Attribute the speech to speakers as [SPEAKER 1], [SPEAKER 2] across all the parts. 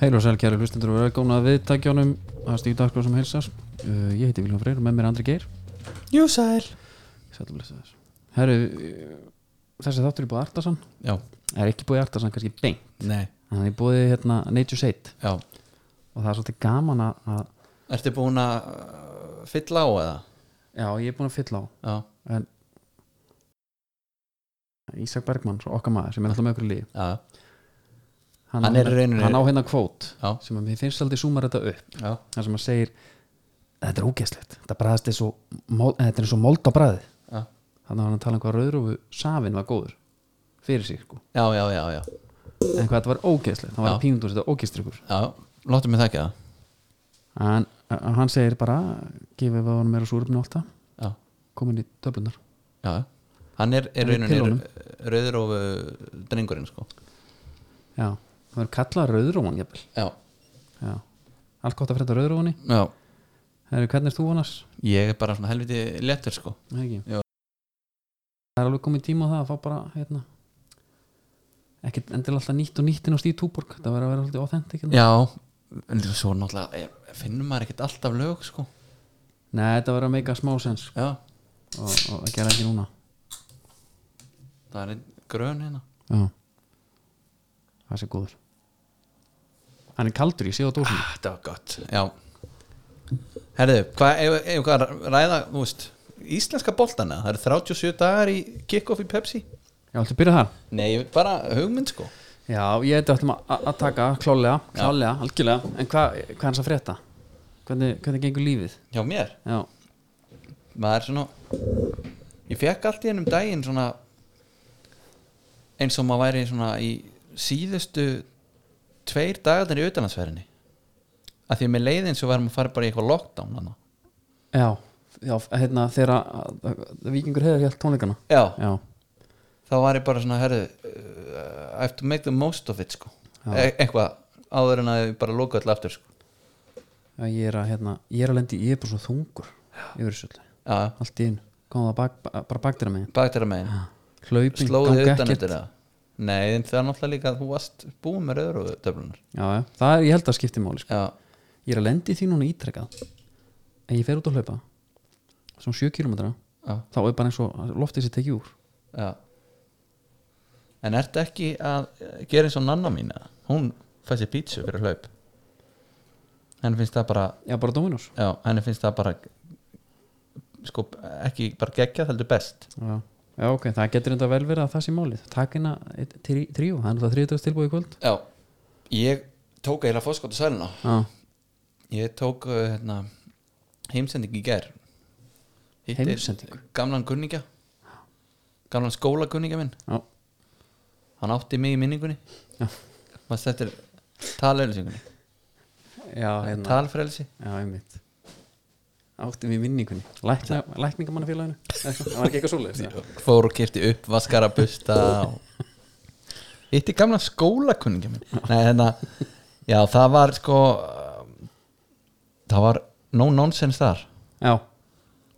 [SPEAKER 1] Heil og sæl kæri hlustendur og velkomna að viðtækjónum að Stík Darkó sem heilsar uh, Ég heiti Viljón Freyr og með mér er Andri Geir
[SPEAKER 2] Jú, sæl
[SPEAKER 1] Sæll og blessaður Herru, uh, þessi þáttur er búið Artasan
[SPEAKER 3] Já,
[SPEAKER 1] Er ekki búið Artasan, kannski beint
[SPEAKER 3] nei,
[SPEAKER 1] Þannig er búið hérna Nature's 8
[SPEAKER 3] já
[SPEAKER 1] og það er svolítið gaman að að-
[SPEAKER 3] Ertu búin að uh, fylla á eða?
[SPEAKER 1] Já, ég er búin að fylla á
[SPEAKER 3] Já,
[SPEAKER 1] en Ísak Bergmann, svo okkar maður sem er alltaf með okkur í lífi
[SPEAKER 3] já,
[SPEAKER 1] hann,
[SPEAKER 3] Hann
[SPEAKER 1] á
[SPEAKER 3] er í
[SPEAKER 1] hérna-
[SPEAKER 3] rauninni-
[SPEAKER 1] hann á hérna kvót
[SPEAKER 3] Já.
[SPEAKER 1] sem að mér finnst aldrei súmar þetta upp
[SPEAKER 3] já,
[SPEAKER 1] þar sem að segir þetta er ógeðslegt, þetta bræðist er svo mol- þetta er svo mold á bræði
[SPEAKER 3] já
[SPEAKER 1] þannig var hann að tala um hvað rauðrúfu safin var góður fyrir sig sko,
[SPEAKER 3] Já, já, já, já,
[SPEAKER 1] en hvað þetta var ógeðslegt hann var
[SPEAKER 3] Já.
[SPEAKER 1] að pínundur þetta ógeðstrykur
[SPEAKER 3] já. Láttu mig þekka það
[SPEAKER 1] en uh, hann segir bara gefið að hann meira súröfni alltaf
[SPEAKER 3] Já,
[SPEAKER 1] komin í töflunar
[SPEAKER 3] já, já Hann er, er
[SPEAKER 1] Hann er í pillunum.
[SPEAKER 3] rauninni rauðrófu drengurinn sko
[SPEAKER 1] já, það er kallað rauðrúfan jafnvel
[SPEAKER 3] Já,
[SPEAKER 1] já, allt gott að frétta rauðrúfunni
[SPEAKER 3] já
[SPEAKER 1] Heru, hvernig er þú annars?
[SPEAKER 3] Ég er bara svona helviti léttur sko
[SPEAKER 1] Nei, ekki.
[SPEAKER 3] Já.
[SPEAKER 1] það er alveg komið tíma á það að fá bara hérna ekki endilega alltaf nýtt og nýtt inn á stíð túborg það verður að vera alltaf authentic hérna.
[SPEAKER 3] Já, en svo náttúrulega eh, finnur maður ekkert alltaf lög sko
[SPEAKER 1] nei, þetta verður að meika smá sens
[SPEAKER 3] Já,
[SPEAKER 1] og, og að gera ekki núna
[SPEAKER 3] það er einn grön hérna
[SPEAKER 1] já það sé góður hann er kaldur, ég sé á dósinu
[SPEAKER 3] Ah, þetta var gott Já Herðu, hvað ef- ef hvað að ræða, þú veist Íslenska boltana, það eru 37 dagar í kickoff í Pepsi
[SPEAKER 1] já, ætlum að byrja þar
[SPEAKER 3] Nei, ég- bara hugmynd sko
[SPEAKER 1] já, ég ætti ætlum að- að að taka klálega, klálega, algjörlega en hvað hva er hans að frétta? hvernig, hvernig gengur lífið?
[SPEAKER 3] Hjá mér,
[SPEAKER 1] já,
[SPEAKER 3] maður er svona Ég fekk allt í ennum daginn svona eins og maður væri svona í síðustu tveir dagarnir í utanlandsferinni að því að með leiðin svo varum að fara bara í eitthvað lockdown hana.
[SPEAKER 1] já, já hérna þegar að- að- að vikingur hefur hér tónleikana
[SPEAKER 3] Já,
[SPEAKER 1] já,
[SPEAKER 3] þá var ég bara svona herðu, uh, I have to make the most of it sko.
[SPEAKER 1] Já.
[SPEAKER 3] e eitthvað áður en að ég bara loka öll aftur sko.
[SPEAKER 1] Já, ég er að, hérna, ég er að lendi, ég er bara svo þungur yfir þessu öllu,
[SPEAKER 3] já,
[SPEAKER 1] allt í einu kom það bak, ba- bara bakdæra með
[SPEAKER 3] bakt þér að megin
[SPEAKER 1] hlaupin,
[SPEAKER 3] slóðið
[SPEAKER 1] ganga
[SPEAKER 3] utan
[SPEAKER 1] ekkert
[SPEAKER 3] eftir það nei, en það er náttúrulega líka að þú varst búin með röður og töflunar
[SPEAKER 1] já, já, það er, ég held að skipti máli sko.
[SPEAKER 3] já,
[SPEAKER 1] ég er að lendi því núna ítrekað en ég fer út að hlaupa svona 7 km,
[SPEAKER 3] já,
[SPEAKER 1] þá er bara eins og loftið sér tekið úr
[SPEAKER 3] já en ertu ekki að gera eins og nanna mín eða? hún fæ sér pítsu fyrir hlaup henni finnst það bara
[SPEAKER 1] já, bara Dominos
[SPEAKER 3] já, henni finnst það bara sko, ekki bara geggja heldur best
[SPEAKER 1] já. já, ok, það getur enda vel verið að það sé málið hérna, takina tríu, það er það þriðdags tilbúið í kvöld
[SPEAKER 3] já, ég tók eiginlega fórskot og sæluna
[SPEAKER 1] já,
[SPEAKER 3] Ég tók uh, hérna, heimsending í gær Hittir
[SPEAKER 1] Heimsendingu?
[SPEAKER 3] Gamlan kunningja Gamlan skóla kunningja minn
[SPEAKER 1] já,
[SPEAKER 3] Hann átti mig í minningunni
[SPEAKER 1] Já.
[SPEAKER 3] Maður stættir talauðlýsingunni
[SPEAKER 1] já, hérna
[SPEAKER 3] Talfrelsi
[SPEAKER 1] Já, einmitt Áttum í minningunni Lækna, Lækningamannafélaginu Það var ekki eitthvað svoleiðist
[SPEAKER 3] Fór og kipti upp vaskarabusta og... Hittir gamlan skóla kunningja minn Nei, hérna Já, það var sko um, Það var no nonsense þar
[SPEAKER 1] Já,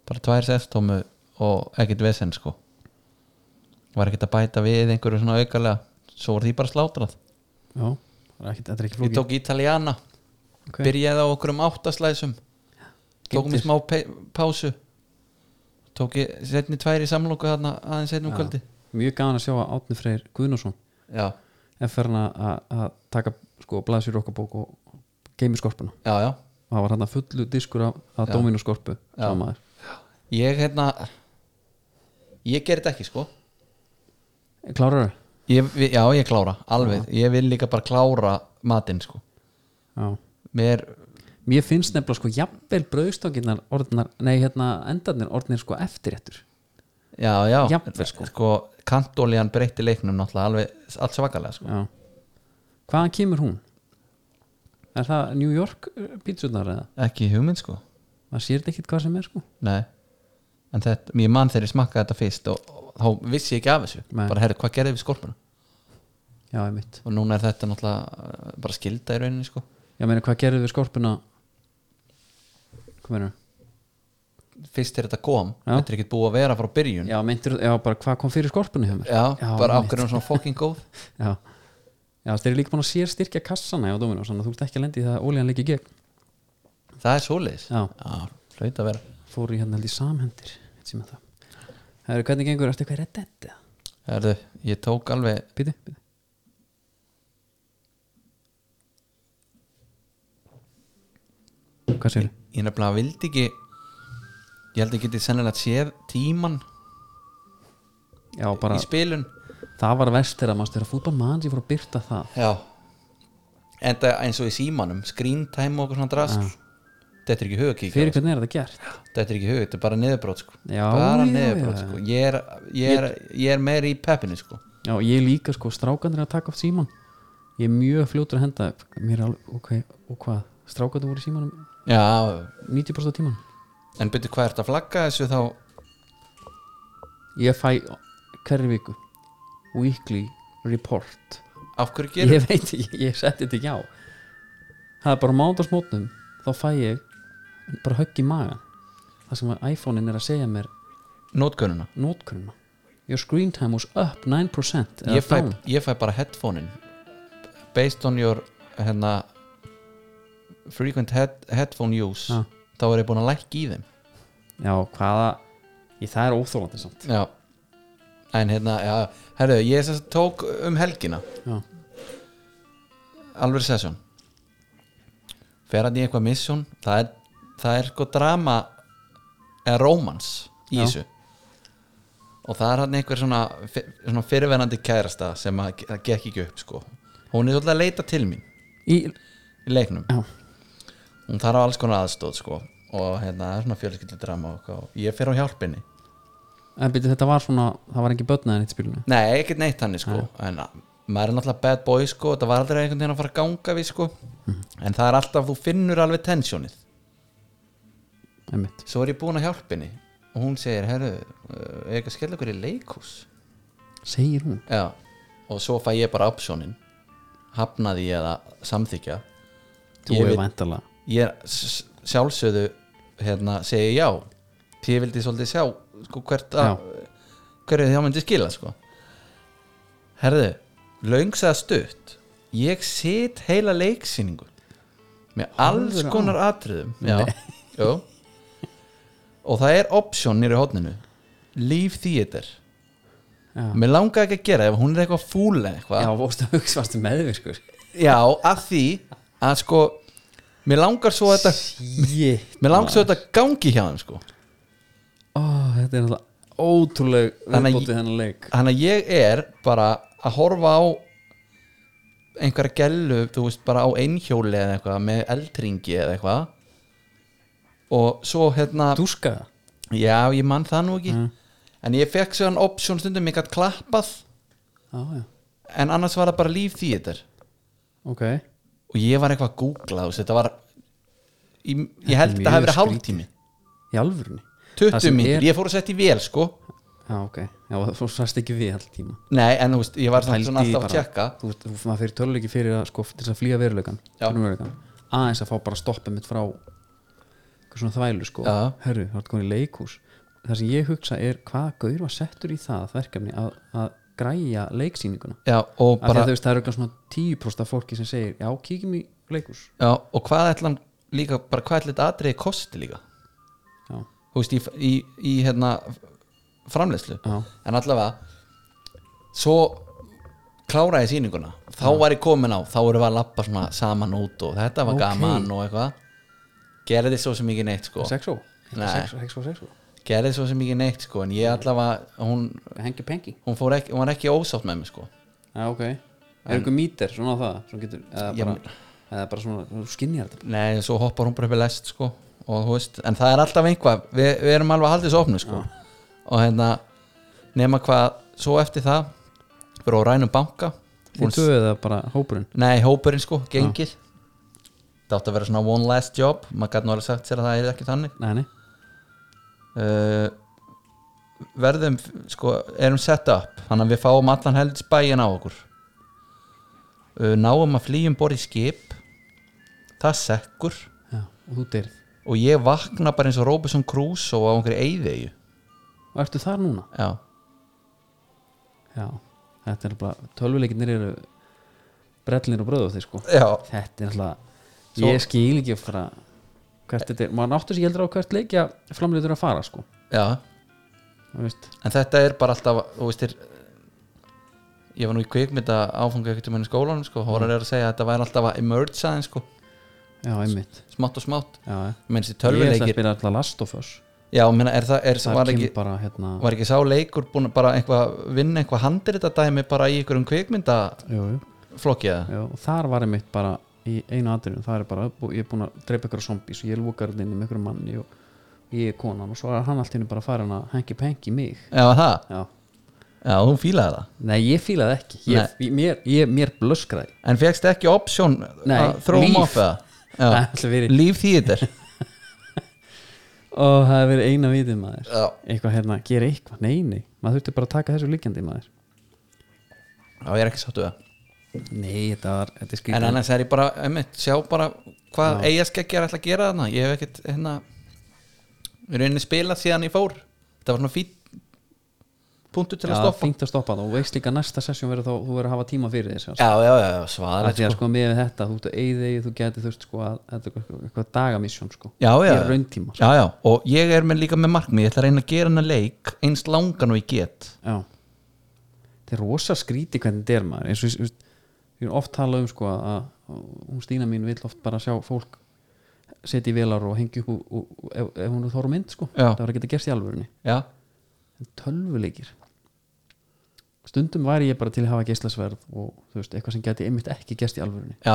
[SPEAKER 3] bara tvær sestómu og ekkert vesen sko var ekkert að bæta við einhverju svona aukalega svo var því bara slátrað
[SPEAKER 1] já Það er ekki, Þetta er ekki
[SPEAKER 3] ég
[SPEAKER 1] flókið
[SPEAKER 3] tók Italiana,
[SPEAKER 1] Ok.
[SPEAKER 3] byrjaði á okkur um áttaslæsum tókum
[SPEAKER 1] Giftir.
[SPEAKER 3] í smá pe- pásu tók ég setni tvær í samlóku þarna aðeins setni um kvöldi
[SPEAKER 1] Mjög gaman að sjá að Átni Freyr Guðnason
[SPEAKER 3] já,
[SPEAKER 1] er farin að- að að taka sko blaðsýr okkar bók og geimi skorpuna
[SPEAKER 3] já, já
[SPEAKER 1] og það var hann að fullu diskur af, af dóminu skorpu
[SPEAKER 3] Já.
[SPEAKER 1] samaður
[SPEAKER 3] ég hérna ég ger þetta ekki sko
[SPEAKER 1] Klárar þau?
[SPEAKER 3] ég, vi- já, ég klára, alveg ég vil líka bara klára matinn sko
[SPEAKER 1] Já
[SPEAKER 3] mér,
[SPEAKER 1] Mér finnst nefnilega sko jafnvel brauðstókinnar orðnar, nei hérna endarnir orðnir sko eftirréttur
[SPEAKER 3] já, já,
[SPEAKER 1] Jafnvel, sko.
[SPEAKER 3] sko kantólían breytti leiknum náttúrulega alveg allt svakalega sko
[SPEAKER 1] Já Hvaðan kemur hún? Er það New York eh, pítsurnar eða?
[SPEAKER 3] ekki hugmynd sko
[SPEAKER 1] maður sér þetta ekkert hvað sem er sko
[SPEAKER 3] Nei. en þetta, mér mann þegar ég smakkaði þetta fyrst og, og þá vissi ég ekki af þessu
[SPEAKER 1] Nei.
[SPEAKER 3] bara herri, hvað gerði við skorpuna
[SPEAKER 1] já, ég mitt,
[SPEAKER 3] og núna er þetta náttúrulega uh, bara skilda í rauninni sko
[SPEAKER 1] ég meina hvað gerðu við skorpuna hvað meina
[SPEAKER 3] fyrst þegar þetta kom,
[SPEAKER 1] Já.
[SPEAKER 3] þetta er ekkert búið að vera frá byrjun
[SPEAKER 1] já, meintir, já, bara hvað kom fyrir skorpuna hjá mér
[SPEAKER 3] Já,
[SPEAKER 1] einmitt.
[SPEAKER 3] bara okkur um svona fucking góð
[SPEAKER 1] já, Já, þeir eru líka búin að sér styrkja kassana hjá Dominos þannig að þú ert ekki að lendi það að ólíðan leikir gegn
[SPEAKER 3] það er svoleiðis
[SPEAKER 1] Já,
[SPEAKER 3] já hlaut að vera
[SPEAKER 1] fóru í hérna held í samhendir veit sem það Herru, hvernig gengur, ertu eitthvað redd þetta?
[SPEAKER 3] Herðu, ég tók alveg
[SPEAKER 1] Býti, býti Hvað segir þið?
[SPEAKER 3] ég nefnilega vildi ekki ég held ég geti sennilega séð tíman
[SPEAKER 1] Já, bara,
[SPEAKER 3] í spilun
[SPEAKER 1] það var verst þegar maður styrir að fútbol mann sem fór að byrta það
[SPEAKER 3] já en það eins og í símanum screen time og okkur svona drast þetta er ekki hugakík
[SPEAKER 1] Fyrir hvernig er þetta gert?
[SPEAKER 3] þetta er ekki hug, þetta er bara neðurbrot sko.
[SPEAKER 1] Já,
[SPEAKER 3] bara
[SPEAKER 1] já,
[SPEAKER 3] neðurbrot
[SPEAKER 1] já.
[SPEAKER 3] sko. ég, er, ég, er, ég er meir í peppinu sko.
[SPEAKER 1] Já, ég líka sko, strákandir að taka upp síman Ég er mjög fljótur að henda upp. Mér er alveg, ok, og hvað? Strákandir voru í símanum
[SPEAKER 3] já,
[SPEAKER 1] 90% af tíman
[SPEAKER 3] en byrju hvað ert að flagga þessu þá
[SPEAKER 1] Ég fæ hverri viku Weekly report
[SPEAKER 3] af hverju gerir
[SPEAKER 1] Ég veit, ég, ég seti þetta ekki á Það er bara mándagsmótnum Þá fæ ég bara högg í maga Það sem að iPhone-in er að segja mér
[SPEAKER 3] nótgönuna
[SPEAKER 1] Nótgrunna Your screen time was up 9% eða
[SPEAKER 3] ég fæ,
[SPEAKER 1] down.
[SPEAKER 3] ég fæ bara headphone-in based on your hérna, frequent head, headphone use
[SPEAKER 1] Já.
[SPEAKER 3] þá er ég búin að lækka í þeim
[SPEAKER 1] Já, hvaða ég, Það er óþólandi samt
[SPEAKER 3] já. en hérna já, herru, ég sem sagt tók um helgina
[SPEAKER 1] Já,
[SPEAKER 3] alveg sesjón fer hann í eitthvað misjón það er, það er sko drama eða rómans í
[SPEAKER 1] Já.
[SPEAKER 3] þessu og það er hann einhver svona, fyr- svona fyrirvennandi kærasta sem að, að gekk ekki upp sko hún er svolítið að leita til mín
[SPEAKER 1] í,
[SPEAKER 3] í leiknum
[SPEAKER 1] já.
[SPEAKER 3] hún þarf alls konar aðstóð sko og hérna það er svona fjölskyldudrama og, eitthvað. og ég fer á hjálpinni
[SPEAKER 1] En byrju, þetta var svona Það var ekki börnaðin eitt spilinu
[SPEAKER 3] nei, ekkert neitt hann sko en að- maður er náttúrulega bad boy sko þetta var aldrei einhvern veginn að fara að ganga við sko en það er alltaf, þú finnur alveg tensjónið
[SPEAKER 1] Einmitt.
[SPEAKER 3] svo er ég búin á hjálpinni og hún segir, herru, eh, er ekki að skella okkur í leikhús
[SPEAKER 1] Segir hún
[SPEAKER 3] já, og svo fæ ég bara optionin hafnaði ég að samþykja
[SPEAKER 1] Þú
[SPEAKER 3] Ég
[SPEAKER 1] er
[SPEAKER 3] veit-
[SPEAKER 1] væntalega
[SPEAKER 3] ég er s- sjálfsögðu hérna, segi já því ég vildi svolítið sjá sko, hvert
[SPEAKER 1] Já.
[SPEAKER 3] að hverju þjá myndi skila sko. herðu, löngsað stutt ég sit heila leiksýningu með alls
[SPEAKER 1] Alvöru á.
[SPEAKER 3] konar atriðum já, jú og það er option nýri hótninu Leave Theater
[SPEAKER 1] Já.
[SPEAKER 3] mér langaði ekki að gera ef hún er eitthvað fúl eða eitthvað
[SPEAKER 1] Já, vorstu að hugsa varstu meðvirkur
[SPEAKER 3] já, að því að sko mér langar svo að þetta
[SPEAKER 1] Shit
[SPEAKER 3] Mér langt svo þetta gangi hjá þeim sko
[SPEAKER 1] Ó, þetta er náttúrulega ótrúleg
[SPEAKER 3] Þannig að
[SPEAKER 1] uppbótið hennar leik
[SPEAKER 3] Þannig að ég er bara að horfa á einhverja gellu, þú veist, bara á einhjóli eða eitthvað, með eldringi eða eitthvað og svo hérna
[SPEAKER 1] Dúska það?
[SPEAKER 3] já, ég mann það nú ekki en ég fekk sér hann option stundum, ég gætt klappað
[SPEAKER 1] Já, já,
[SPEAKER 3] en annars var það bara líf því þetta
[SPEAKER 1] ok
[SPEAKER 3] og ég var eitthvað að googla þú veist, þetta var ég, ég held
[SPEAKER 1] Mjög
[SPEAKER 3] þetta hafi
[SPEAKER 1] skrítið.
[SPEAKER 3] verið hálftími
[SPEAKER 1] Í alvörunni? Það
[SPEAKER 3] 20
[SPEAKER 1] sem
[SPEAKER 3] mínútur, ég fór að setja í vél sko
[SPEAKER 1] Já, ok, já, þú sast ekki við all tíma
[SPEAKER 3] nei, en þú veist, ég var samt
[SPEAKER 1] Pældi
[SPEAKER 3] svona
[SPEAKER 1] í
[SPEAKER 3] alltaf
[SPEAKER 1] bara-
[SPEAKER 3] að tjekka
[SPEAKER 1] Þú veist, þú- maður fyrir töluleiki fyrir að sko til þess að flýja veruleikan
[SPEAKER 3] Já.
[SPEAKER 1] Veruleikan Aðeins að fá bara stoppið mitt frá Eitthvað svona þvælu sko
[SPEAKER 3] Já.
[SPEAKER 1] Herru, þú ert komin í leikhús Það sem ég hugsa er hvað gaur var settur í það verkefni að, að græja leiksýninguna
[SPEAKER 3] Já, og
[SPEAKER 1] Af því
[SPEAKER 3] bara
[SPEAKER 1] að þú veist, það er eitthvað svona 10% af fólki sem segir Já, kíkjum í leikhús
[SPEAKER 3] Já, og hvað ætla hann líka bara hvað ætla þetta atriði kosti líka
[SPEAKER 1] Já,
[SPEAKER 3] þú veist, í, í, í hérna framleiðslu,
[SPEAKER 1] já,
[SPEAKER 3] en allavega svo kláraði ég sýninguna, þá var ég komin á þá erum við að lappa svona saman út og þetta var
[SPEAKER 1] Ok.
[SPEAKER 3] gaman og eitthvað gerði svo sem ekki neitt sko
[SPEAKER 1] sexo
[SPEAKER 3] Nei.
[SPEAKER 1] Sexo, sexo, sexo
[SPEAKER 3] gerði svo sem ekki neitt sko, en ég allavega hún,
[SPEAKER 1] Hengi pengi
[SPEAKER 3] hún, fór ekki, hún var ekki ósátt með mig sko
[SPEAKER 1] Já, ok Er eitthvað mítir svona á það? Svona getur, eða,
[SPEAKER 3] Já,
[SPEAKER 1] bara, eða bara svona, þú skinnjar þetta
[SPEAKER 3] Nei, svo hoppar hún bara upp í lest sko og þú veist, en það er alltaf einhvað Vi, við erum alveg að halda þessu opnu sko og hérna, nema hvað svo eftir það, fyrir að rænum banka
[SPEAKER 1] Þið tvöðu það bara hópurinn
[SPEAKER 3] nei, hópurinn sko, gengið það átti að vera svona one last job maður gæti nú alveg sagt sér að það er ekki þannig
[SPEAKER 1] Nei, nei,
[SPEAKER 3] uh, verðum sko, erum set up þannig að við fáum allan helds bæin á okkur uh, náum að flýjum borið skip það sekkur
[SPEAKER 1] já, og þú dyrð
[SPEAKER 3] og ég vakna bara eins og Robinson Crusoe á einhverju eyðeigju
[SPEAKER 1] Og ertu þar núna?
[SPEAKER 3] já,
[SPEAKER 1] Já, þetta er bara, tölvuleikinnir eru brellin og bröðu þig sko
[SPEAKER 3] já,
[SPEAKER 1] þetta er alltaf
[SPEAKER 3] Svo-
[SPEAKER 1] ég skil ekki frá hvert þetta er, maður áttu sig heldur á hvert leikja framleitur að fara sko
[SPEAKER 3] já
[SPEAKER 1] þú veist,
[SPEAKER 3] en þetta er bara alltaf þú veist þér ég var nú í kvikmynda áfanga ekkert um henni skólanum sko,
[SPEAKER 1] Mm.
[SPEAKER 3] hórar er að segja að þetta væri alltaf að emerge aðeins sko,
[SPEAKER 1] já, einmitt
[SPEAKER 3] smátt og smátt
[SPEAKER 1] já, já.
[SPEAKER 3] minnst í
[SPEAKER 1] ég ætla að
[SPEAKER 3] tölvuleikir
[SPEAKER 1] spila alltaf Last of Us
[SPEAKER 3] já, menna, er það, er,
[SPEAKER 1] það
[SPEAKER 3] var,
[SPEAKER 1] kemur
[SPEAKER 3] ekki,
[SPEAKER 1] bara hérna
[SPEAKER 3] var ekki sá leikur búin að bara eitthvað vinna eitthvað handrita dæmi bara í einhverjum kvikmyndaflokki
[SPEAKER 1] jú, jú,
[SPEAKER 3] eða
[SPEAKER 1] jú, og þar var einmitt bara í einu aðrinu, það er bara bú- ég er búin að dreipa ykkur zombies og ég lúkar inn með ykkur manni og ég er konan og svo er hann allt innu bara farin að hengi pengi mig
[SPEAKER 3] já, það,
[SPEAKER 1] já,
[SPEAKER 3] já, hún fílaði það
[SPEAKER 1] nei ég fílaði ekki ég, ég, mér, ég, mér blöskraði
[SPEAKER 3] en fegst ekki option
[SPEAKER 1] Nei,
[SPEAKER 3] að þróum
[SPEAKER 1] líf.
[SPEAKER 3] off
[SPEAKER 1] það
[SPEAKER 3] eða Já.
[SPEAKER 1] ætla verið
[SPEAKER 3] líf þýðir
[SPEAKER 1] og það hefur verið eina vitið maður
[SPEAKER 3] já,
[SPEAKER 1] eitthvað hérna, gera eitthvað, nei nei maður þurfti bara að taka þessu líkjandi maður
[SPEAKER 3] já, ég er ekki sáttu það
[SPEAKER 1] nei, þetta var, þetta er
[SPEAKER 3] en
[SPEAKER 1] skrítið
[SPEAKER 3] annars er ég bara, einmitt, sjá bara hvað eigaskeggjar ætla að gera þarna ég hef ekkert, hérna við erum inni spilað síðan ég fór þetta var svona fín punktu til að
[SPEAKER 1] Já,
[SPEAKER 3] stoppa
[SPEAKER 1] fínt að stoppa það og veist líka næsta sessjón verður þá, þú verður að hafa tíma fyrir þess
[SPEAKER 3] já, já, já, já,
[SPEAKER 1] að
[SPEAKER 3] svaðalegt
[SPEAKER 1] því að
[SPEAKER 3] sko.
[SPEAKER 1] sko með þetta, þú ert að eyði þú gæti þurft sko að, þetta er eitthvað- eitthvað dagamissjón sko,
[SPEAKER 3] já, já,
[SPEAKER 1] í rauntíma
[SPEAKER 3] já, já, og ég er með líka með markmið ég ætla að reyna að gera hennar leik eins langan og ég get
[SPEAKER 1] já þetta er rosa skríti hvernig þetta er maður eins og ég- ég- ég er oft tala um sko að, að hún Stína mín vill oft bara sjá fólk setja í velar og hengja upp og, og, og, ef, ef hún er þóra mynd sko
[SPEAKER 3] Já.
[SPEAKER 1] það var að geta gerst í alvörunni
[SPEAKER 3] já,
[SPEAKER 1] en tölvuleikir stundum væri ég bara til að hafa geislasverð og þú veist, eitthvað sem gæti einmitt ekki gerst í alvörunni
[SPEAKER 3] já,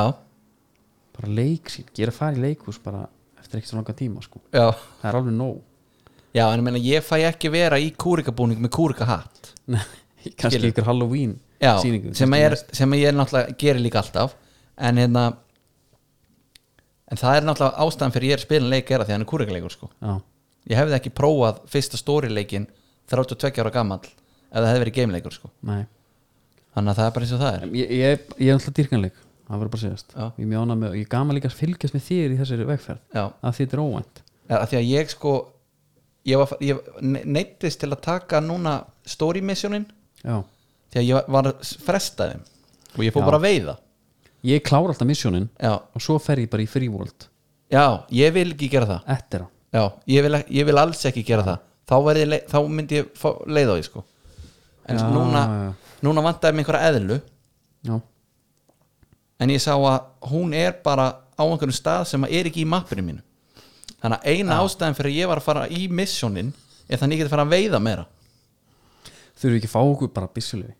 [SPEAKER 1] bara leik sín, gera að fara í leikhús bara eftir ekkert svo langan tíma sko
[SPEAKER 3] já
[SPEAKER 1] það er alveg nóg
[SPEAKER 3] já, en ég meina, ég fæ ekki vera í kúrikabúning með kúrikahatt
[SPEAKER 1] Nei, kannski
[SPEAKER 3] Skilur.
[SPEAKER 1] ykkur Halloween
[SPEAKER 3] já,
[SPEAKER 1] sýningu
[SPEAKER 3] sem, að er, sem að ég er náttúrulega gerir líka alltaf en hérna en það er náttúrulega ástæðan fyrir ég er spilin leik gera því að hann er kúrikaleikur sko
[SPEAKER 1] já,
[SPEAKER 3] ég hefði ekki prófað fyrsta stórileikin 32 ára gamall ef það hefði verið gameleikur sko
[SPEAKER 1] nei
[SPEAKER 3] þannig að það er bara eins og það er
[SPEAKER 1] En ég, ég, er- ég er alltaf dýrkanleik það verður bara að segjast
[SPEAKER 3] Já.
[SPEAKER 1] ég, er mjög ánægð með, ég er gaman líka að fylgjast með þér í þessari vegferð
[SPEAKER 3] já,
[SPEAKER 1] að þetta er óvænt
[SPEAKER 3] að því að ég sko ég, var, ég ne- neyddist til að taka núna story missionin
[SPEAKER 1] já.
[SPEAKER 3] því að ég var að fresta þeim og ég fór
[SPEAKER 1] Já.
[SPEAKER 3] bara að veiða
[SPEAKER 1] ég klára alltaf missionin
[SPEAKER 3] já,
[SPEAKER 1] og svo fer ég bara í free world
[SPEAKER 3] já, ég vil ekki gera það
[SPEAKER 1] eftir á
[SPEAKER 3] Já, ég vil, ég vil alls ekki gera það þá, væri ég lei- þá myndi ég fá- leið á því sko. en
[SPEAKER 1] Já,
[SPEAKER 3] núna,
[SPEAKER 1] já.
[SPEAKER 3] núna vantaði mig einhverja eðlu
[SPEAKER 1] já,
[SPEAKER 3] en ég sá að hún er bara á einhvern stað sem að er ekki í mappinu mínu þannig að eina ástæðan fyrir að ég var að fara í missionin er þannig að ég geti fara að veiða meira
[SPEAKER 1] þurfum við ekki að fá okkur bara byssulefi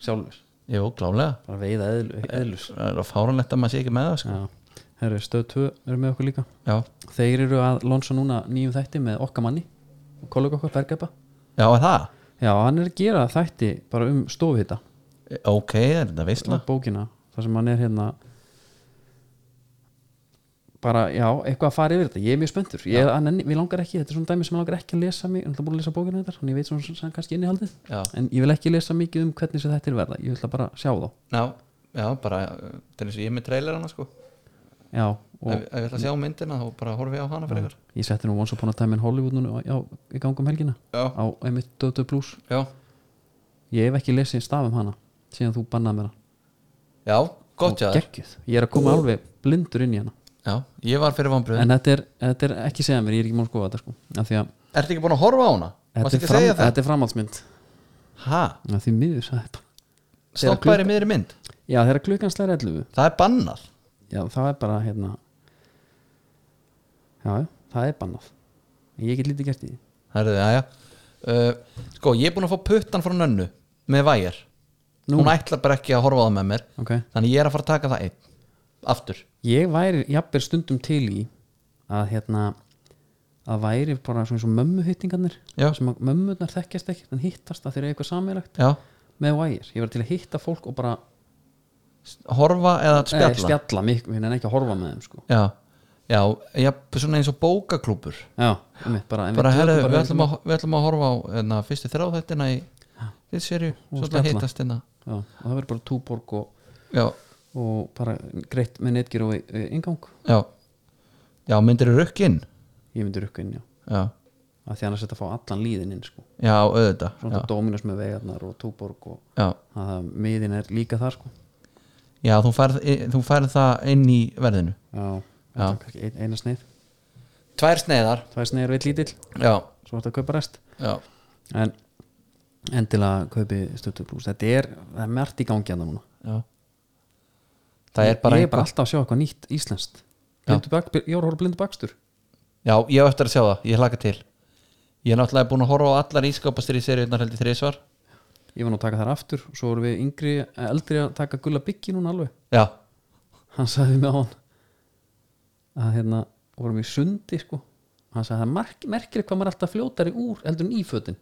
[SPEAKER 1] sjálfur,
[SPEAKER 3] Jú, klálega
[SPEAKER 1] bara veiða eðlu, eðlus
[SPEAKER 3] Það er að fáranlegt að maður sé ekki með það sko.
[SPEAKER 1] já, herru, stöð 2 eru með okkur líka
[SPEAKER 3] Já,
[SPEAKER 1] þeir eru að lonsa núna nýjum þætti með okkar manni og kollega okkar Bergepa
[SPEAKER 3] já er það
[SPEAKER 1] já, hann er að gera þætti bara um stofhita
[SPEAKER 3] E, Ok, það er þetta veistla
[SPEAKER 1] um bókina, þar sem hann er hérna bara, já, eitthvað að fara yfir þetta ég er mjög spenntur, ég, hann, við langar ekki þetta er svona dæmi sem mig langar ekki að lesa mig, hann er búin að lesa bókina þetta, hann ég veit svona sem kannski innihaldið
[SPEAKER 3] Já.
[SPEAKER 1] en ég vil ekki lesa mikið um hvernig sem þetta er verða ég vil bara sjá þá,
[SPEAKER 3] Já, já bara, uh, þetta er eins og ég er með trailerana sko.
[SPEAKER 1] já
[SPEAKER 3] ef,
[SPEAKER 1] og
[SPEAKER 3] ef ég ætla að sjá myndina þá bara horfi ég á hana fyrir ykkur
[SPEAKER 1] ég setti nú Once Upon a Time in Hollywood núna á, á, í gangum helgina
[SPEAKER 3] Já,
[SPEAKER 1] á einmitt Dödu Blues
[SPEAKER 3] já
[SPEAKER 1] ég hef ekki lesið stafum hana síðan þú bannaði mér hana
[SPEAKER 3] Já, gott
[SPEAKER 1] Og
[SPEAKER 3] jáður
[SPEAKER 1] geggjuð, ég er að koma alveg blindur inn í hana
[SPEAKER 3] Já, ég var fyrir vonbröðum
[SPEAKER 1] en þetta er, þetta er ekki segja mér, ég er ekki mál skoða þetta sko af því að
[SPEAKER 3] Ertu ekki búin að horfa á hana? Varst
[SPEAKER 1] þetta
[SPEAKER 3] ekki
[SPEAKER 1] er,
[SPEAKER 3] að
[SPEAKER 1] fram,
[SPEAKER 3] segja það?
[SPEAKER 1] þetta er framhaldsmynd
[SPEAKER 3] Ha,
[SPEAKER 1] af því miður sagði þetta
[SPEAKER 3] stoppaður í miðri mynd
[SPEAKER 1] já þegar klukkan slæri 11
[SPEAKER 3] Það er bannað
[SPEAKER 1] já það er bara hérna já já, það er bannað En ég get lítið gert í því
[SPEAKER 3] Herðu, já, já uh, Sko, ég er búin að fá puttan frá nönnu með vægir
[SPEAKER 1] Nú.
[SPEAKER 3] Hún ætlar bara ekki að horfa á það með mér
[SPEAKER 1] ok
[SPEAKER 3] Þannig ég er að fara að taka það einn Aftur
[SPEAKER 1] ég væri jafnvel stundum til í að hérna að væri bara svona eins og mömmuhyttingarnir
[SPEAKER 3] Já.
[SPEAKER 1] sem að mömmurnar þekkjast ekkert en hittast að þeir eru eitthvað samilagt
[SPEAKER 3] Já,
[SPEAKER 1] með vægir, ég var til að hitta fólk og bara
[SPEAKER 3] horfa eða spjalla
[SPEAKER 1] Eh, spjalla miklu, en ekki að horfa með þeim sko.
[SPEAKER 3] Já, já, já, svona eins og bókaklúpur
[SPEAKER 1] já, einmitt, bara, einmitt,
[SPEAKER 3] Bara,
[SPEAKER 1] tökum
[SPEAKER 3] herðu, við
[SPEAKER 1] bara-
[SPEAKER 3] ætlum, að, við ætlum að horfa á enna, fyrstu þráðhættina í Þið serju,
[SPEAKER 1] Og
[SPEAKER 3] svo það
[SPEAKER 1] spjalla.
[SPEAKER 3] hittast enna
[SPEAKER 1] já, og það verður bara túborg og,
[SPEAKER 3] Já,
[SPEAKER 1] og bara greitt með netgir og eh, inngang
[SPEAKER 3] já Já, myndir eru rökkinn
[SPEAKER 1] ég myndi rukka inn, já,
[SPEAKER 3] já,
[SPEAKER 1] af því annars þetta fá allan líðin inn, sko,
[SPEAKER 3] já auðvitað já,
[SPEAKER 1] svona já. Dominus með vegarnar og túborg og
[SPEAKER 3] já.
[SPEAKER 1] að miðin er líka þar, sko
[SPEAKER 3] já, þú færð, þú færð það inn í verðinu
[SPEAKER 1] já,
[SPEAKER 3] Já.
[SPEAKER 1] Þetta er kannski ein, eina sneið
[SPEAKER 3] tvær sneiðar
[SPEAKER 1] tvær sneiður og eitt lítill,
[SPEAKER 3] já,
[SPEAKER 1] svo þetta kaupa rest
[SPEAKER 3] já,
[SPEAKER 1] en endilega kaupi stöttu blús þetta er, það er mert í gangi að núna
[SPEAKER 3] já. það
[SPEAKER 1] ég
[SPEAKER 3] er bara,
[SPEAKER 1] er bara
[SPEAKER 3] einhver-
[SPEAKER 1] alltaf að sjá eitthvað nýtt íslenskt Blindu bak, Jóra horf blindu bakstur
[SPEAKER 3] já, ég hef eftir að sjá það, ég hlaka til ég er náttúrulega búin að horfa á allar ískapastri í seriunar heldur þrísvar
[SPEAKER 1] ég var nú að taka þær aftur, svo erum við yngri eldri að taka gulla byggi núna alveg
[SPEAKER 3] já,
[SPEAKER 1] hann sagði með hann að hérna, vorum við sundi sko hann sagði það merk, merkir hvað maður er alltaf fljótari úr heldur en í fötin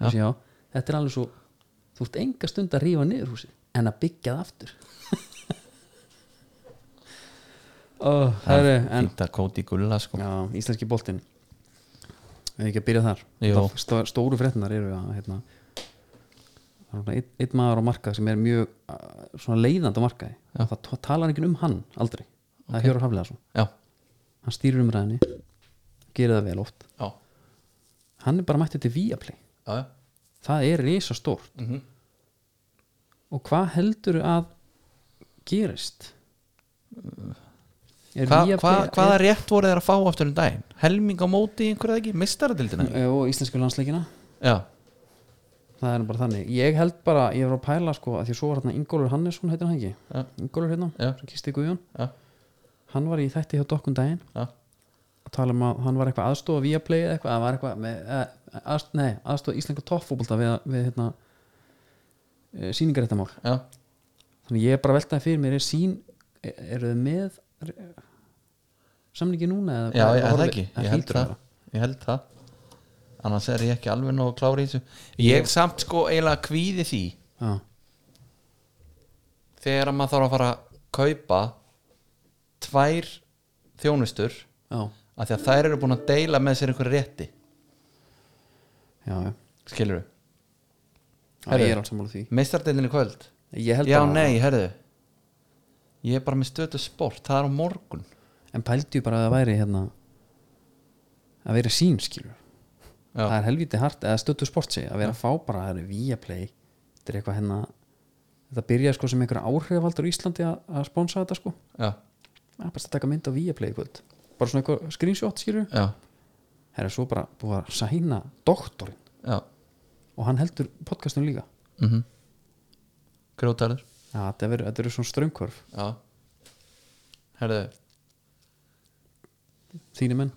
[SPEAKER 1] þessi já, þetta er alveg svo þú ert enga stund að rífa niður húsi en að byggja það aftur Ó, það er en
[SPEAKER 3] fínt að kóti gulla sko
[SPEAKER 1] já, íslenski boltinn við ekki að byrja þar
[SPEAKER 3] Jú.
[SPEAKER 1] Það stó- stóru fréttinar eru að hérna, það er svona einn, einn maður á markað sem er mjög uh, svona leiðandi á markaði
[SPEAKER 3] Já.
[SPEAKER 1] það to- talar ekki um hann aldrei það okay. hjörur haflega svo
[SPEAKER 3] já,
[SPEAKER 1] hann stýrir umræðinni gerir það vel oft
[SPEAKER 3] já,
[SPEAKER 1] hann er bara mættið til Viaplay
[SPEAKER 3] já, já.
[SPEAKER 1] það er risa stórt
[SPEAKER 3] Mhm.
[SPEAKER 1] og hvað heldur að gerist
[SPEAKER 3] Uh,
[SPEAKER 1] er
[SPEAKER 3] Hva, hva,
[SPEAKER 1] Viaplay-
[SPEAKER 3] hvaða rétt voru þeir að fá aftur um daginn? Helming á móti í einhverja eða ekki? Mistaradildina?
[SPEAKER 1] er, og íslensku landsleikina
[SPEAKER 3] Já,
[SPEAKER 1] það er bara þannig, ég held bara ég var að pæla sko, að því svo var hérna Ingólfur Hannesson heitir hann ekki,
[SPEAKER 3] Já.
[SPEAKER 1] Ingólfur hérna
[SPEAKER 3] Já.
[SPEAKER 1] sem kisti Guðjón,
[SPEAKER 3] já,
[SPEAKER 1] hann var í þætti hjá Dokkum daginn
[SPEAKER 3] já,
[SPEAKER 1] að tala um að hann var eitthvað aðstofa via play eða eitthvað, hann var eitthvað með, að, að, nei, aðstofa íslenska toppfóbolta við, að- við hérna, e, sýningaréttamál
[SPEAKER 3] já,
[SPEAKER 1] þannig ég er bara að veltaði fyrir mér er sín, e- eru þau með e, samningi núna eða
[SPEAKER 3] já,
[SPEAKER 1] eða
[SPEAKER 3] ég held
[SPEAKER 1] horfi-
[SPEAKER 3] ekki Ég
[SPEAKER 1] hlýtur
[SPEAKER 3] held
[SPEAKER 1] að
[SPEAKER 3] það,
[SPEAKER 1] vera.
[SPEAKER 3] ég held það Annars er ég ekki alveg nóg klári í þessu Ég samt sko eiginlega kvíði því
[SPEAKER 1] já,
[SPEAKER 3] Þegar maður þarf að fara að kaupa Tvær þjónustur
[SPEAKER 1] já,
[SPEAKER 3] af Því að þær eru búin að deila með sér einhverja rétti
[SPEAKER 1] já, já.
[SPEAKER 3] Skilur við?
[SPEAKER 1] Já, ég er alls sammála því
[SPEAKER 3] Mistardildin í kvöld
[SPEAKER 1] ég held
[SPEAKER 3] Já,
[SPEAKER 1] bara-
[SPEAKER 3] nei, herðu Ég er bara með stötu sport, það er á morgun
[SPEAKER 1] En pældu bara að það væri hérna að vera sín skilur
[SPEAKER 3] Já.
[SPEAKER 1] það er helviti hart, eða stöttu sport sig að vera að fá bara, það er via play þetta er eitthvað hérna þetta byrjaði sko sem einhver áhrifaldur í Íslandi að, að sponsa þetta sko,
[SPEAKER 3] Já,
[SPEAKER 1] að bara að taka mynd á via play kvöld, bara svona eitthvað screenshot skilur,
[SPEAKER 3] já,
[SPEAKER 1] það er svo bara búið að sæna doktorinn
[SPEAKER 3] já
[SPEAKER 1] og hann heldur podcastinu líka
[SPEAKER 3] mm -hmm. Grjótarður
[SPEAKER 1] Já, þetta verður- þetta eru svona ströngkvörf
[SPEAKER 3] Já Herðu,
[SPEAKER 1] þínu menn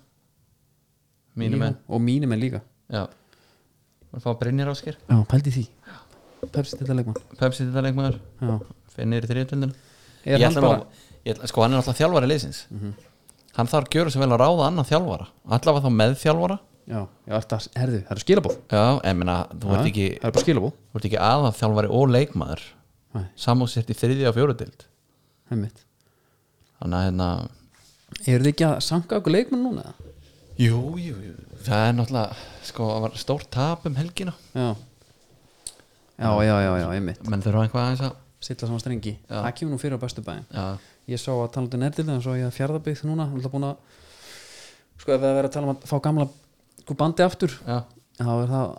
[SPEAKER 3] mínu
[SPEAKER 1] Já,
[SPEAKER 3] menn
[SPEAKER 1] og mínu menn líka
[SPEAKER 3] Já Við fá Brynjar Áskir
[SPEAKER 1] Já, pældi því Pepsi þetta leikmann
[SPEAKER 3] Pepsi þetta leikmaður
[SPEAKER 1] Já.
[SPEAKER 3] Finnir í þriðutildinu
[SPEAKER 1] Er
[SPEAKER 3] Ég
[SPEAKER 1] hann
[SPEAKER 3] ætla nú
[SPEAKER 1] bara-
[SPEAKER 3] að- ég ætla- Sko, hann er alltaf þjálfari liðsins Hann þarf að gjöra sem vel að ráða annan þjálfara Allavega þá með þjálfara
[SPEAKER 1] Já, já þetta, herðu, það eru skilabóð
[SPEAKER 3] Já, en meina, þú ert ekki
[SPEAKER 1] Það er bara skilabóð
[SPEAKER 3] Þú ert ekki aða þjálfari og leikmaður
[SPEAKER 1] Nei.
[SPEAKER 3] Samúsett í þriðja og fjóruðild
[SPEAKER 1] Einmitt.
[SPEAKER 3] Þannig að hérna
[SPEAKER 1] Eru þið ekki að sanga okkur leikmann núna? eða?
[SPEAKER 3] Jú, jú, jú Það er náttúrulega, sko, það var stórt tap um helgina
[SPEAKER 1] Já Já, já, já, já, einmitt
[SPEAKER 3] Menn þurfa eitthvað aðeins að
[SPEAKER 1] Silla saman strengi, það kemur nú fyrir á bestu bæin
[SPEAKER 3] Já,
[SPEAKER 1] Ég sá að talandi nerdildi en svo ég að fjárðabyggð núna Það er búin að Sko ef það verið að tala um að fá gamla sko, bandi aftur
[SPEAKER 3] já,
[SPEAKER 1] Þá er það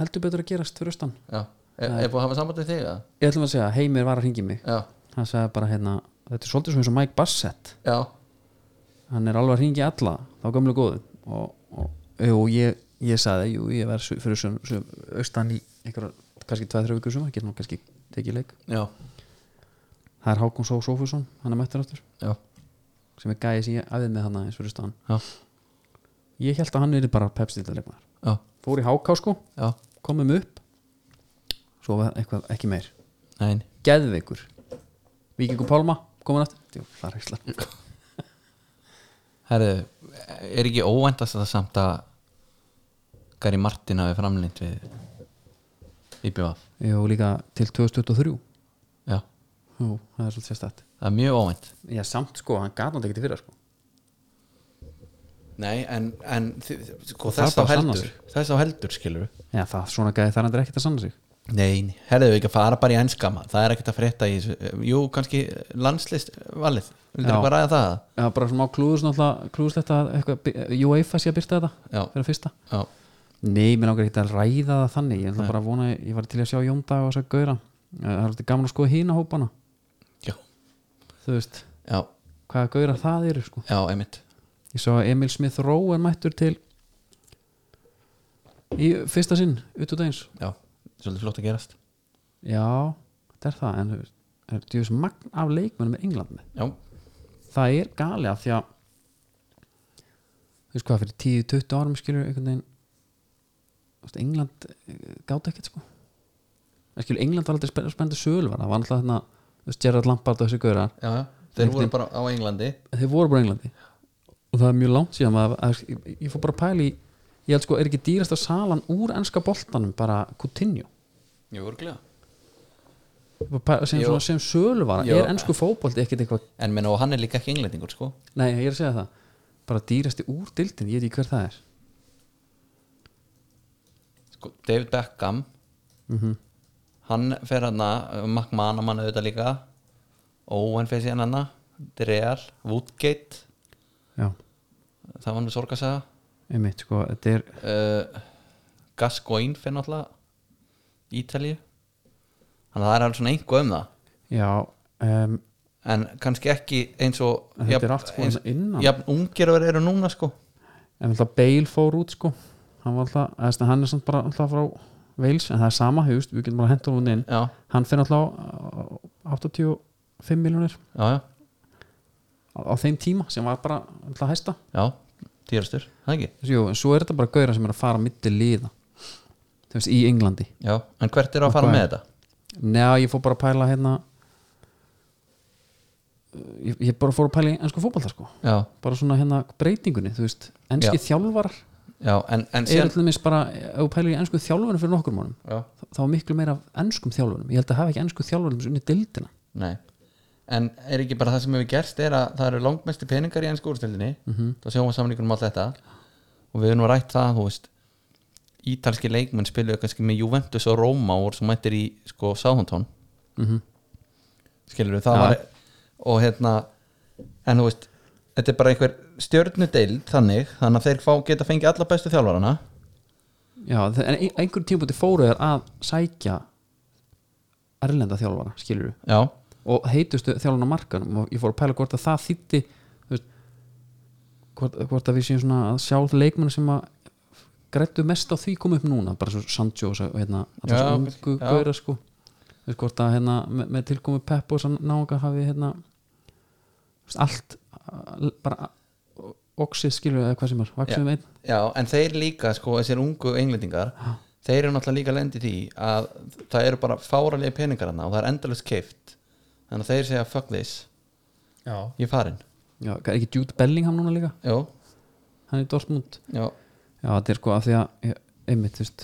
[SPEAKER 1] heldur betur að gerast fyrir austan
[SPEAKER 3] já Er, er búið að hafa samband við þig að?
[SPEAKER 1] Ég ætlum að segja, Heimir var að ringi mig
[SPEAKER 3] Já,
[SPEAKER 1] Hann sagði bara hérna, þetta er svolítið svona eins og Mike Bassett
[SPEAKER 3] já,
[SPEAKER 1] hann er alveg að hringja í alla þá gömlu góðu og, og, og ég, ég sagði, jú, ég verð su- fyrir sum, sum, austan í einhverja, kannski 2-3 vikur sumar, getur nú kannski tekið leik
[SPEAKER 3] já,
[SPEAKER 1] það er Hákon Só Sófusson, hann er mættur aftur
[SPEAKER 3] já,
[SPEAKER 1] sem er gæði sem ég aðið með hann aðeins fyrir staðan
[SPEAKER 3] já,
[SPEAKER 1] ég held að hann er bara pepstildarleikmaður
[SPEAKER 3] já,
[SPEAKER 1] fór í Háká sko,
[SPEAKER 3] já.
[SPEAKER 1] komum upp svo var eitthvað ekki meir
[SPEAKER 3] Nein.
[SPEAKER 1] Geðveikur Víkingu Pálma, komin aftur Jú, það er ekki slag
[SPEAKER 3] Herðu, er ekki óvæntast þetta samt að Gary Martin hafi framlýnt við IPVF?
[SPEAKER 1] og líka til 2023
[SPEAKER 3] Já,
[SPEAKER 1] Jú, það er svolítið sérstætt
[SPEAKER 3] það er mjög óvænt
[SPEAKER 1] Já, samt sko, hann gat náttúrulega ekki til fyrir sko
[SPEAKER 3] Nei, en, en þi- þi- sko,
[SPEAKER 1] Það
[SPEAKER 3] þess
[SPEAKER 1] er
[SPEAKER 3] á
[SPEAKER 1] bara að sanna
[SPEAKER 3] heldur Þess á heldur, skilur við
[SPEAKER 1] Já, það svona gæði þar hann ekkert að sanna sig
[SPEAKER 3] Nei, nei, herðu ekki að fara bara í enskama Það er ekkert að frétta í þessu Jú, kannski landslist valið Vildur
[SPEAKER 1] Já.
[SPEAKER 3] eitthvað ræða það?
[SPEAKER 1] Já, bara svona á klúðus náttúrulega klúðuslegt að eitthvað, bi- eh, UEFA sé að byrta þetta
[SPEAKER 3] Já,
[SPEAKER 1] fyrir að fyrsta
[SPEAKER 3] já,
[SPEAKER 1] Nei, mér langar ekki að ræða það þannig ég Eh, ætla bara að vona, ég var til að sjá Jóndag og þess að gauðra það er alltaf gaman að skoða hína hópana
[SPEAKER 3] já
[SPEAKER 1] þú veist,
[SPEAKER 3] já,
[SPEAKER 1] hvaða gaurar það eru sko.
[SPEAKER 3] já, einmitt
[SPEAKER 1] ég sá að Emil Smith Rowe er mættur til í fyrsta sinn sko. út út eins
[SPEAKER 3] já, svolítið flott að gerast
[SPEAKER 1] já, þetta er það en þú veist, það er djúfis magn af leikmennum með England með
[SPEAKER 3] já,
[SPEAKER 1] það er gali af því að þú veist hvað fyrir 10-20 árum skilur einhvern veginn þú veist, England gáta ekkert sko en skilur England var aldrei spen- spennandi sölvar það var alltaf þarna þú veist, Gerard Lampard og þessi gaurar
[SPEAKER 3] já, já. þeir voru bara á Englandi
[SPEAKER 1] þeir voru bara á Englandi og það er mjög langt síðan að, að, ég, ég fór bara að pæla í ég held sko er ekki dýrasta salan úr enska boltanum bara Coutinho
[SPEAKER 3] jú, örglega
[SPEAKER 1] Ég fór að pæla- sem,
[SPEAKER 3] Jú.
[SPEAKER 1] svona, sem söluvara
[SPEAKER 3] Jú.
[SPEAKER 1] er ensku fótbolti ekkert eitthvað
[SPEAKER 3] en menn og hann er líka ekki englendingur sko
[SPEAKER 1] Nei, ég er að segja það bara dýrasti úr dildin, ég veit ekki hver það er
[SPEAKER 3] sko, David Beckham Mhm. hann fer hann að eh, McMahon að manna auðvitað líka Owen fer síðan hann Dreal, Woodgate
[SPEAKER 1] Já,
[SPEAKER 3] það var nú sorgasaga
[SPEAKER 1] einmitt sko, þetta er
[SPEAKER 3] uh, Gascoigne fer náttúrulega Ítalíu þannig að það er alveg svona einhvað um það
[SPEAKER 1] já, um,
[SPEAKER 3] en kannski ekki eins og
[SPEAKER 1] En þetta er allt sko
[SPEAKER 3] eins,
[SPEAKER 1] innan.
[SPEAKER 3] jafn ungir að vera eru núna sko
[SPEAKER 1] en alltaf Bale fór út sko hann var alltaf, eða, þess að hann er samt bara alltaf frá Wales, en það er sama, hefust, við getum bara hendur hún inn,
[SPEAKER 3] já,
[SPEAKER 1] hann finn alltaf 85 miljónir
[SPEAKER 3] já, já,
[SPEAKER 1] á, á þeim tíma sem var bara alltaf hæsta
[SPEAKER 3] já týrastur, það ekki
[SPEAKER 1] Jú, en svo er þetta bara gauðra sem er að fara mitt liða, þú veist, í Englandi
[SPEAKER 3] já, en hvert er að fara
[SPEAKER 1] Hvað?
[SPEAKER 3] með þetta
[SPEAKER 1] Nei, ég fór bara að pæla hérna Eh, ég, ég bara fór að pæla í ennsku fótbolta sko
[SPEAKER 3] já,
[SPEAKER 1] bara svona hérna breytingunni, þú veist ennski þjálfarar
[SPEAKER 3] já, en, en
[SPEAKER 1] er
[SPEAKER 3] síðan
[SPEAKER 1] allir mis bara, eh, ef þú pælir í ennsku þjálfunum fyrir nokkur mánum,
[SPEAKER 3] já,
[SPEAKER 1] þá- þá er miklu meira af ennskum þjálfunum, ég held að hafa ekki ennsku þjálfunum sem unni dildina,
[SPEAKER 3] nei en er ekki bara það sem hefur gerst er að það eru langmesti peningar í ennsku úrstildinni mm -hmm. þá sjáum við samlingunum allt þetta og við erum að rætt það, þú veist ítalski leikmenn spiluðu kannski með Juventus og Roma og voru svo mættir í sko Southampton mhm. skilur það
[SPEAKER 1] Ja.
[SPEAKER 3] var og hérna en þú veist, þetta er bara einhver stjörnudeild þannig, þannig að þeir fá, geta fengið alla bestu þjálfarana
[SPEAKER 1] já, þe- en ein- einhverjum tímpúti fóru þér að sækja erlenda þjálfara, skilur við
[SPEAKER 3] já,
[SPEAKER 1] og heitustu þjálfuna markanum og ég fór að pæla hvort að það þýtti þú veist, hvort, hvort að við séum svona að sjálf leikmenn sem að grættu mest á því koma upp núna bara svo Sancho og svo, hérna,
[SPEAKER 3] Já,
[SPEAKER 1] alltaf ungu
[SPEAKER 3] kannski, já.
[SPEAKER 1] gauðra sko Þú veist, hvort að hérna, með, með tilkomi Pep og sann náunga hafi hérna þú veist, allt a- bara a- oxið skilur eða hvað sem er, vaksum einn
[SPEAKER 3] já, en þeir líka sko, þessir ungu englendingar þeir eru náttúrulega líka lendi því að það eru bara fáralegi peningar hana og það er endalust keift þannig að þeir segja fuck this,
[SPEAKER 1] já.
[SPEAKER 3] ég er farin
[SPEAKER 1] já, er ekki Jude Bellingham núna líka
[SPEAKER 3] já,
[SPEAKER 1] hann er í Dortmund
[SPEAKER 3] já,
[SPEAKER 1] Já, þetta er sko af því að ég- einmitt, þú veist,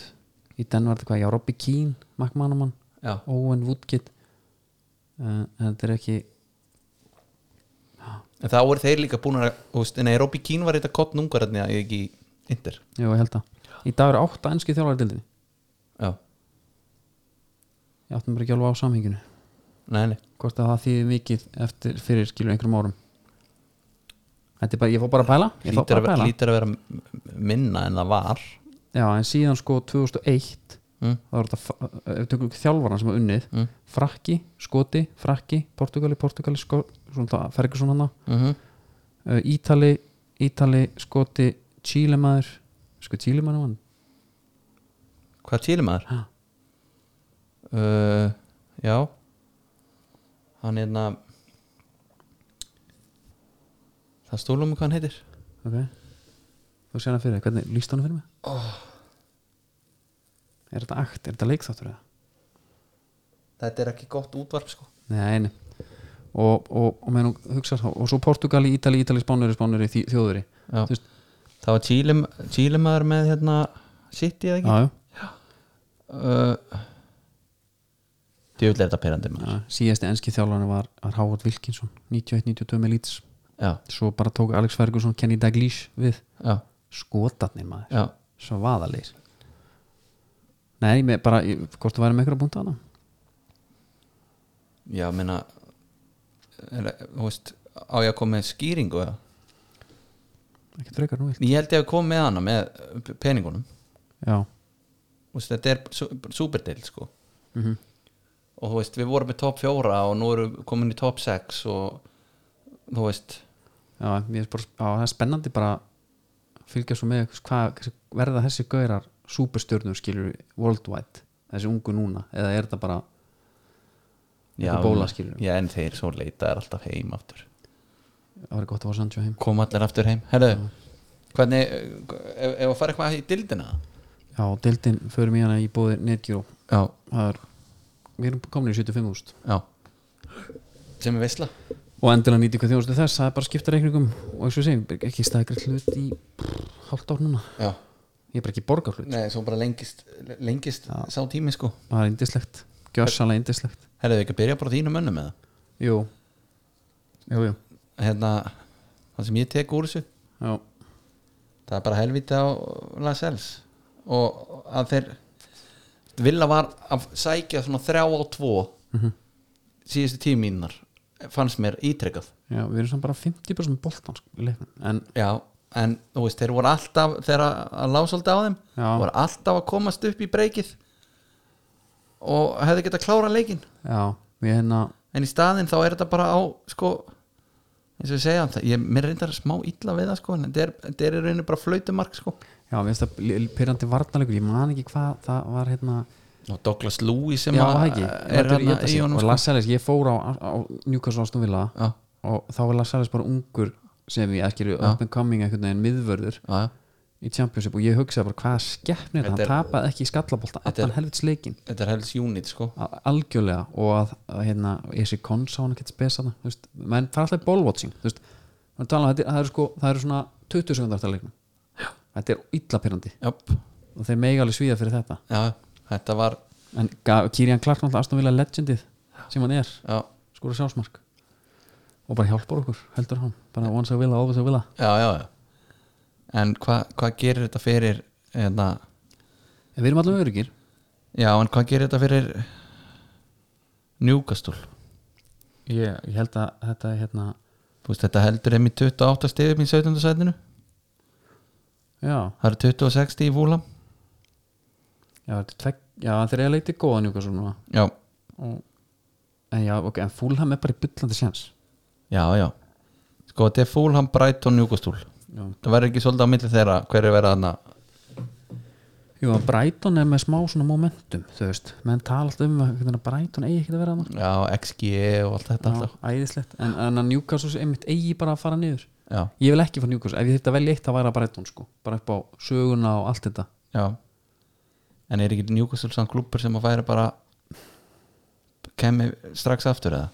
[SPEAKER 1] í den var þetta hvað, já, Robbie Keane Mark Manaman,
[SPEAKER 3] já,
[SPEAKER 1] Owen Woodgate uh, en þetta er ekki
[SPEAKER 3] en þá eru þeir líka búin að, þú veist, en Robbie Keane var þetta kott nungar hérna í- ekki í Inter
[SPEAKER 1] já, ég held að í dag eru átta enski þjálfardildinni
[SPEAKER 3] já,
[SPEAKER 1] ég áttum bara ekki alveg á samhenginu
[SPEAKER 3] nei, nei,
[SPEAKER 1] hvort að það þýði mikið eftir fyrir skilur einhverjum árum þetta er bara, ég fór bara að pæla ég fór bara
[SPEAKER 3] lítur að,
[SPEAKER 1] að
[SPEAKER 3] vera-
[SPEAKER 1] pæla
[SPEAKER 3] hlýtur að vera m- minna en það var
[SPEAKER 1] já, en síðan sko 2001
[SPEAKER 3] Mm.
[SPEAKER 1] þá er þetta, fa- eh, ef við tökum þjálfarna sem er unnið
[SPEAKER 3] Mm.
[SPEAKER 1] frakki, skoti, frakki Portugali, Portugali, sko, svona það Ferguson hann
[SPEAKER 3] mm
[SPEAKER 1] uh, Ítali Ítali, Skoti, Chilemaður sko Chilemaður hann
[SPEAKER 3] Hvað týri maður?
[SPEAKER 1] Ha?
[SPEAKER 3] Uh, já Hann er hérna Það stólum hvað hann heitir
[SPEAKER 1] ok þú sér hann fyrir, þér, hvernig líst hann fyrir mig? er þetta akt, er þetta leikþáttur eða?
[SPEAKER 3] Þetta er ekki gott útvarp sko
[SPEAKER 1] nei, nei og, og, og, menn, og, hugsa, þá, og svo Portugali, Ítali, Ítali, Spánveri, Spánveri þý, þjóðveri
[SPEAKER 3] Já.
[SPEAKER 1] Þú veist-
[SPEAKER 3] Það var týri, týri maður með hérna City eða ekki
[SPEAKER 1] já, já,
[SPEAKER 3] uh, Djöfull er þetta perandi maður
[SPEAKER 1] já, síðasti enski þjálfarni var, var Howard Wilkinson 91-92 með Leeds
[SPEAKER 3] Já,
[SPEAKER 1] svo bara tók Alex Ferguson, Kenny Dalglish við
[SPEAKER 3] já,
[SPEAKER 1] skotarnir maður
[SPEAKER 3] já
[SPEAKER 1] svo vaðalegir nei, með, bara ég- hvort þú væri með einhverja búnta hana
[SPEAKER 3] Já, meina er- Þú veist, á ég að koma með skýringu eða?
[SPEAKER 1] ekkert frekar nú vilt
[SPEAKER 3] Ég held ég að koma með hana með uh, peningunum
[SPEAKER 1] já,
[SPEAKER 3] Þú veist, þetta er sú- superdeild sko
[SPEAKER 1] mm
[SPEAKER 3] og þú veist, við vorum með top 4 og nú erum við komin í top 6 og þú veist
[SPEAKER 1] já, mér er bara, já, það er spennandi bara að fylgja svo með hvað hversu- verða þessi gaurar súperstjörnum skilur worldwide þessi ungu núna, eða er þetta bara
[SPEAKER 3] já,
[SPEAKER 1] Einhver bóla, skilur.
[SPEAKER 3] já, en þeir svo leita er alltaf heim aftur
[SPEAKER 1] það var gott að fá Sancho heim
[SPEAKER 3] koma allir aftur heim herru, hvernig ef, ef að fara eitthvað í dildina
[SPEAKER 1] já, deildin förum í hana í bóði Netgyro
[SPEAKER 3] já,
[SPEAKER 1] það er, við erum komin í 75 úst
[SPEAKER 3] já sem er veisla
[SPEAKER 1] og endilega nýti hvað þjónustu þess, það er bara að skipta reikningum og eins og við segjum, ekki staðgrætt hlut í pff, hálft ár núna,
[SPEAKER 3] já,
[SPEAKER 1] ég er bara ekki borga hlut
[SPEAKER 3] nei, svo bara lengist lengist sá tími sko
[SPEAKER 1] það er indislegt, gjössalega indislegt
[SPEAKER 3] herru, við ekki að byrja bara á þínum mönnum eða
[SPEAKER 1] jú, jú, jú
[SPEAKER 3] hérna, það sem ég tek úr þessu
[SPEAKER 1] já,
[SPEAKER 3] það er bara helvita á Lascelles og að þeir Villa var að sækja svona þrjá á tvo síðustu tíu mínar fannst mér ítrekkað
[SPEAKER 1] já, við erum samt bara 50% boltan sko, í leiknum, en
[SPEAKER 3] já, en þú veist, þeir voru alltaf þegar að- að lásaldi á þeim
[SPEAKER 1] Já.
[SPEAKER 3] voru alltaf að komast upp í breykið og hefði getað klárað leikinn
[SPEAKER 1] já, við hérna
[SPEAKER 3] en í staðinn þá er þetta bara á sko, eins og ég segja það, ég, mér reyndar smá illa við það sko, en þetta er, þetta er í rauninu bara flautumark sko.
[SPEAKER 1] já, við erum það pyrrandi varnalegur, ég man ekki hvað það var hérna
[SPEAKER 3] og Douglas Lewis sem
[SPEAKER 1] já,
[SPEAKER 3] að-
[SPEAKER 1] það ekki,
[SPEAKER 3] er
[SPEAKER 1] Þetta
[SPEAKER 3] hann
[SPEAKER 1] þetta
[SPEAKER 3] í
[SPEAKER 1] sig.
[SPEAKER 3] honum
[SPEAKER 1] og
[SPEAKER 3] sko.
[SPEAKER 1] Lassaris, ég fór á, á Newcastle Aston Villa
[SPEAKER 3] já,
[SPEAKER 1] og þá var Lassaris bara ungur sem ég ekki eru up and coming einhvern veginn miðvörður
[SPEAKER 3] já, já.
[SPEAKER 1] í Championship og ég hugsaði bara hvaða skeppni þetta,
[SPEAKER 3] Þetta
[SPEAKER 1] hann tapaði ekki í skallabolta
[SPEAKER 3] Þetta er-
[SPEAKER 1] allan helvits leikin
[SPEAKER 3] þetta er helst unit sko.
[SPEAKER 1] algjörlega og að, að hérna, Esi Kons á hann ekkert spesa hana þú veist, menn fara alltaf í ballwatching þú veist, maður tala um þetta, það eru sko, það eru svona 20 sekundar eftir að leiknum þetta er illa pyrrandi
[SPEAKER 3] Jöp,
[SPEAKER 1] og þeir megi alveg svíða fyrir þetta
[SPEAKER 3] já, þetta var
[SPEAKER 1] en Kirian Clark náttúrulega Aston Villa legendið sem hann er,
[SPEAKER 3] já,
[SPEAKER 1] skora sjálfsmark og bara hjálpar okkur, heldur hann bara once a villa, always a villa
[SPEAKER 3] já, já, já. en hva- hvað gerir þetta fyrir hérna,
[SPEAKER 1] en við erum allavega öryggir
[SPEAKER 3] já, en hvað gerir þetta fyrir njúkastúl
[SPEAKER 1] ég, ég held að þetta er hérna
[SPEAKER 3] veist, þetta heldur þeim í 28 stigum í 17. sætinu
[SPEAKER 1] já,
[SPEAKER 3] það eru 26 stig í fúlam
[SPEAKER 1] Já, þetta er tvegg, já þeir eru leitið góða njúka svona
[SPEAKER 3] já,
[SPEAKER 1] og, En já, ok, en Fulham er bara í byllandi séns
[SPEAKER 3] já, já sko, þetta er fúlam, brætt og njúkastúl
[SPEAKER 1] Já.
[SPEAKER 3] það verður ekki svolítið á milli þeirra hverju verða þarna
[SPEAKER 1] Jú, að Brighton er með smá svona momentum, þú veist menn tala alltaf um að hvernig að Brighton eigi ekkert að vera þarna.
[SPEAKER 3] já, XG og allt þetta alltaf
[SPEAKER 1] Já, æðislegt, en, en að Newcastle einmitt eigi bara að fara niður
[SPEAKER 3] já,
[SPEAKER 1] Ég vil ekki fara Newcastle, ef ég þyrfti að velja eitt að væra Brighton sko, bara upp á söguna og allt þetta
[SPEAKER 3] já en er ekki njúkastúl samt klúpur sem að færa bara kemi strax aftur eða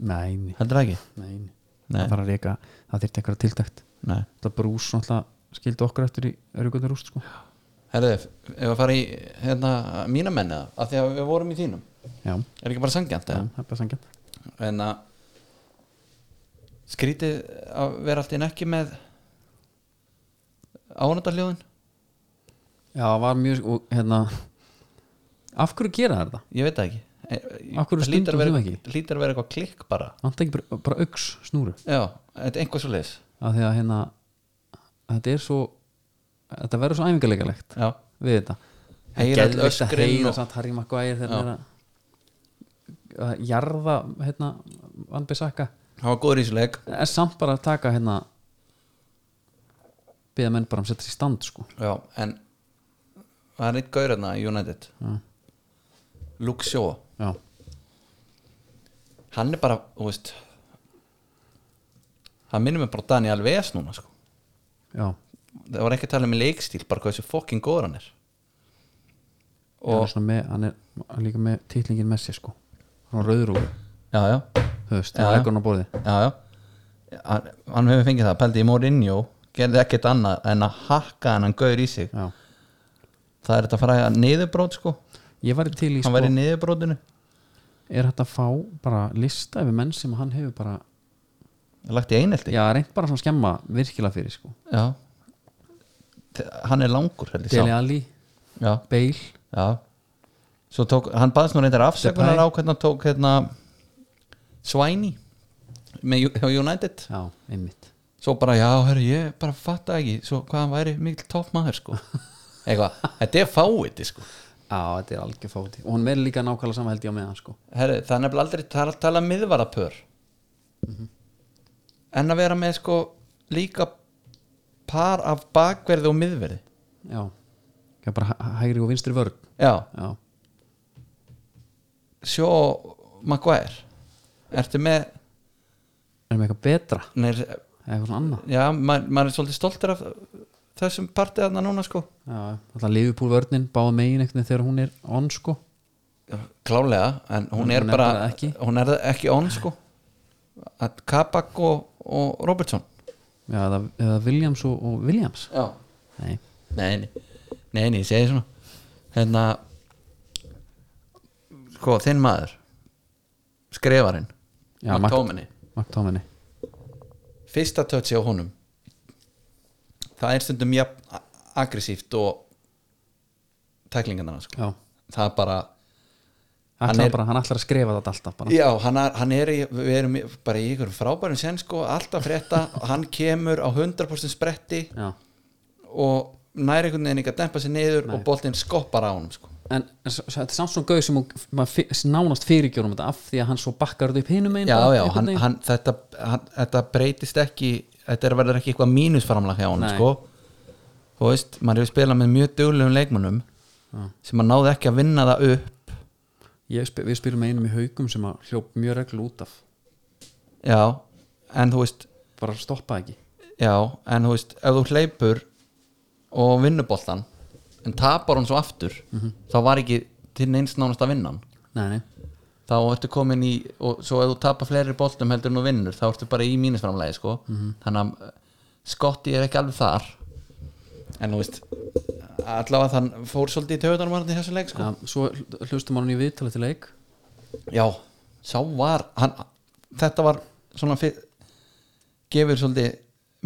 [SPEAKER 1] Nei, nei,
[SPEAKER 3] heldur það ekki?
[SPEAKER 1] nei, nei.
[SPEAKER 3] Nei.
[SPEAKER 1] það þarf að reka, það þyrfti eitthvað tiltækt
[SPEAKER 3] Nei
[SPEAKER 1] Það brús náttúrulega skildi okkur eftir í örugundur úst sko
[SPEAKER 3] Herðu, ef ef að fara í hérna, mína menna af því að við vorum í þínum
[SPEAKER 1] Já,
[SPEAKER 3] er ekki bara sangjant
[SPEAKER 1] það
[SPEAKER 3] eða?
[SPEAKER 1] er bara sangjant
[SPEAKER 3] en að skrítið að vera allt inn ekki með ánættarljóðin
[SPEAKER 1] Já, það var mjög, og hérna Af hverju gera þær það?
[SPEAKER 3] ég veit það ekki E-
[SPEAKER 1] Af hverju
[SPEAKER 3] það hlýtur
[SPEAKER 1] stundum
[SPEAKER 3] að vera-
[SPEAKER 1] þau ekki?
[SPEAKER 3] hlýtur að vera eitthvað klikk bara
[SPEAKER 1] Vant ekki bara, bara auks snúru
[SPEAKER 3] já, þetta er einhvað svo leis
[SPEAKER 1] af því að hérna þetta er svo, þetta verður svo æfingarleikalegt
[SPEAKER 3] já,
[SPEAKER 1] við þetta
[SPEAKER 3] Heyra öll
[SPEAKER 1] Geðveikt að
[SPEAKER 3] öskrin
[SPEAKER 1] heyra
[SPEAKER 3] og-
[SPEAKER 1] samt Harry Maguire
[SPEAKER 3] Já.
[SPEAKER 1] þegar hann er að- að jarða hérna, Van Bissaka
[SPEAKER 3] það var góður í þessu leik
[SPEAKER 1] er samt bara að taka hérna beða menn bara um að setja sér í stand sko
[SPEAKER 3] já, en það er eitt gaur hérna í United
[SPEAKER 1] já,
[SPEAKER 3] Luke Shaw
[SPEAKER 1] já,
[SPEAKER 3] hann er bara, þú veist hann minnir mig bara á Daniel Ves núna sko
[SPEAKER 1] já.
[SPEAKER 3] það var ekki að tala um leikstíl bara hvað þessu fokkin góður hann er
[SPEAKER 1] hann
[SPEAKER 3] og
[SPEAKER 1] er svona með, hann er hann er líka með titlingin með sér sko hann rauðrúð,
[SPEAKER 3] já, já,
[SPEAKER 1] þú veist,
[SPEAKER 3] Já,
[SPEAKER 1] það
[SPEAKER 3] já.
[SPEAKER 1] er hann á borði
[SPEAKER 3] já, já. Hann, hann hefur fengið það, pældi í Mourinho gerði ekkert annað en að hakka hann hann gauður í sig,
[SPEAKER 1] já.
[SPEAKER 3] það er þetta að fara að niðurbrót sko,
[SPEAKER 1] ég var til í sko,
[SPEAKER 3] hann væri í niðurbrótinu
[SPEAKER 1] er hægt að fá bara lista yfir menn sem hann hefur bara
[SPEAKER 3] lagt í einelti
[SPEAKER 1] já, reynt bara svona skemma virkilega fyrir sko
[SPEAKER 3] já. Þe- hann er langur held ég
[SPEAKER 1] Deli
[SPEAKER 3] sá
[SPEAKER 1] Ali,
[SPEAKER 3] já,
[SPEAKER 1] Bale
[SPEAKER 3] já svo tók, hann baðst nú reyndar afsökunar á
[SPEAKER 1] Depay.
[SPEAKER 3] hvernig hann tók hérna Svæni með Ju- hjá United
[SPEAKER 1] já, einmitt
[SPEAKER 3] svo bara já, herru, ég bara fatta ekki svo hvað hann væri mikil topp maður sko eitthvað, þetta er fáið sko.
[SPEAKER 1] já, þetta er algjör fóti og hann verður líka nákvæmlega sama held ég á meðan sko
[SPEAKER 3] herru, það er nefnilega aldrei það er að tala miðvarapör en að vera með sko líka par af bakverði og miðverði
[SPEAKER 1] já Já, bara hæ- hægri og vinstri vörn
[SPEAKER 3] já,
[SPEAKER 1] já,
[SPEAKER 3] sjó Maguire ertu með
[SPEAKER 1] erum við eitthvað betra
[SPEAKER 3] neir,
[SPEAKER 1] eða eitthvað svona annað
[SPEAKER 3] já, maður, maður er svolítið stoltur af þessum partið þarna núna sko
[SPEAKER 1] já, alltaf Liverpool vörnin, báða megin eitthvað þegar hún er on sko
[SPEAKER 3] klálega, en hún, er, bara,
[SPEAKER 1] ekki.
[SPEAKER 3] hún er ekki on sko að Kabak og, og Robertson
[SPEAKER 1] já, eða, eða Williams og, og Williams
[SPEAKER 3] já
[SPEAKER 1] nei,
[SPEAKER 3] Nei, nei, nei, nei, ég segi svona Hérna Sko, þinn maður Skrifarinn
[SPEAKER 1] Já,
[SPEAKER 3] McTominay.
[SPEAKER 1] McTominay
[SPEAKER 3] Fyrsta tötsi á honum Það er stundum jafn a- aggressíft og tæklingarnar sko.
[SPEAKER 1] já,
[SPEAKER 3] Það er bara Hann
[SPEAKER 1] hann,
[SPEAKER 3] er-
[SPEAKER 1] bara, hann ætlar að skrifa þetta alltaf bara
[SPEAKER 3] Já, hann er, hann er í, við erum í- bara í ykkur frábærum sen sko, alltaf frétta hann kemur á 100% spretti
[SPEAKER 1] já.
[SPEAKER 3] og nær einhvern veginn ekki að dempa sér niður og boltinn skoppar á honum sko.
[SPEAKER 1] en s- s- þetta er samt svona gauð sem hún, maður fi- nánast fyrirgjórum þetta af því að hann svo bakkar þetta upp hinum einn
[SPEAKER 3] já, já, hann, hann, þetta, hann, þetta breytist ekki þetta er verður ekki eitthvað mínusframlag hjá hann
[SPEAKER 1] Nei.
[SPEAKER 3] sko. þú veist, maður hefur spilað með mjög duglegum leikmönnum sem að náði ekki að vinna það upp
[SPEAKER 1] sp við spyrum einum í haukum sem að hljóp mjög reglu út af
[SPEAKER 3] já, en þú veist
[SPEAKER 1] bara stoppa ekki
[SPEAKER 3] já, en þú veist, ef þú hleypur og vinnur boltan en tapar hann svo aftur þá var ekki til neins nánast að vinna hann
[SPEAKER 1] nei, nei.
[SPEAKER 3] þá ertu komin í og svo ef þú tapar fleiri boltum heldur en þú vinnur þá ertu bara í mínusframlægi sko þannig að Skotti er ekki alveg þar en þú veist allavega þann fór svolítið í töðunum hann í þessu leik sko
[SPEAKER 1] Ja, svo hl- hlustum hann í viðtalið til leik
[SPEAKER 3] já, sá var hann, þetta var svona fyr, gefur svolítið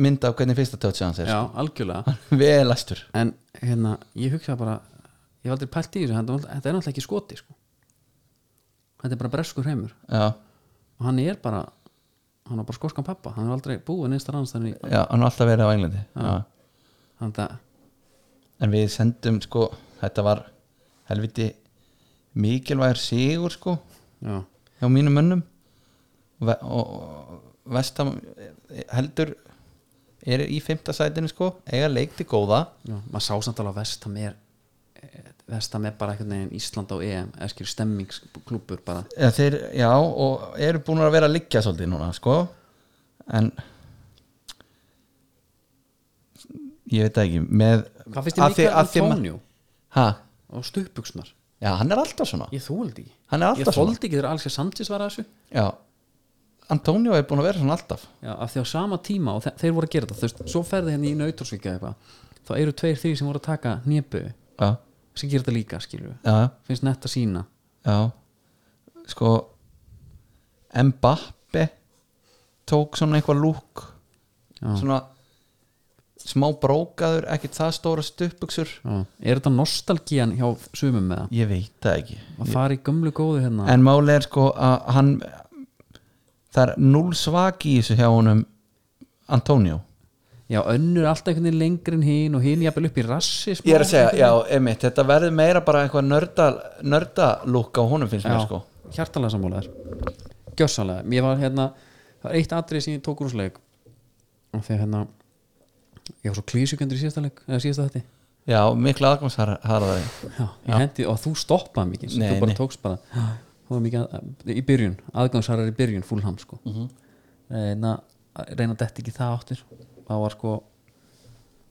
[SPEAKER 3] mynd af hvernig fyrsta töðsjá hans er
[SPEAKER 1] já, algjörlega
[SPEAKER 3] sko. vel læstur
[SPEAKER 1] en hérna, ég hugsa bara ég hef aldrei pælt í þessu, þetta er náttúrulega- þetta er náttúrulega ekki skoti sko. þetta er bara breskur heimur
[SPEAKER 3] já,
[SPEAKER 1] og hann er bara hann er bara skoskan pappa, hann er aldrei búið neistar annars þannig,
[SPEAKER 3] já, hann er alltaf verið á Englandi já.
[SPEAKER 1] þannig að
[SPEAKER 3] en við sendum sko þetta var helviti mikilvægur sigur sko
[SPEAKER 1] já,
[SPEAKER 3] hjá mínum mönnum Ve og vestam heldur er í fymta sætinu sko eiga leik til góða
[SPEAKER 1] já, maður sá samt alveg að vestam er eh, vestam er bara einhvern veginn Ísland á EM eða skilur stemmingsklúpur bara
[SPEAKER 3] Eða þeir, já, og eru búin að vera að liggja svolítið núna sko en ég veit það ekki með
[SPEAKER 1] hvað finnst þið mikilvægt Antonio
[SPEAKER 3] ha,
[SPEAKER 1] og stupuksnar,
[SPEAKER 3] já, hann er alltaf svona
[SPEAKER 1] ég þóldi ekki
[SPEAKER 3] hann er
[SPEAKER 1] ég
[SPEAKER 3] alltaf svona
[SPEAKER 1] þóldi ekki þegar Alexis Sanchez var að þessu
[SPEAKER 3] já, Antonio er búin að vera svona alltaf
[SPEAKER 1] já, af því á sama tíma og þe þeir voru að gera þetta þú veist, svo ferði henni í nautorsvíkja eitthvað þá eru tveir þrý sem voru að taka nýjöpu
[SPEAKER 3] já,
[SPEAKER 1] sem gera þetta líka, skilur
[SPEAKER 3] já,
[SPEAKER 1] finnst netta sína
[SPEAKER 3] já sko Mbappe tók svona eitthvað lúk
[SPEAKER 1] Já.
[SPEAKER 3] svona smá brókaður, ekkert það stóra stupuksur
[SPEAKER 1] er þetta nostalgían hjá sumum með það
[SPEAKER 3] ég veit það ekki
[SPEAKER 1] að fara í gömlu góðu hérna
[SPEAKER 3] en máli er sko að hann það er null svaki í þessu hjá honum Antonio
[SPEAKER 1] já, önnur alltaf einhvern veginn lengri en hinn og hinn jafnvel upp í rassi smá.
[SPEAKER 3] ég er að segja, já, emitt, þetta verður meira bara eitthvað nörda, nörda lúk á honum finnst mér sko
[SPEAKER 1] hjartalega sammálaðar gjössalega, mér var hérna það var eitt atrið sem ég tók úr úr leik og þegar hérna ég var svo klísugöndur í síðasta leik eða síðasta þetta
[SPEAKER 3] já, miklu aðgangsharðari
[SPEAKER 1] já, ég hendi og þú stoppaði mikið
[SPEAKER 3] Nei,
[SPEAKER 1] þú bara
[SPEAKER 3] nei.
[SPEAKER 1] tókst bara þú var mikið að, í byrjun, aðgangsharar í byrjun fullham sko mm
[SPEAKER 3] Mhm.
[SPEAKER 1] -hmm. reyna, reyna þetta ekki það áttir það var sko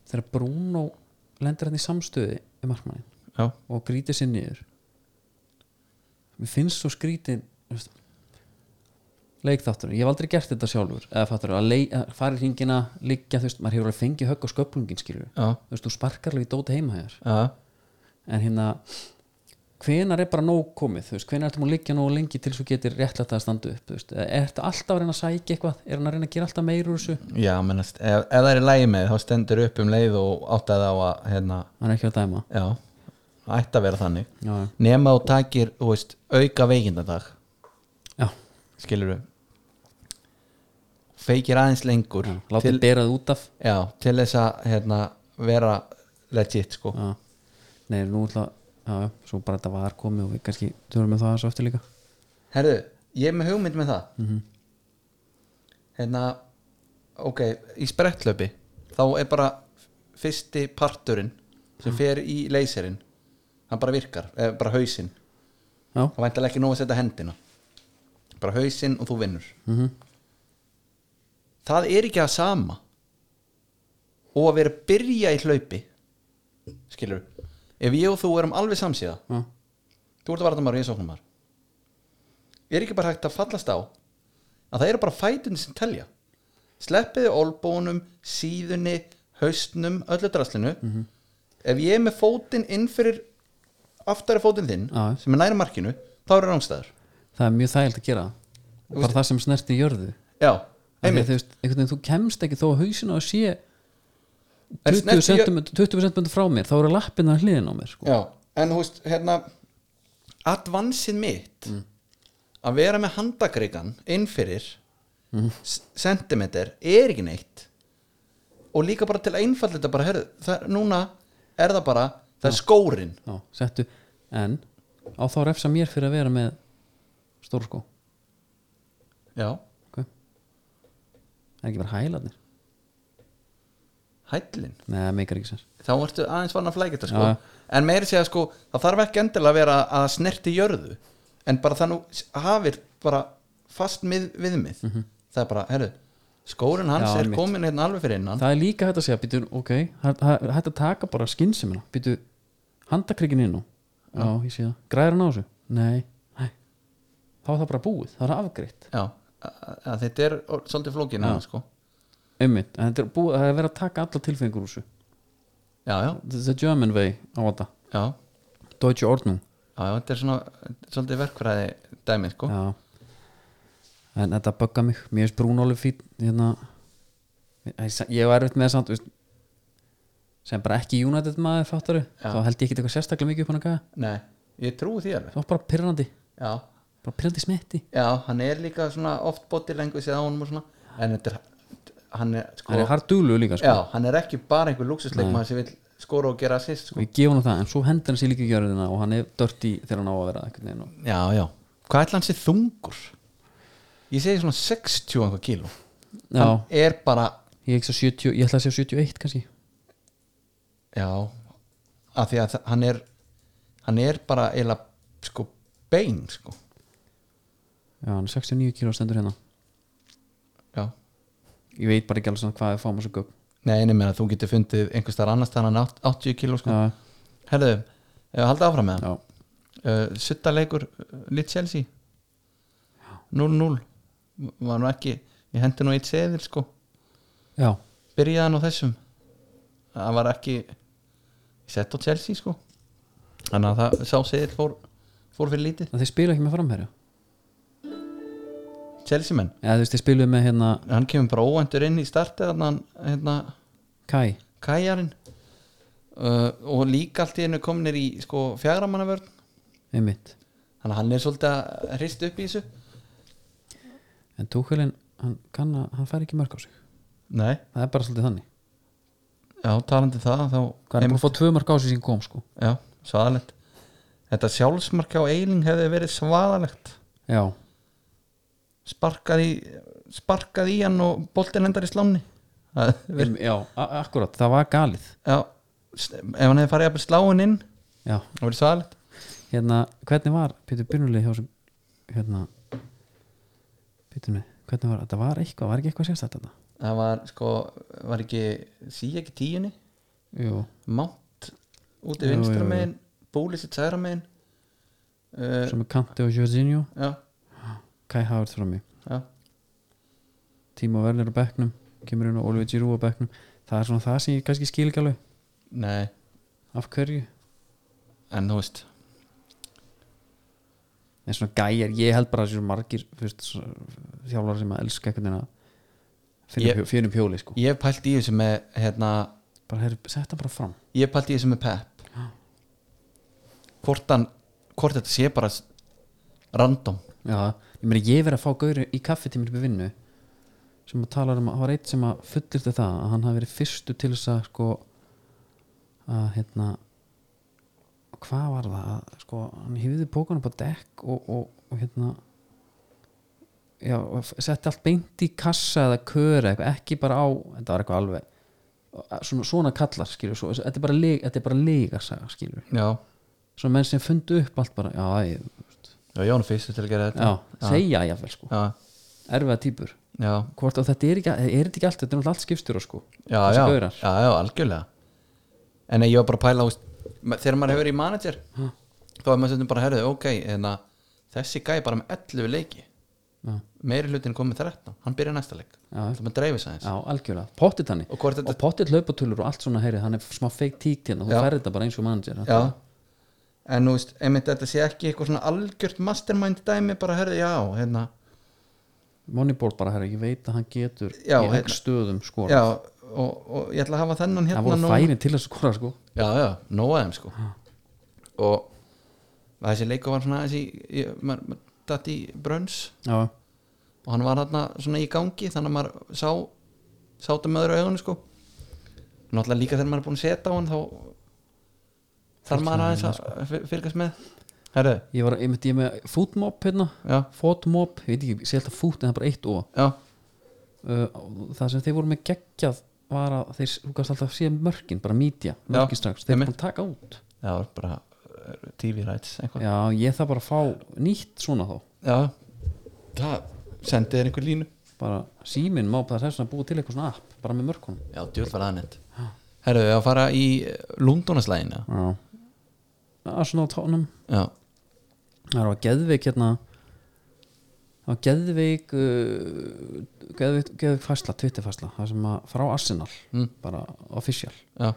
[SPEAKER 1] þegar Bruno lendir hann í samstöði í markmannin
[SPEAKER 3] já,
[SPEAKER 1] og grýtir sér niður mér finnst svo skrítin leikþáttur ég hef aldrei gert þetta sjálfur eða fattur að, leik, að fara í hringina liggja, þú veist, maður hefur alveg fengið högg á sköplungin skilur,
[SPEAKER 3] já,
[SPEAKER 1] þú veist, þú sparkar alveg í dóti heima hér
[SPEAKER 3] já
[SPEAKER 1] en hérna hvenar er bara nóg komið, þú veist, hvenar ertu múið að liggja nóg lengi til svo getur réttlætt að standa upp þú veist, eða ertu alltaf að reyna að sækja eitthvað er hann að reyna að gera alltaf meir úr þessu
[SPEAKER 3] já, mennast, ef, ef það er í lægi með þá stendur upp um leið og áttaði á að hérna,
[SPEAKER 1] hann er ekki að dæma
[SPEAKER 3] já, ætti að vera þannig
[SPEAKER 1] já, já.
[SPEAKER 3] nema þú takir, þú veist, auka veikindadag
[SPEAKER 1] já,
[SPEAKER 3] skilur feikir aðeins lengur
[SPEAKER 1] já. látið derað út af
[SPEAKER 3] já, til þess að hérna, vera legit sko
[SPEAKER 1] Já. Nei, nú ætla já, já, svo bara þetta var komið og við kannski þurfum við það svo eftir líka
[SPEAKER 3] herðu, ég er með hugmynd með það hérna ok, í sprettlöpi þá er bara fyrsti parturinn sem fer í leyserinn hann bara virkar, eða bara hausinn
[SPEAKER 1] já,
[SPEAKER 3] það væntalega ekki nóg að setja hendina bara hausinn og þú vinnur
[SPEAKER 1] mhm,
[SPEAKER 3] það er ekki að sama og að vera að byrja í hlaupi skilur ef ég og þú erum alveg samsíða
[SPEAKER 1] já
[SPEAKER 3] þú ert að varna maður og ég sóknum maður er ekki bara hægt að fallast á að það eru bara fætunni sem telja sleppiði olbónum, síðunni haustnum, öllu draslinu ef ég er með fótinn inn fyrir aftari fótinn þinn
[SPEAKER 1] Já.
[SPEAKER 3] sem er næri markinu, þá eru rángstæður
[SPEAKER 1] það er mjög þægilt að gera það. bara það sem snerti jörðu
[SPEAKER 3] já,
[SPEAKER 1] Af því að
[SPEAKER 3] einmitt
[SPEAKER 1] þú, veist, einhvern veginn, þú kemst ekki þó að hausina og sé
[SPEAKER 3] Er
[SPEAKER 1] 20
[SPEAKER 3] snerti jörð-
[SPEAKER 1] cm 20 cm frá mér þá eru lappina hliðin á mér sko.
[SPEAKER 3] já, en þú veist, hérna advansið mitt
[SPEAKER 1] Mm.
[SPEAKER 3] að vera með handakreikan inn fyrir
[SPEAKER 1] Mm.
[SPEAKER 3] s- sentimeter er ekki neitt og líka bara til að einfalla þetta bara, herðu, það, núna er það bara, það er skórin
[SPEAKER 1] já, settu, en á þá refsa mér fyrir að vera með stóru skó
[SPEAKER 3] já,
[SPEAKER 1] okay. það er ekki bara hælarnir
[SPEAKER 3] hællin
[SPEAKER 1] nei, það meikar ekki sens
[SPEAKER 3] þá ertu aðeins vann að flækja þetta sko
[SPEAKER 1] Já.
[SPEAKER 3] en meiri segja sko, það þarf ekki endilega að vera að snerti jörðu en bara þannig hafir bara fast mið, viðmið það er bara, herru, skórin hans
[SPEAKER 1] Mhm. Já,
[SPEAKER 3] er
[SPEAKER 1] einmitt.
[SPEAKER 3] komin hérna alveg fyrir innan
[SPEAKER 1] það er líka hægt að segja, býtu, ok hæ- hæ- hægt að taka bara skynsumina býtu, handakrikin inn nú já, ég sé það, græður hann á þessu nei, nei, þá er það bara búið það er afgreitt,
[SPEAKER 3] já, að- að þetta er or- svolítið flókin hann sko
[SPEAKER 1] einmitt en þetta er búið, það er verið að taka alla tilfengur úr þessu
[SPEAKER 3] já, já,
[SPEAKER 1] the the German way á þetta
[SPEAKER 3] já,
[SPEAKER 1] Deutsche Ordnung
[SPEAKER 3] já, já þetta er svona svolítið verkfræði dæmi sko já,
[SPEAKER 1] Já. en þetta bugga mig mér finnst Brúnóli fín hérna, ég ég var erfitt með samt veist, sem bara ekki United maður fattaru,
[SPEAKER 3] Já.
[SPEAKER 1] þá held ég ekki eitthvað sérstaklega mikið upp hann að gæða,
[SPEAKER 3] nei, ég trúi því alveg
[SPEAKER 1] það var bara pyrrandi
[SPEAKER 3] já,
[SPEAKER 1] bara pyrrandi smetti,
[SPEAKER 3] já, hann er líka svona oft body language eða honum og svona en þetta er, hann er sko
[SPEAKER 1] hann er hardúlu líka sko.
[SPEAKER 3] já, hann er ekki bara einhver luxusleikmaður sem vil skora og gera assist sko
[SPEAKER 1] og ég gefa hann það, en svo hendur hann sér líka í jörðina og hann er dörti þegar hann á að vera einhvern veginn og
[SPEAKER 3] já, já, hvað ætla hann sér þungur ég segi svona 60 og einhver kíló
[SPEAKER 1] Já,
[SPEAKER 3] hann er bara,
[SPEAKER 1] ég, hugsa 70, ég ætla að segja 71 kannski
[SPEAKER 3] já af því að þa- hann er hann er bara eila sko bein sko
[SPEAKER 1] Já, hann er 69 kíló stendur hérna
[SPEAKER 3] Já,
[SPEAKER 1] Ég veit bara ekki alveg svona hvað er fáum þessu gögn
[SPEAKER 3] nei, einu meina þú getur fundið einhvers þar annars þannig 80 kíló sko
[SPEAKER 1] Já,
[SPEAKER 3] Herðu, eh, haldið áfram með það
[SPEAKER 1] já,
[SPEAKER 3] uh, Sutta leikur, uh, lit Chelsea 0-0 Var nú ekki, ég hendi nú eitt seðil sko
[SPEAKER 1] já,
[SPEAKER 3] Byrjaði hann á þessum Það var ekki Sett á Chelsea sko Þannig að það sá seðil fór, fór fyrir lítið
[SPEAKER 1] en þeir spila ekki með framherja
[SPEAKER 3] Chelsea menn,
[SPEAKER 1] Já, þú veist, þeir spiluðu með hérna
[SPEAKER 3] hann kemur bara óvæntur inn í startið Þannig að hérna,
[SPEAKER 1] Kai
[SPEAKER 3] kæjarinn uh, Og líka allt í hennu kominir í sko fjagramannavörn
[SPEAKER 1] einmitt
[SPEAKER 3] Þannig að hann er svolítið að hrist upp í þessu
[SPEAKER 1] en Túkjölin, hann kann að hann fær ekki mörg á sig
[SPEAKER 3] Nei,
[SPEAKER 1] það er bara svolítið þannig
[SPEAKER 3] já, talandi um það þá
[SPEAKER 1] hvað er hann búin að fá tvö mörg á sig sem kom sko
[SPEAKER 3] Já, svaðalegt Þetta sjálfsmark á Eiling hefði verið svaðalegt
[SPEAKER 1] já,
[SPEAKER 3] Sparkað í, sparkað í hann og boltinn endar í sláni Það hefði
[SPEAKER 1] Im,
[SPEAKER 3] verið-
[SPEAKER 1] já a- akkurat, það var galið
[SPEAKER 3] Já, s- ef hann hefði farið að sláin inn
[SPEAKER 1] já,
[SPEAKER 3] það verið svaðalegt
[SPEAKER 1] hérna, hvernig var Pétur Byrnulegi hjá sem hérna Pétur mig, hvernig var, þetta var eitthvað var ekki eitthvað sérstætt þetta
[SPEAKER 3] Það var sko, var ekki sí ekki tíunni,
[SPEAKER 1] jú,
[SPEAKER 3] mátt úti
[SPEAKER 1] Jú,
[SPEAKER 3] vinstra
[SPEAKER 1] jú, jú.
[SPEAKER 3] megin, búlið sitt særa megin uh,
[SPEAKER 1] sem er Kanti og Jorginho
[SPEAKER 3] Já,
[SPEAKER 1] Kai Havertz frá mig,
[SPEAKER 3] já,
[SPEAKER 1] Timo Werner á bekknum kemur inn og Oliver Giroud á bekknum það er svona það sem ég kannski skil ekki alveg
[SPEAKER 3] nei
[SPEAKER 1] af hverju
[SPEAKER 3] En þú veist,
[SPEAKER 1] en svona gæjar, ég held bara að þessu margir fyrst, þjálfar sem að elska einhvern veginn að
[SPEAKER 3] Ég-
[SPEAKER 1] fyrir, fyrir pjóli sko
[SPEAKER 3] ég hef pælt í þessu með hérna,
[SPEAKER 1] bara heru, setta bara fram
[SPEAKER 3] ég paldi þessu með Pep hvort hann hvort þetta sé bara s- random
[SPEAKER 1] já, ég meina ég verið að fá gauri í kaffetímur upp í vinnu sem að tala um að það var eitt sem að fullirti það að hann hafi verið fyrstu til þess að sko að hérna hvað var það að sko hann hýfði pókanum på dekk og, og, og hérna já, setti allt beint í kassa eða köra eitthvað, ekki bara á þetta var eitthvað alveg svona, svona kallar skilur, svo, þetta er bara, leg, þetta er bara legarsaga skilur,
[SPEAKER 3] já,
[SPEAKER 1] svona menn sem fundu upp allt bara, já, ég, þú veist,
[SPEAKER 3] já Jón fyrstu til að gera
[SPEAKER 1] já,
[SPEAKER 3] þetta
[SPEAKER 1] segja jáfnvel sko,
[SPEAKER 3] já,
[SPEAKER 1] erfiða týpur
[SPEAKER 3] já,
[SPEAKER 1] hvort og þetta er ekki, er þetta ekki allt þetta er náttúrulega allt skipstjóra sko
[SPEAKER 3] já,
[SPEAKER 1] Þessi
[SPEAKER 3] já,
[SPEAKER 1] gaurar.
[SPEAKER 3] já, já algjörlega en ég var bara að pæla úst, þegar maður hefur í manager þá er maður sem bara herðið, ok en að þessi gæði bara með 11 leiki
[SPEAKER 1] já,
[SPEAKER 3] meiri hlutin komið 13, hann byrja næsta leik
[SPEAKER 1] Já.
[SPEAKER 3] það maður dreifis aðeins
[SPEAKER 1] já, algjörlega, pottit hann
[SPEAKER 3] og hvort
[SPEAKER 1] og
[SPEAKER 3] þetta,
[SPEAKER 1] pottit hlaupatúlur og allt svona heyri hann er smá fake tíkt hérna, þú
[SPEAKER 3] Já.
[SPEAKER 1] færði þetta bara eins og manager
[SPEAKER 3] já en þú veist, einmitt þetta sé ekki eitthvað svona algjört mastermind dæmi bara herðið, já, hérna
[SPEAKER 1] Moneyball bara, herri, ég veit að hann getur
[SPEAKER 3] Já,
[SPEAKER 1] í
[SPEAKER 3] hérna.
[SPEAKER 1] ekki stöðum skora
[SPEAKER 3] já, og, og ég ætla að hafa þennan
[SPEAKER 1] það
[SPEAKER 3] hérna
[SPEAKER 1] voru
[SPEAKER 3] nú-
[SPEAKER 1] færin til að skora sko
[SPEAKER 3] já, já, nóg aðeim sko og þessi leiku var svona þessi, ég, maður, maður datt í brönns
[SPEAKER 1] já,
[SPEAKER 3] og hann var þarna svona í gangi þannig að maður sá sáta með öðru augunni sko náttúrulega líka þegar maður er búin að setja á hann þá þarf maður aðeins að fyr- fylgast með herru,
[SPEAKER 1] ég var einmitt ég með footmop hérna
[SPEAKER 3] já,
[SPEAKER 1] footmop, ég veit ekki, ég sé alltaf foot en það er bara eitt og
[SPEAKER 3] já
[SPEAKER 1] uh, það sem þeir voru með geggjað var að þeir, þú gafst alltaf síðan mörkin bara mítja, mörkin strax, þeir
[SPEAKER 3] einmitt.
[SPEAKER 1] bara taka út
[SPEAKER 3] já, það var bara eh, TV rights eitthvað já,
[SPEAKER 1] já, ég þarf bara að fá nýtt svona þá
[SPEAKER 3] það sendið þér einhver línu
[SPEAKER 1] bara síminn má bara þess að búa til eitthvað svona app bara með mörkunum
[SPEAKER 3] já, djúl var aðnett herru, að fara í eh, Lundunaslægina
[SPEAKER 1] já Arsenal tónum,
[SPEAKER 3] já,
[SPEAKER 1] það var geðveik hérna það var geðveik uh, geðveik, geðveik fæsla, tvittifæsla það sem að frá Arsenal
[SPEAKER 3] Mm.
[SPEAKER 1] bara official
[SPEAKER 3] já,